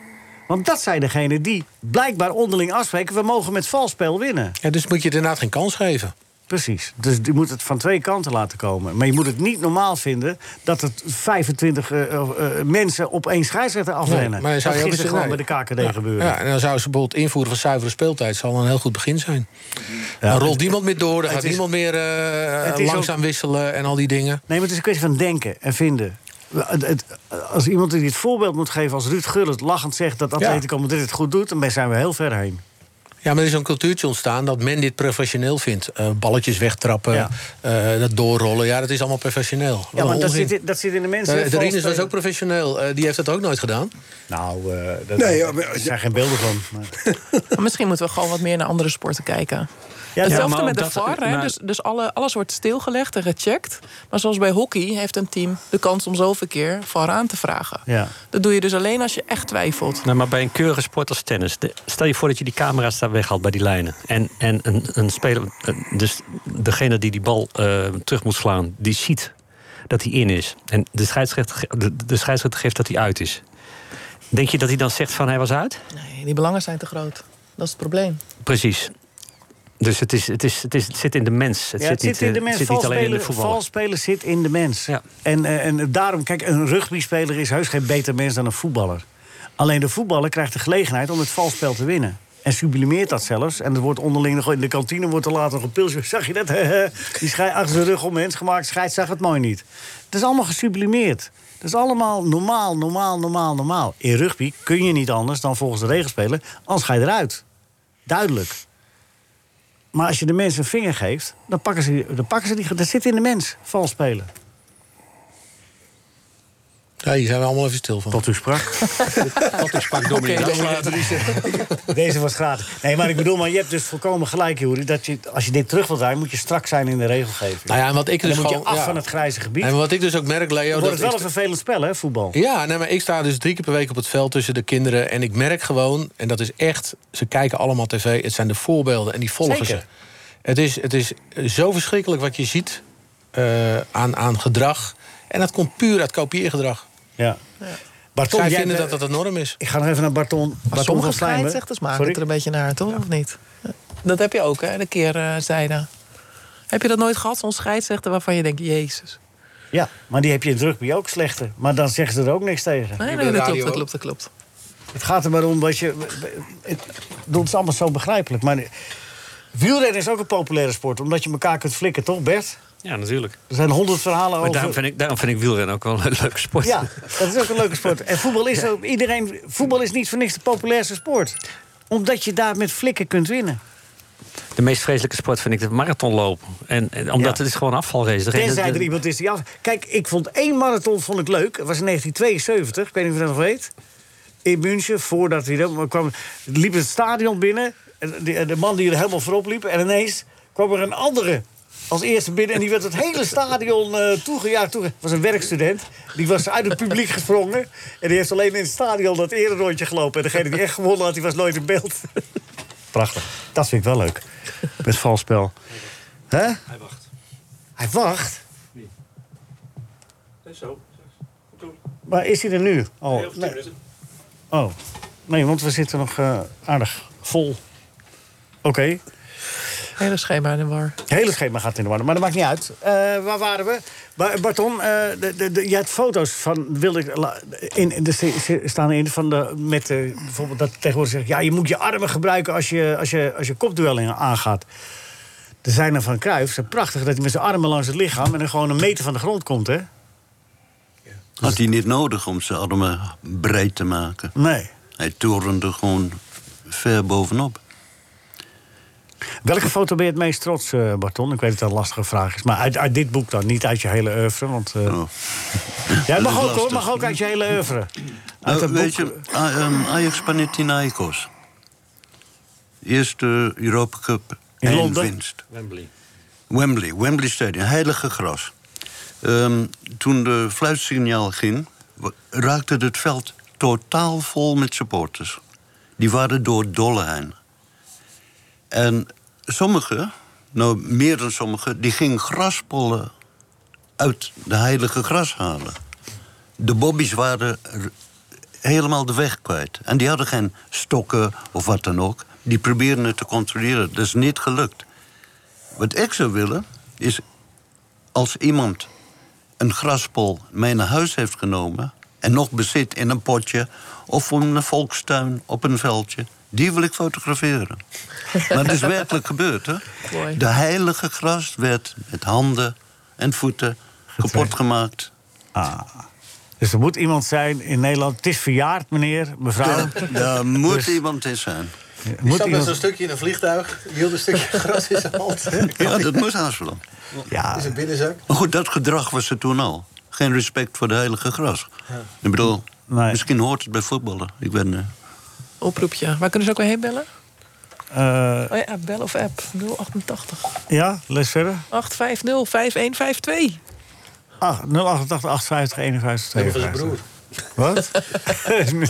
Speaker 3: Want dat zijn degenen die blijkbaar onderling afspreken... we mogen met valspel winnen.
Speaker 6: Ja, dus moet je het inderdaad geen kans geven.
Speaker 3: Precies. Dus je moet het van twee kanten laten komen. Maar je moet het niet normaal vinden dat het 25 eh, eh, eh, mensen op één scheidsrechter afrennen.
Speaker 6: Nee,
Speaker 3: dat
Speaker 6: ook
Speaker 3: gisteren
Speaker 6: eens-
Speaker 3: gewoon bij
Speaker 6: nee.
Speaker 3: de KKD
Speaker 6: Ja,
Speaker 3: gebeuren.
Speaker 6: Ja, en dan zou ze bijvoorbeeld invoeren van zuivere speeltijd... zal een heel goed begin zijn. dan rolt niemand meer door, dan
Speaker 3: het
Speaker 6: gaat
Speaker 3: is-
Speaker 6: niemand meer eh,
Speaker 3: het is
Speaker 6: langzaam wisselen... en al die dingen.
Speaker 3: Nee, maar het is een kwestie van denken en vinden. Het- het- als iemand die het voorbeeld moet geven, als Ruud Gullit lachend zegt dat Atletico Madrid het goed doet, dan zijn we heel ver heen.
Speaker 6: Ja, maar er is een cultuurtje ontstaan dat men dit professioneel vindt. Eh, balletjes wegtrappen,
Speaker 3: Ja.
Speaker 6: eh, dat doorrollen. Ja, dat is allemaal professioneel. Wat
Speaker 3: Ja,
Speaker 6: een
Speaker 3: maar dat
Speaker 6: onzin.
Speaker 3: zit, in- dat zit in de mensen.
Speaker 6: Eh, de
Speaker 3: vals
Speaker 6: Rinus was
Speaker 3: spelen.
Speaker 6: ook professioneel. Eh, die heeft dat ook nooit gedaan.
Speaker 3: Nou, eh dat,
Speaker 4: Nee, ja, maar-
Speaker 3: er zijn geen beelden van. maar-
Speaker 8: Maar misschien moeten we gewoon wat meer naar andere sporten kijken. Hetzelfde
Speaker 5: maar
Speaker 8: met de
Speaker 5: omdat-
Speaker 8: VAR. hè.
Speaker 5: maar-
Speaker 8: Dus, dus alle, alles wordt stilgelegd en gecheckt. Maar zoals bij hockey heeft een team de kans om zoveel keer VAR aan te vragen.
Speaker 3: Ja.
Speaker 8: Dat doe je dus alleen als je echt twijfelt.
Speaker 5: Nou, maar bij een keurige sport als tennis. de- stel je voor dat je die camera's daar weghaalt bij die lijnen. En, en een, een speler, eh, dus degene die die bal eh, terug moet slaan, die ziet dat hij in is. En de scheidsrechter, ge- de, de scheidsrechter geeft dat hij uit is. Denk je dat hij dan zegt van hij was uit?
Speaker 8: Nee, die belangen zijn te groot. Dat is het probleem.
Speaker 5: Precies. Dus het, is, het, is, het, is, het zit in de mens. Het
Speaker 3: Ja,
Speaker 5: zit, niet,
Speaker 3: in
Speaker 5: eh,
Speaker 3: de mens.
Speaker 5: het zit niet alleen in de
Speaker 3: Valspelen-
Speaker 5: voetbal.
Speaker 3: valspelen zit in de mens. En, eh, en daarom, kijk, een rugbyspeler is heus geen beter mens dan een voetballer. Alleen de voetballer krijgt de gelegenheid om het valspel te winnen. En sublimeert dat zelfs. En er wordt onderling nog in de kantine wordt er later nog een pilsje. Zag je dat? Die schei achter zijn rug om mens gemaakt. Scheids zag het mooi niet. Het is allemaal gesublimeerd. Het is allemaal normaal, normaal, normaal, normaal. In rugby kun je niet anders dan volgens de regels spelen. Anders ga je eruit. Duidelijk. Maar als je de mensen een vinger geeft, dan pakken ze, dan pakken ze die. Dat zit in de mens, vals spelen.
Speaker 6: Ja, hier zijn we allemaal even stil van. Tot
Speaker 3: u sprak.
Speaker 6: Tot u sprak, Dominic.
Speaker 3: Oké,
Speaker 6: Dat
Speaker 3: Dominic.
Speaker 6: laten we niet zeggen.
Speaker 3: Deze was gratis. Nee, maar ik bedoel, maar je hebt dus volkomen gelijk, Juri. Dat je, als je dit terug wilt draaien, moet je strak zijn in de regelgeving.
Speaker 6: Nou ja, en wat ik
Speaker 3: En
Speaker 6: dus
Speaker 3: dan moet je
Speaker 6: gewoon-
Speaker 3: af
Speaker 6: ja.
Speaker 3: van het grijze gebied.
Speaker 6: En wat ik dus ook merk, Leo...
Speaker 3: Dan wordt het wel
Speaker 6: ik-
Speaker 3: een vervelend spel, hè, voetbal.
Speaker 6: Ja, nee, maar ik sta dus drie keer per week op het veld tussen de kinderen. En ik merk gewoon, en dat is echt, ze kijken allemaal tv. Het zijn de voorbeelden en die volgen
Speaker 13: Zeker.
Speaker 6: ze. Het is, het is zo verschrikkelijk wat je ziet eh, aan, aan gedrag. En dat komt puur uit kopieergedrag.
Speaker 3: Ja. Barton,
Speaker 6: Zij
Speaker 3: jij
Speaker 6: vinden
Speaker 3: bent-
Speaker 6: dat dat een norm is.
Speaker 3: Ik ga nog even naar Barton.
Speaker 6: Barton
Speaker 8: Maar sommige
Speaker 6: van Slijmen.
Speaker 8: scheidsrechters maken
Speaker 6: Sorry?
Speaker 8: het er een beetje naar, toch? Of niet? Dat heb je ook, hè? De keerzijde. Heb je dat nooit gehad, zo'n scheidsrechter waarvan je denkt... Jezus.
Speaker 3: Ja, maar die heb je in het rugby ook slechter. Maar dan zeggen ze er ook niks tegen.
Speaker 8: Nee, nee, dat klopt, dat klopt, dat klopt.
Speaker 3: Het gaat er maar om dat je. Het doet het allemaal zo begrijpelijk. Maar wielrennen is ook een populaire sport, omdat je elkaar kunt flikken, toch, Bert?
Speaker 5: Ja, natuurlijk.
Speaker 3: Er zijn honderd verhalen
Speaker 5: Maar
Speaker 3: over.
Speaker 5: daarom vind, ik, daarom vind ik wielrennen ook wel een leuke sport.
Speaker 3: Ja, dat is ook een leuke sport. En voetbal is, ook, iedereen, voetbal is niet voor niks de populairste sport. Omdat je daar met flikken kunt winnen.
Speaker 5: De meest vreselijke sport vind ik de marathonlopen. En, en omdat het is gewoon afvalrace. Degene-
Speaker 3: Tenzij
Speaker 5: de-
Speaker 3: er iemand is die af... Kijk, ik vond één marathon vond ik leuk. Het was in 1972, ik weet niet of je dat nog weet. In München, voordat hij... dat- maar kwam, liep het stadion binnen. En de, de man die er helemaal voorop liep. En ineens kwam er een andere als eerste binnen. En die werd het hele stadion eh toegejaagd. Toege... Het was een werkstudent. Die was uit het publiek gesprongen. En die heeft alleen in het stadion dat ere rondje gelopen. En degene die echt gewonnen had, die was nooit in beeld. Prachtig. Dat vind ik wel leuk. Met valspel. Hè? Hij wacht. Hij wacht?
Speaker 5: Zo.
Speaker 3: Maar is hij er nu? Oh,
Speaker 5: Nee, over tien
Speaker 3: nee.
Speaker 5: minuten.
Speaker 3: Oh. nee, want we zitten nog eh, aardig vol. Oké.
Speaker 8: Hele schema in de war.
Speaker 3: Het hele schema gaat in de war, maar dat maakt niet uit. Eh, waar waren we? Ba- Barton, eh de, de, de, je hebt foto's van... Wilde ik, la- in, in de, ze- ze staan in van de, met eh, bijvoorbeeld dat tegenwoordig zegt... ja, je moet je armen gebruiken als je, als je, als je kopduel in- aangaat. Er zijn er van Cruijff, ze zijn prachtig... dat hij met zijn armen langs het lichaam... en dan gewoon een meter van de grond komt, hè?
Speaker 7: Had hij niet nodig om zijn armen breed te maken.
Speaker 3: Nee.
Speaker 7: Hij torende gewoon ver bovenop.
Speaker 3: Welke foto ben je het meest trots, eh, Barton? Ik weet dat dat een lastige vraag is. Maar uit, uit dit boek dan, niet uit je hele oeuvre. Want, eh, Jij
Speaker 7: Oh. Dat is
Speaker 3: mag ook, hoor,
Speaker 7: lastig.
Speaker 3: mag ook uit je hele oeuvre. Uit
Speaker 7: Nou,
Speaker 3: dat
Speaker 7: weet
Speaker 3: boek-
Speaker 7: je, A- ehm, Ajax Panathinaikos. Eerste Europa Cup
Speaker 3: In
Speaker 7: één
Speaker 3: Londen?
Speaker 7: winst. Wembley, Wembley Stadium, heilige gras. Ehm, toen de fluitsignaal ging, wa- raakte het veld totaal vol met supporters. Die waren door het dolle heen. En sommigen, nou meer dan sommigen, die gingen graspollen uit de heilige gras halen. De bobby's waren r- helemaal de weg kwijt. En die hadden geen stokken of wat dan ook. Die probeerden het te controleren. Dat is niet gelukt. Wat ik zou willen is als iemand een graspol mee naar huis heeft genomen en nog bezit in een potje of in een volkstuin op een veldje, die wil ik fotograferen. Maar het is werkelijk gebeurd, hè?
Speaker 8: Mooi.
Speaker 7: De heilige gras werd met handen en voeten kapot gemaakt.
Speaker 3: Ah. Dus er moet iemand zijn in Nederland. Het is verjaard, meneer, mevrouw.
Speaker 7: Daar moet
Speaker 3: Dus-
Speaker 7: iemand in zijn.
Speaker 6: Ik
Speaker 3: Moet
Speaker 6: zat met
Speaker 3: iemand-
Speaker 6: zo'n stukje in een vliegtuig. Die hield een stukje gras in zijn hand.
Speaker 7: Ja, dat moest haast wel.
Speaker 3: Ja.
Speaker 6: Is een binnenzak.
Speaker 7: Maar goed, dat gedrag was er toen al. Geen respect voor de heilige gras. Ik bedoel, misschien hoort het bij voetballen. Ik ben... eh,
Speaker 8: Oproepje. Waar kunnen ze ook weer heen bellen?
Speaker 3: Eh,
Speaker 8: Oh ja, bel of app. 088
Speaker 3: ja, les verder.
Speaker 8: 850 5152.
Speaker 3: Ach, 088 850 51 Wat?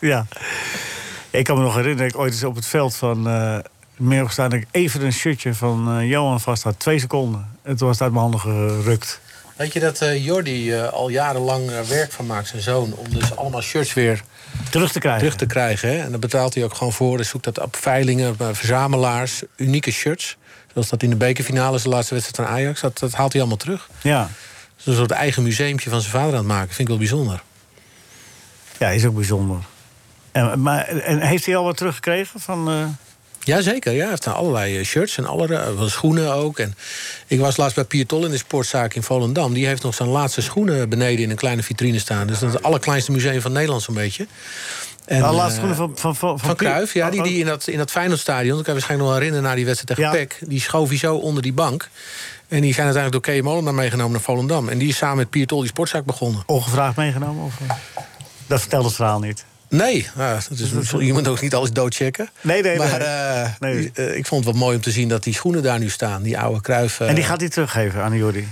Speaker 3: ja. Ik kan me nog herinneren dat ik ooit eens op het veld van eh Merel gestaan... dat ik even een shirtje van eh, Johan vast had. Twee seconden. En toen was het uit mijn handen gerukt.
Speaker 6: Weet je dat eh, Jordi eh, al jarenlang eh, werk van maakt, zijn zoon... om dus allemaal shirts weer
Speaker 3: Terug te krijgen.
Speaker 6: Terug te krijgen, hè. En daar betaalt hij ook gewoon voor. Hij zoekt dat op veilingen, bij verzamelaars, unieke shirts. Zoals dat in de bekerfinale is, de laatste wedstrijd van Ajax. Dat, dat haalt hij allemaal terug.
Speaker 3: Ja.
Speaker 6: Dus een soort eigen museumtje van zijn vader aan het maken. Vind ik wel bijzonder.
Speaker 3: Ja, is ook bijzonder. En, maar, en heeft hij al wat teruggekregen van... eh,
Speaker 6: Jazeker, ja. Hij heeft dan allerlei eh, shirts en allerlei wel schoenen ook. En ik was laatst bij Pier Tol in de sportzaak in Volendam. Die heeft nog zijn laatste schoenen beneden in een kleine vitrine staan. Dus dat is het allerkleinste museum van Nederland zo'n beetje. En,
Speaker 3: de laatste
Speaker 6: eh,
Speaker 3: schoenen van, van, van, Oh,
Speaker 6: Van Cruijf, ja, die, die in dat, in dat Feyenoordstadion... dat kan je waarschijnlijk nog herinneren na die wedstrijd tegen PEC... die schoof hij zo onder die bank. En die zijn uiteindelijk door K. Molenaar meegenomen naar Volendam. En die is samen met Pier Tol die sportzaak begonnen.
Speaker 3: Ongevraagd meegenomen? Of, eh? dat vertelt het verhaal niet.
Speaker 6: Nee, nou, dat is, je moet ook niet alles doodchecken.
Speaker 3: Nee, nee,
Speaker 6: maar,
Speaker 3: nee.
Speaker 6: eh, die- eh, ik vond het wel mooi om te zien dat die schoenen daar nu staan. Die oude Cruijff... eh, Nou,
Speaker 3: en die gaat hij teruggeven aan Jordi?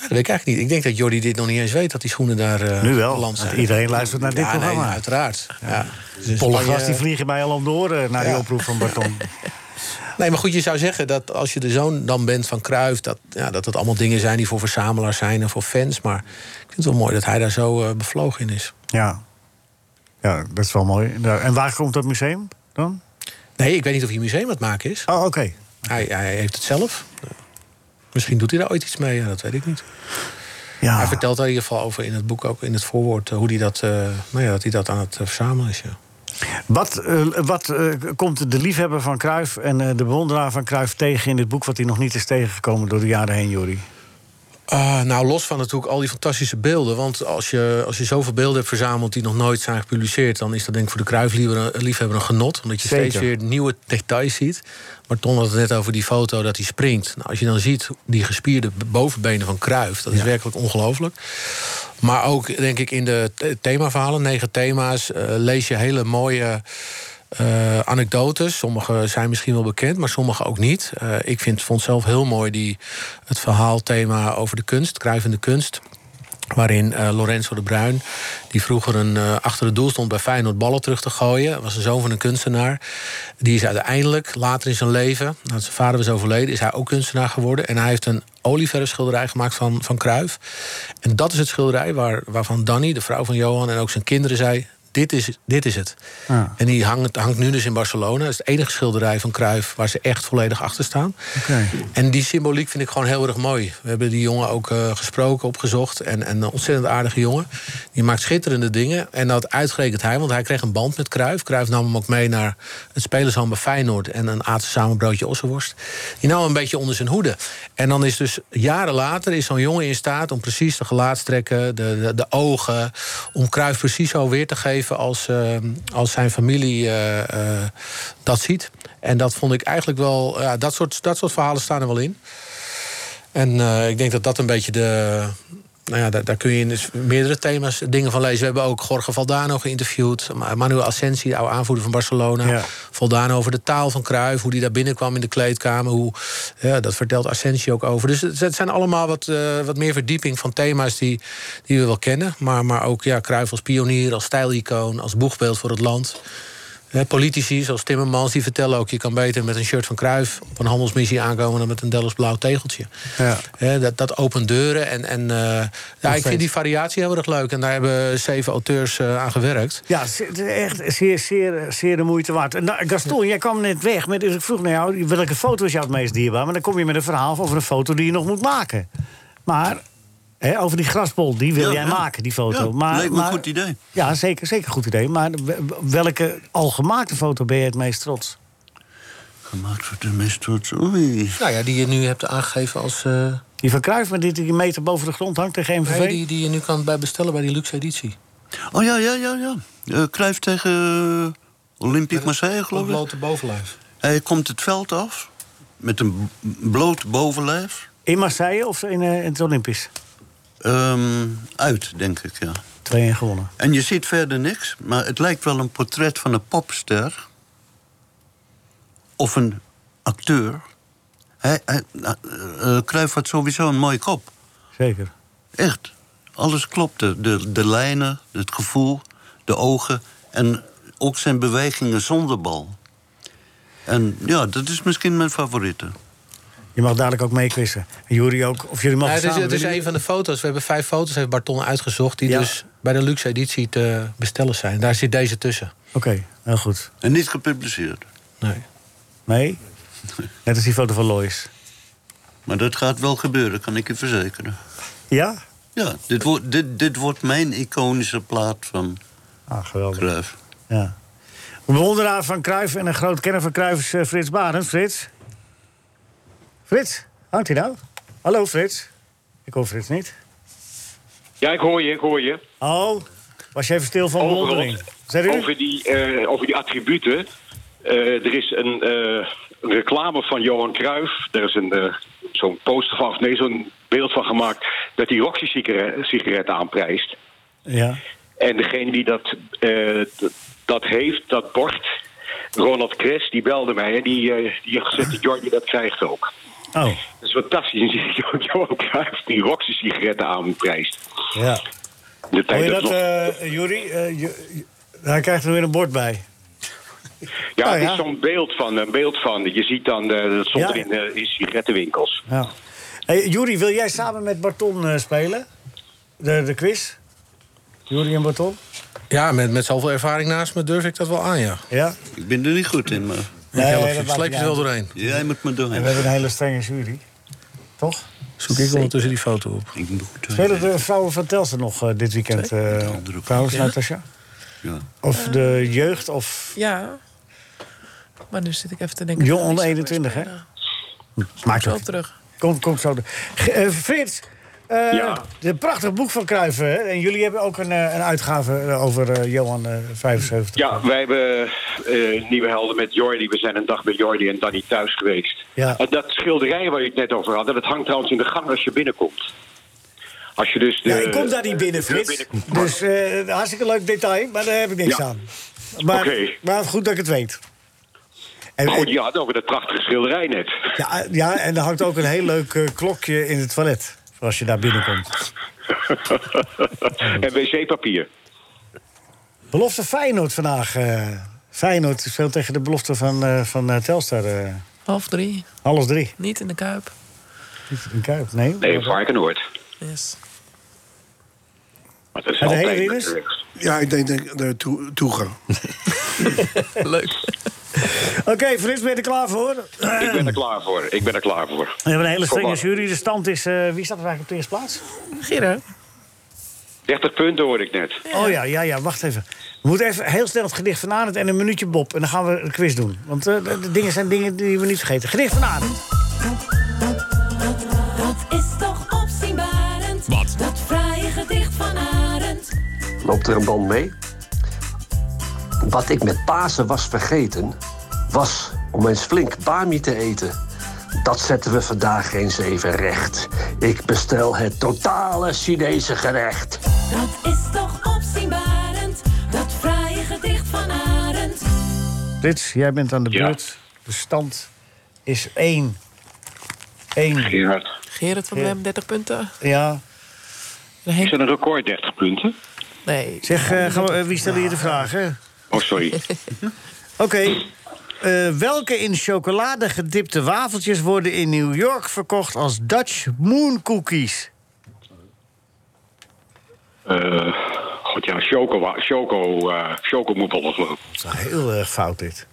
Speaker 6: Dat weet ik eigenlijk niet. Ik denk dat Jordi dit nog niet eens weet, dat die schoenen daar eh
Speaker 3: Nu wel,
Speaker 6: beland zijn.
Speaker 3: want iedereen luistert naar dit
Speaker 6: Ja, nee,
Speaker 3: programma.
Speaker 6: uiteraard. Ja. Dus in
Speaker 3: Pollegras
Speaker 6: Spanje-
Speaker 3: die eh, vliegen mij al om de oren naar eh, die
Speaker 6: Ja.
Speaker 3: oproep van Barton.
Speaker 6: Nee, maar goed, je zou zeggen dat als je de zoon dan bent van Cruijff... Dat, ja, dat het allemaal dingen zijn die voor verzamelaars zijn en voor fans. Maar ik vind het wel mooi dat hij daar zo eh, bevlogen in is.
Speaker 3: Ja. ja, dat is wel mooi. Nou, En waar komt dat museum dan?
Speaker 6: Nee, ik weet niet of hij een museum aan het maken is.
Speaker 3: Oh, oké.
Speaker 6: Hij, hij heeft het zelf. Misschien doet hij daar ooit iets mee, ja, dat weet ik niet.
Speaker 3: Ja.
Speaker 6: Hij vertelt daar in ieder geval over in het boek, ook in het voorwoord... eh, hoe hij dat, eh, nou ja, dat, hij dat aan het eh, verzamelen is, ja.
Speaker 3: Wat, eh, wat eh, komt de liefhebber van Cruijff en eh, de bewonderaar van Cruijff tegen in dit boek... wat hij nog niet is tegengekomen door de jaren heen, Jordi?
Speaker 6: Ah, nou, los van natuurlijk al die fantastische beelden. Want als je, als je zoveel beelden hebt verzameld die nog nooit zijn gepubliceerd... dan is dat denk ik voor de kruifliefhebber liefhebber een genot. Omdat je
Speaker 3: Zeker.
Speaker 6: steeds weer nieuwe details ziet. Maar Ton had het net over die foto dat hij springt. Nou, als je dan ziet die gespierde bovenbenen van Kruif, dat is werkelijk ongelooflijk. Maar ook, denk ik, in de th- themaverhalen, negen thema's... eh, lees je hele mooie eh, anekdotes. Sommige zijn misschien wel bekend, maar sommige ook niet. Eh, ik vind, vond zelf heel mooi die, het verhaalthema over de kunst, Kruif en de kunst... Waarin eh, Lorenzo de Bruin, die vroeger een, eh, achter het doel stond bij Feyenoord ballen terug te gooien, was een zoon van een kunstenaar. Die is uiteindelijk later in zijn leven, nadat zijn vader was overleden, is hij ook kunstenaar geworden. En hij heeft een olieverfschilderij gemaakt van, van Kruif. En dat is het schilderij waar, waarvan Danny, de vrouw van Johan en ook zijn kinderen zei: Dit is, dit is het.
Speaker 3: Ja.
Speaker 6: En die hangt, hangt nu dus in Barcelona. Dat is het enige schilderij van Cruijff waar ze echt volledig achter staan. En die symboliek vind ik gewoon heel erg mooi. We hebben die jongen ook eh, gesproken, opgezocht. En, en een ontzettend aardige jongen. Die maakt schitterende dingen. En dat uitgerekend hij, want hij kreeg een band met Cruijff. Cruijff nam hem ook mee naar het spelershamp bij Feyenoord... en een aten samen broodje ossenworst. Die nam hem een beetje onder zijn hoede. En dan is dus jaren later is zo'n jongen in staat... om precies de gelaatstrekken, de, de, de ogen... om Cruijff precies zo weer te geven als, eh, als zijn familie eh, eh, dat ziet. En dat vond ik eigenlijk wel... Ja, dat, soort, dat soort verhalen staan er wel in. En eh, ik denk dat dat een beetje de... Nou ja, daar, daar kun je in dus meerdere thema's dingen van lezen. We hebben ook Jorge Valdano geïnterviewd. Ma- Manuel Asensi, de oude aanvoerder van Barcelona. Valdano over de taal van Cruijff. Hoe die daar binnenkwam in de kleedkamer. Hoe, ja, dat vertelt Asensi ook over. Dus het, het zijn allemaal wat, eh, wat meer verdieping van thema's die, die we wel kennen. Maar, maar ook ja, Cruijff als pionier, als stijlicoon, als boegbeeld voor het land. Hè, politici zoals Timmermans die vertellen ook... je kan beter met een shirt van Cruijff op een handelsmissie aankomen... dan met een Delfts blauw tegeltje.
Speaker 3: Ja.
Speaker 6: Hè, dat, dat opent deuren. En, en, eh, ja, ik
Speaker 3: steeds.
Speaker 6: vind die variatie heel erg leuk. En daar hebben zeven auteurs eh, aan gewerkt.
Speaker 3: Ja, ze- het is echt zeer, zeer, zeer de moeite waard. En nou, Gaston, jij kwam net weg. Met, dus ik vroeg naar jou, welke foto is jou het meest dierbaar? Maar dan kom je met een verhaal over een foto die je nog moet maken. Maar, hè, over die graspol, die wil
Speaker 7: Ja,
Speaker 3: jij
Speaker 7: ja.
Speaker 3: maken, die foto.
Speaker 7: Ja,
Speaker 3: maar,
Speaker 7: lijkt me een
Speaker 3: maar-
Speaker 7: goed idee.
Speaker 3: Ja, zeker, zeker een goed idee. Maar w- welke al gemaakte foto ben je het meest trots?
Speaker 7: Gemaakt voor de meest trots. Oei.
Speaker 6: Nou ja, die je nu hebt aangegeven als... eh,
Speaker 3: Die van Cruijff, maar die die een meter boven de grond hangt tegen MVV?
Speaker 6: nee, die, die je nu kan bij bestellen bij die luxe editie.
Speaker 7: Oh ja, ja, ja, ja. Eh Cruijff tegen eh, Olympique Marseille, geloof ik.
Speaker 6: Blote bovenlijf.
Speaker 7: Hij komt het veld af met een b- bloot bovenlijf.
Speaker 3: In Marseille of in, eh, in het Olympisch?
Speaker 7: Ehm, uit, denk ik, ja.
Speaker 3: 2-1 gewonnen.
Speaker 7: En je ziet verder niks, maar het lijkt wel een portret van een popster. Of een acteur. Hij, hij, nou, eh, eh, Cruijff had sowieso een mooie kop.
Speaker 3: Zeker.
Speaker 7: Echt. Alles klopte. De, de lijnen, het gevoel, de ogen. En ook zijn bewegingen zonder bal. En ja, dat is misschien mijn favoriete.
Speaker 3: Je mag dadelijk ook meekwissen. En Jury ook, of jullie mogen
Speaker 6: Ja, het, is,
Speaker 3: samen.
Speaker 6: het is
Speaker 3: willen
Speaker 6: een van de foto's. We hebben vijf foto's, heeft Barton uitgezocht. Die dus bij de luxe editie te bestellen zijn. Daar zit deze tussen.
Speaker 3: Oké, heel goed.
Speaker 7: En niet gepubliceerd.
Speaker 6: Nee.
Speaker 3: Nee? Net als die foto van Lois.
Speaker 7: Maar dat gaat wel gebeuren, kan ik je verzekeren.
Speaker 3: Ja?
Speaker 7: Ja, dit, wordt dit, dit wordt mijn iconische plaat van
Speaker 3: ah, geweldig.
Speaker 7: Cruijff.
Speaker 3: Ja. Een bewonderaar van Cruijff en een groot kenner van Cruijff is eh, Frits Barend. Frits? Frits? Hangt hij nou? Hallo Frits? Ik hoor Frits niet.
Speaker 13: Ja, ik hoor je, ik hoor je.
Speaker 3: Oh, was je even stil van
Speaker 13: Overal.
Speaker 3: bewondering? Zijn jullie-
Speaker 13: Over die, eh, over die attributen. Eh, er is een, eh, een reclame van Johan Cruijff. Daar is een, eh, zo'n poster van, of nee, zo'n beeld van gemaakt... dat hij Roxy-sigaret aanprijst.
Speaker 3: Ja.
Speaker 13: En degene die dat, eh, d- dat heeft, dat bord... Ronald Kres, die belde mij en die, eh, die heeft gezegd... dat Jordi dat krijgt ook.
Speaker 3: Oh.
Speaker 13: Dat is fantastisch. En zie je Johan Cruijff die Roxy-sigaretten aanprijst.
Speaker 3: Ja.
Speaker 13: De tijd
Speaker 3: Hoor je dat,
Speaker 13: dat nog-
Speaker 3: eh Juri? Eh, Ju- Ju- hij krijgt er weer een bord bij.
Speaker 13: Ja,
Speaker 3: Nou
Speaker 13: het
Speaker 3: ja.
Speaker 13: is zo'n beeld van. Een beeld van. Je ziet dan, eh, dat stond
Speaker 3: Ja.
Speaker 13: er in, eh, in sigarettenwinkels.
Speaker 3: Ja. Hey, Juri, wil jij samen met Barton eh, spelen? De, de quiz? Juri en Barton?
Speaker 6: Ja, met, met zoveel ervaring naast me durf ik dat wel aan, ja.
Speaker 3: Ja?
Speaker 7: Ik ben er niet goed in, maar...
Speaker 3: Nee,
Speaker 6: ik
Speaker 3: nee,
Speaker 6: help
Speaker 3: dat
Speaker 6: je.
Speaker 3: maakt
Speaker 6: Sleep
Speaker 3: niet
Speaker 6: je er
Speaker 3: uit.
Speaker 6: wel doorheen.
Speaker 7: Jij moet me
Speaker 3: En we hebben een hele strenge jury. Toch?
Speaker 6: Zoek ik ondertussen die foto op.
Speaker 3: Spelen de vrouwen van Telstra nog eh, dit weekend? eh trouwens,
Speaker 8: Ja.
Speaker 3: Natasja?
Speaker 7: Ja.
Speaker 3: Of de jeugd of
Speaker 8: Ja. Maar nu zit ik even te denken...
Speaker 3: jong onder 21, hè? Maakt
Speaker 8: Zo
Speaker 3: het.
Speaker 8: terug.
Speaker 3: Komt, komt zo. de- Ge- eh, Frits, eh
Speaker 8: Ja.
Speaker 3: een prachtig boek van Cruijff. hè? En jullie hebben ook een, eh, een uitgave eh, over eh, Johan eh, 75.
Speaker 13: Ja, wij hebben eh, Nieuwe Helden met Jordi. We zijn een dag bij Jordi en Danny thuis geweest.
Speaker 3: Ja.
Speaker 13: En dat schilderij waar je het net over had, dat hangt trouwens in de gang als je binnenkomt. Als je dus de,
Speaker 3: Ja, ik kom daar niet binnen,
Speaker 13: de
Speaker 3: Frits.
Speaker 13: binnenkomt.
Speaker 3: Dus eh, hartstikke leuk detail, maar daar heb ik niks
Speaker 13: Ja.
Speaker 3: aan. Maar,
Speaker 13: Oké.
Speaker 3: maar goed dat ik het weet.
Speaker 13: Maar goed, je had over dat prachtige schilderij net.
Speaker 3: Ja, eh, ja, en er hangt ook een heel leuk eh, klokje in het toilet. Voor als je daar binnenkomt.
Speaker 13: en wc-papier.
Speaker 3: Belofte Feyenoord vandaag. eh Feyenoord speelt tegen de belofte van, eh, van eh, Telstar. eh.
Speaker 8: Half drie.
Speaker 3: alles drie.
Speaker 8: Niet in de Kuip.
Speaker 3: Niet in Kuip, nee.
Speaker 13: Nee, Varkenoord.
Speaker 8: Yes.
Speaker 13: Maar dat is
Speaker 4: En de
Speaker 13: altijd
Speaker 4: hele Rinus?
Speaker 13: natuurlijk.
Speaker 4: Ja, ik denk dat ik daar toe, toe ga.
Speaker 8: Leuk.
Speaker 3: Oké, Frits, ben je er klaar voor?
Speaker 13: Ik ben er klaar voor. Ik ben er klaar voor.
Speaker 3: We hebben een hele strenge
Speaker 13: Kom maar.
Speaker 3: jury. De stand is... eh, wie staat er eigenlijk op de eerste plaats?
Speaker 8: Gerard.
Speaker 13: 30 punten hoorde ik net.
Speaker 3: Oh ja, ja, ja, wacht even. We moeten even heel snel het gedicht van Arend en een minuutje Bob. En dan gaan we een quiz doen. Want eh, de, de dingen zijn dingen die we niet vergeten. Gedicht van Arend.
Speaker 1: Dat is toch opzienbarend. Wat? Dat fraaie gedicht van Arend.
Speaker 14: Loopt er een band mee? Wat ik met Pasen was vergeten, was om eens flink bami te eten. Dat zetten we vandaag eens even recht. Ik bestel het totale Chinese gerecht.
Speaker 1: Dat is toch opzienbarend. Dat fraaie gedicht van Arend.
Speaker 3: Frits, jij bent aan de beurt. De stand is één. Eén.
Speaker 13: Gerard.
Speaker 8: Gerard van Blem, 30 punten.
Speaker 3: Ja.
Speaker 13: Is dat een record 30 punten?
Speaker 8: Nee.
Speaker 3: Zeg, eh, gaan we, eh, wie stelde je de vragen?
Speaker 13: Oh, sorry.
Speaker 3: Oké. Eh, welke in chocolade gedipte wafeltjes worden in New York verkocht als Dutch moon cookies?
Speaker 13: Eh, God ja, Choco, wa- Choco, eh, Choco moet wel nog lopen.
Speaker 3: Heel erg fout dit.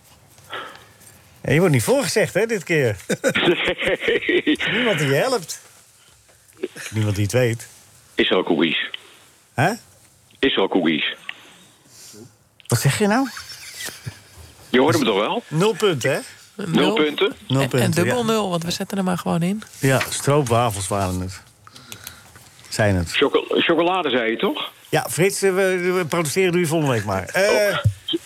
Speaker 3: Ja, je wordt niet voorgezegd, hè, dit keer. Niemand die je helpt. Niemand die het weet.
Speaker 13: Israël Cookies.
Speaker 3: Hè?
Speaker 13: Israël Cookies.
Speaker 3: Wat zeg je nou?
Speaker 13: Je hoorde me toch wel?
Speaker 3: Nul punten, hè?
Speaker 13: Nul punten?
Speaker 3: Nul punten,
Speaker 8: En dubbel
Speaker 3: ja.
Speaker 8: nul, want we zetten er maar gewoon in.
Speaker 3: Ja, stroopwafels waren het. Zijn het.
Speaker 13: Choco- chocolade zei je toch?
Speaker 3: Ja, Frits, eh, we, we protesteren nu volgende week maar. Eh
Speaker 13: Oh,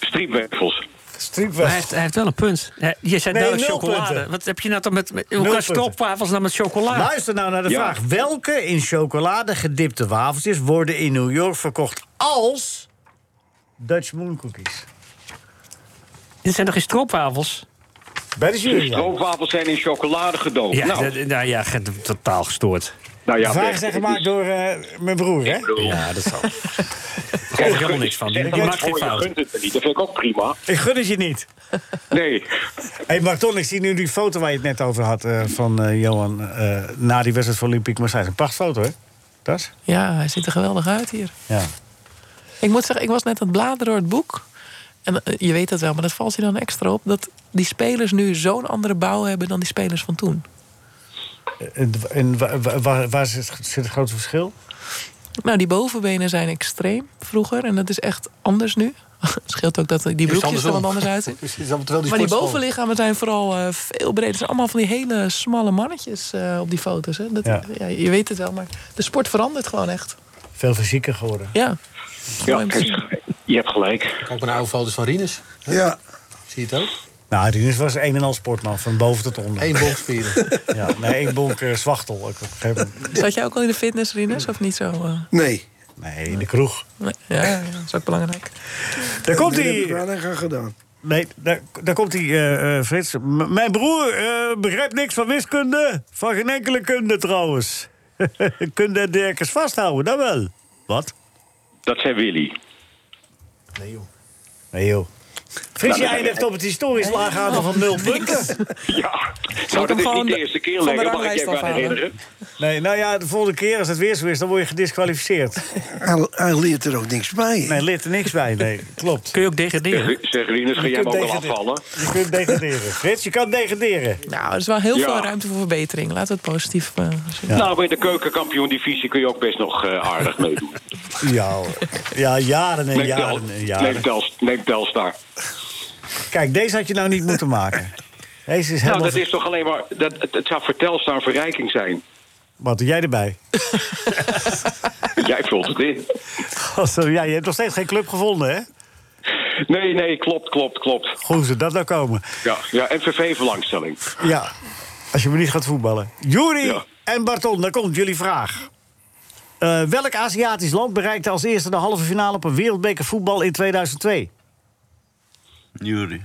Speaker 13: Striepwafels.
Speaker 3: Striepwafels.
Speaker 5: Maar hij, heeft, hij heeft wel een punt. Hij- Je zei
Speaker 3: Nee,
Speaker 5: duidelijk
Speaker 3: nul
Speaker 5: chocolade.
Speaker 3: punten.
Speaker 5: Wat heb je nou dan met... met
Speaker 3: Nul
Speaker 5: hoe kan
Speaker 3: punten.
Speaker 5: stroopwafels nou met chocolade?
Speaker 3: Luister nou naar de
Speaker 5: Ja.
Speaker 3: vraag. Welke in chocolade gedipte wafeltjes worden in New York verkocht als Dutch Moon Cookies?
Speaker 5: Dit zijn toch geen stroopwafels?
Speaker 3: Bij de
Speaker 13: De
Speaker 3: jury. ja.
Speaker 13: stroopwafels zijn in chocolade gedoofd.
Speaker 5: Ja,
Speaker 13: nou,
Speaker 5: dat- nou ja, ge- totaal gestoord.
Speaker 13: nou
Speaker 3: De
Speaker 13: ja,
Speaker 3: vraag
Speaker 13: weg.
Speaker 3: is gemaakt door eh, mijn broer, hè?
Speaker 5: Ja, dat zal. Daar
Speaker 13: Kijk,
Speaker 5: geloof ik helemaal
Speaker 13: gunt-
Speaker 5: niks van.
Speaker 13: zeg
Speaker 5: Die
Speaker 13: dat
Speaker 5: maakt geen
Speaker 13: voor je
Speaker 5: fout.
Speaker 13: gunt het me niet. Dat vind ik ook prima.
Speaker 3: Ik gun het je niet.
Speaker 13: Nee.
Speaker 3: Hé, hey, Barton, ik zie nu die foto waar je het net over had eh, van eh, Johan eh, na die wedstrijd van Olympique Marseille. Een prachtfoto, hè? Dat?
Speaker 8: Ja, hij ziet er geweldig uit hier.
Speaker 3: Ja.
Speaker 8: Ik moet zeggen, ik was net aan het bladeren door het boek. En eh, je weet dat wel, maar dat valt je dan extra op. Dat die spelers nu zo'n andere bouw hebben dan die spelers van toen.
Speaker 3: En, en wa- wa- waar, waar zit, zit het grote verschil?
Speaker 8: Nou, die bovenbenen zijn extreem vroeger. En dat is echt anders nu. Scheelt ook dat die broekjes er wat anders uitzien.
Speaker 6: Precies, dan terwijl
Speaker 8: maar die
Speaker 6: sportschool-
Speaker 8: bovenlichamen zijn vooral eh, veel breder. Het zijn allemaal van die hele smalle mannetjes eh, op die foto's. Hè. Dat,
Speaker 3: Ja.
Speaker 8: ja. je weet het wel, maar de sport verandert gewoon echt.
Speaker 3: Veel fysieker geworden.
Speaker 8: Ja.
Speaker 13: Ja, je hebt gelijk.
Speaker 6: Kijk maar naar oude foto's van Rinus.
Speaker 4: Ja.
Speaker 6: Zie je het ook?
Speaker 3: Nou, Rinus was een en al sportman, van boven tot onder.
Speaker 6: Eén bonk spieren.
Speaker 3: ja, nee, één bonk eh, zwachtel. ook op een gegeven moment.
Speaker 8: Zat jij ook al in de fitness, Rinus, of niet zo? eh?
Speaker 4: Nee.
Speaker 3: Nee, in de kroeg.
Speaker 8: Nee, ja, ja, dat is ook belangrijk.
Speaker 3: Daar komt
Speaker 4: Dat heb ik
Speaker 3: hij.
Speaker 4: wel aan gedaan.
Speaker 3: Nee, daar, daar komt hij, eh, eh, Frits. M- mijn broer eh, begrijpt niks van wiskunde. Van geen enkele kunde trouwens. kunde en Dirk is vasthouden, dat wel. Wat?
Speaker 13: Dat zei Willy.
Speaker 3: Nee joh. Frits,
Speaker 13: Nou,
Speaker 3: jij eindigt op het historisch laag aantal van nul punten.
Speaker 13: Ja,
Speaker 3: hem
Speaker 13: nou, dat is
Speaker 3: gewoon
Speaker 13: niet de eerste keer
Speaker 3: van de
Speaker 13: lekker, mag ik
Speaker 3: ranglijst
Speaker 13: je even aan
Speaker 3: afhalen?
Speaker 13: herinneren.
Speaker 3: Nee, nou ja, de volgende keer als het weer zo is, dan word je gedisqualificeerd.
Speaker 4: Hij, hij leert er ook niks bij.
Speaker 3: Nee, leert er niks bij, nee. Klopt.
Speaker 5: Kun je ook degraderen?
Speaker 13: Zeg Rinus, ga
Speaker 3: Je
Speaker 13: jij me
Speaker 3: kunt
Speaker 13: ook wel
Speaker 3: degraderen.
Speaker 13: afvallen?
Speaker 3: Je kunt degraderen. Frits, je kan degraderen.
Speaker 8: Nou, er is wel heel
Speaker 13: Ja.
Speaker 8: veel ruimte voor verbetering. Laten we het positief eh, zien.
Speaker 13: Nou, bij de keukenkampioen-divisie kun je ook best nog eh, aardig meedoen.
Speaker 3: Ja, hoor. ja jaren en
Speaker 13: Neem
Speaker 3: jaren
Speaker 13: Tel-
Speaker 3: en jaren.
Speaker 13: neem Tels- Neem Telstar.
Speaker 3: Kijk, deze had je nou niet moeten maken. Deze is
Speaker 13: Nou,
Speaker 3: helemaal...
Speaker 13: dat is toch alleen maar... Dat, het, het zou voor Telstar een verrijking zijn.
Speaker 3: Wat doe jij erbij?
Speaker 13: Jij vult het in.
Speaker 3: Oh, sorry, ja, je hebt nog steeds geen club gevonden, hè?
Speaker 13: Nee, nee, klopt, klopt, klopt.
Speaker 3: Hoe ze dat nou komen.
Speaker 13: Ja, ja MVV-belangstelling.
Speaker 3: Ja, als je maar niet gaat voetballen. Juri
Speaker 13: Ja.
Speaker 3: en Barton, daar komt jullie vraag. Eh, welk Aziatisch land bereikte als eerste de halve finale op een wereldbeker voetbal in 2002?
Speaker 7: Jury.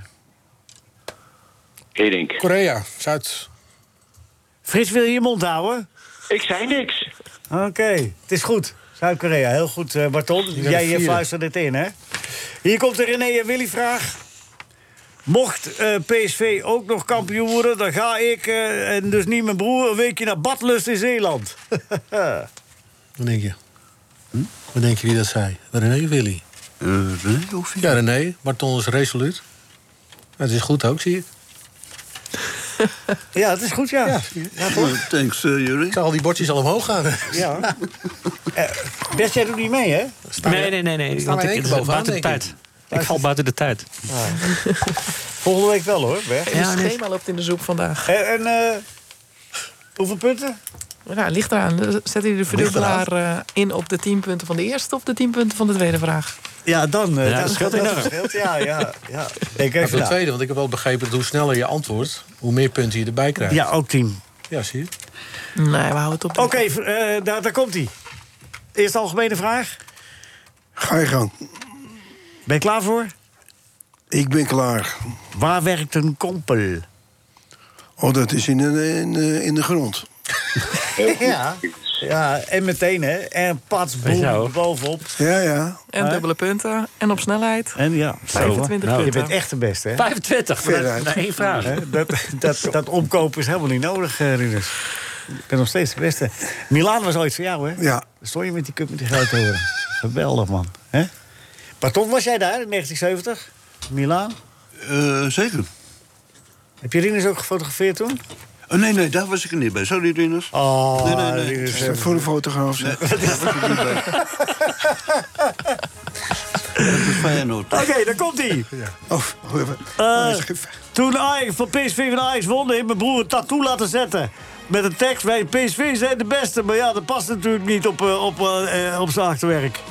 Speaker 13: Hedink.
Speaker 6: Korea, Zuid.
Speaker 3: Frits, wil je je mond houden?
Speaker 13: Ik zei niks.
Speaker 3: Oké, het is goed. Zuid-Korea, heel goed, eh, Barton.
Speaker 6: de
Speaker 3: Jij eh,
Speaker 6: vierde.
Speaker 3: fluistert dit in, hè? Hier komt de René en Willy vraag. Mocht eh, PSV ook nog kampioen worden, dan ga ik, eh, en dus niet mijn broer, een weekje naar Badlust in Zeeland.
Speaker 6: Wat denk je? Wat denk je wie dat zei? René of Willy?
Speaker 7: René of
Speaker 6: Ja, René. Barton is resoluut. Het is goed ook, zie ik.
Speaker 3: ja, het is goed, ja. Ja,
Speaker 7: Nou, Thanks, eh, Jury.
Speaker 6: Ik zag al die bordjes al omhoog gaan.
Speaker 3: Ja. Eh, Bert, jij doet niet mee, hè?
Speaker 5: Nee, nee, nee, nee.
Speaker 6: Staan
Speaker 5: Want
Speaker 6: wij in
Speaker 5: ik
Speaker 6: één keer
Speaker 5: val
Speaker 6: bovenaan,
Speaker 5: buiten de
Speaker 6: denk
Speaker 5: tijd. Ik val buiten de tijd.
Speaker 3: Ah. Volgende week wel, hoor, Bert.
Speaker 8: Het schema loopt in de soep vandaag.
Speaker 3: En, en eh, hoeveel punten?
Speaker 8: Nou, ligt eraan. Zet hij de verdubbelaar eh, in op de 10 punten van de eerste of de 10 punten van de tweede vraag?
Speaker 3: Ja, dan. eh,
Speaker 5: Ja, dat scheelt enorm.
Speaker 3: scheelt, ja, ja, ja. Denk even
Speaker 6: Maar
Speaker 3: nou.
Speaker 6: voor de
Speaker 3: na.
Speaker 6: tweede, want ik heb wel begrepen dat hoe sneller je antwoordt, hoe meer punten je erbij krijgt.
Speaker 3: Ja, ook tien.
Speaker 6: Ja, zie je?
Speaker 8: Nee, we houden het op.
Speaker 3: Oké, v- eh, daar, daar komt hij. Eerst de algemene vraag.
Speaker 4: Ga je gang.
Speaker 3: Ben je klaar voor?
Speaker 4: Ik ben klaar.
Speaker 3: Waar werkt een kompel?
Speaker 4: Oh, dat is in, de- in, de- in de grond.
Speaker 3: Ja. ja, en meteen hè. En pats,
Speaker 5: Weet je wel.
Speaker 3: boem, bovenop.
Speaker 4: Ja, ja.
Speaker 8: En dubbele punten. En op snelheid.
Speaker 3: En ja, Nou,
Speaker 8: 25
Speaker 3: je
Speaker 8: punten.
Speaker 3: bent echt de beste hè.
Speaker 5: 25, maar dat-
Speaker 4: Veruit.
Speaker 5: maar één vraag.
Speaker 3: Hè, Dat, dat, dat omkopen is helemaal niet nodig, eh, Rinus. Ik ben nog steeds de beste. Milaan was ooit voor jou, hè?
Speaker 4: Ja.
Speaker 3: Dan stond je met die cup met die grote horen. Geweldig, man. Hè? Pardon, was jij daar in 1970? Milaan?
Speaker 7: Eh, zeker.
Speaker 3: Heb je Rinus ook gefotografeerd toen?
Speaker 7: Oh, nee, nee, daar was ik er niet bij. Sorry, Rinus.
Speaker 3: Oh,
Speaker 7: Nee, nee, nee.
Speaker 3: Rinus.
Speaker 4: Is dat voor een fotograaf? zeg?
Speaker 7: Dat is Feyenoord.
Speaker 3: Oké, daar komt hij.
Speaker 4: Oh, wacht even.
Speaker 3: Eh,
Speaker 4: Oh, is-
Speaker 3: Toen Ajax van PSV van Ajax won, heeft mijn broer een tattoo laten zetten. Met een tekst, wij PSV zijn de beste. Maar ja, dat past natuurlijk niet op, eh, op, eh, eh, op zijn achterwerk.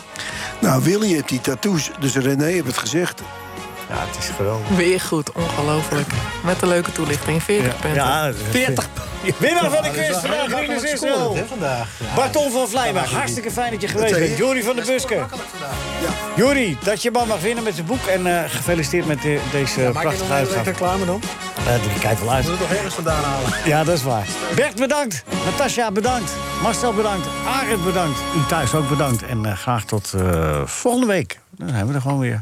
Speaker 4: Nou, Willy heeft die tattoos, dus René heeft het gezegd.
Speaker 3: Ja, het is geweldig.
Speaker 8: Weer goed, ongelooflijk. Met een leuke toelichting. 40 punten.
Speaker 3: Ja, 40. Winnaar van de quiz vandaag, Rinus Israël.
Speaker 6: vandaag.
Speaker 3: Barton van Vlijmag, hartstikke fijn dat je geweest bent. Jori van de Buske. Jori, dat je man mag winnen met zijn boek. En eh, gefeliciteerd met de- deze prachtige uitgave.
Speaker 6: reclame dan?
Speaker 3: Eh, die kijkt wel uit.
Speaker 6: het nog ergens vandaan halen.
Speaker 3: Ja, dat is waar. Bert, bedankt. Natasja, bedankt. Marcel, bedankt. Arend, bedankt. U thuis ook bedankt. En eh, graag tot eh, volgende week. Dan zijn we er gewoon weer.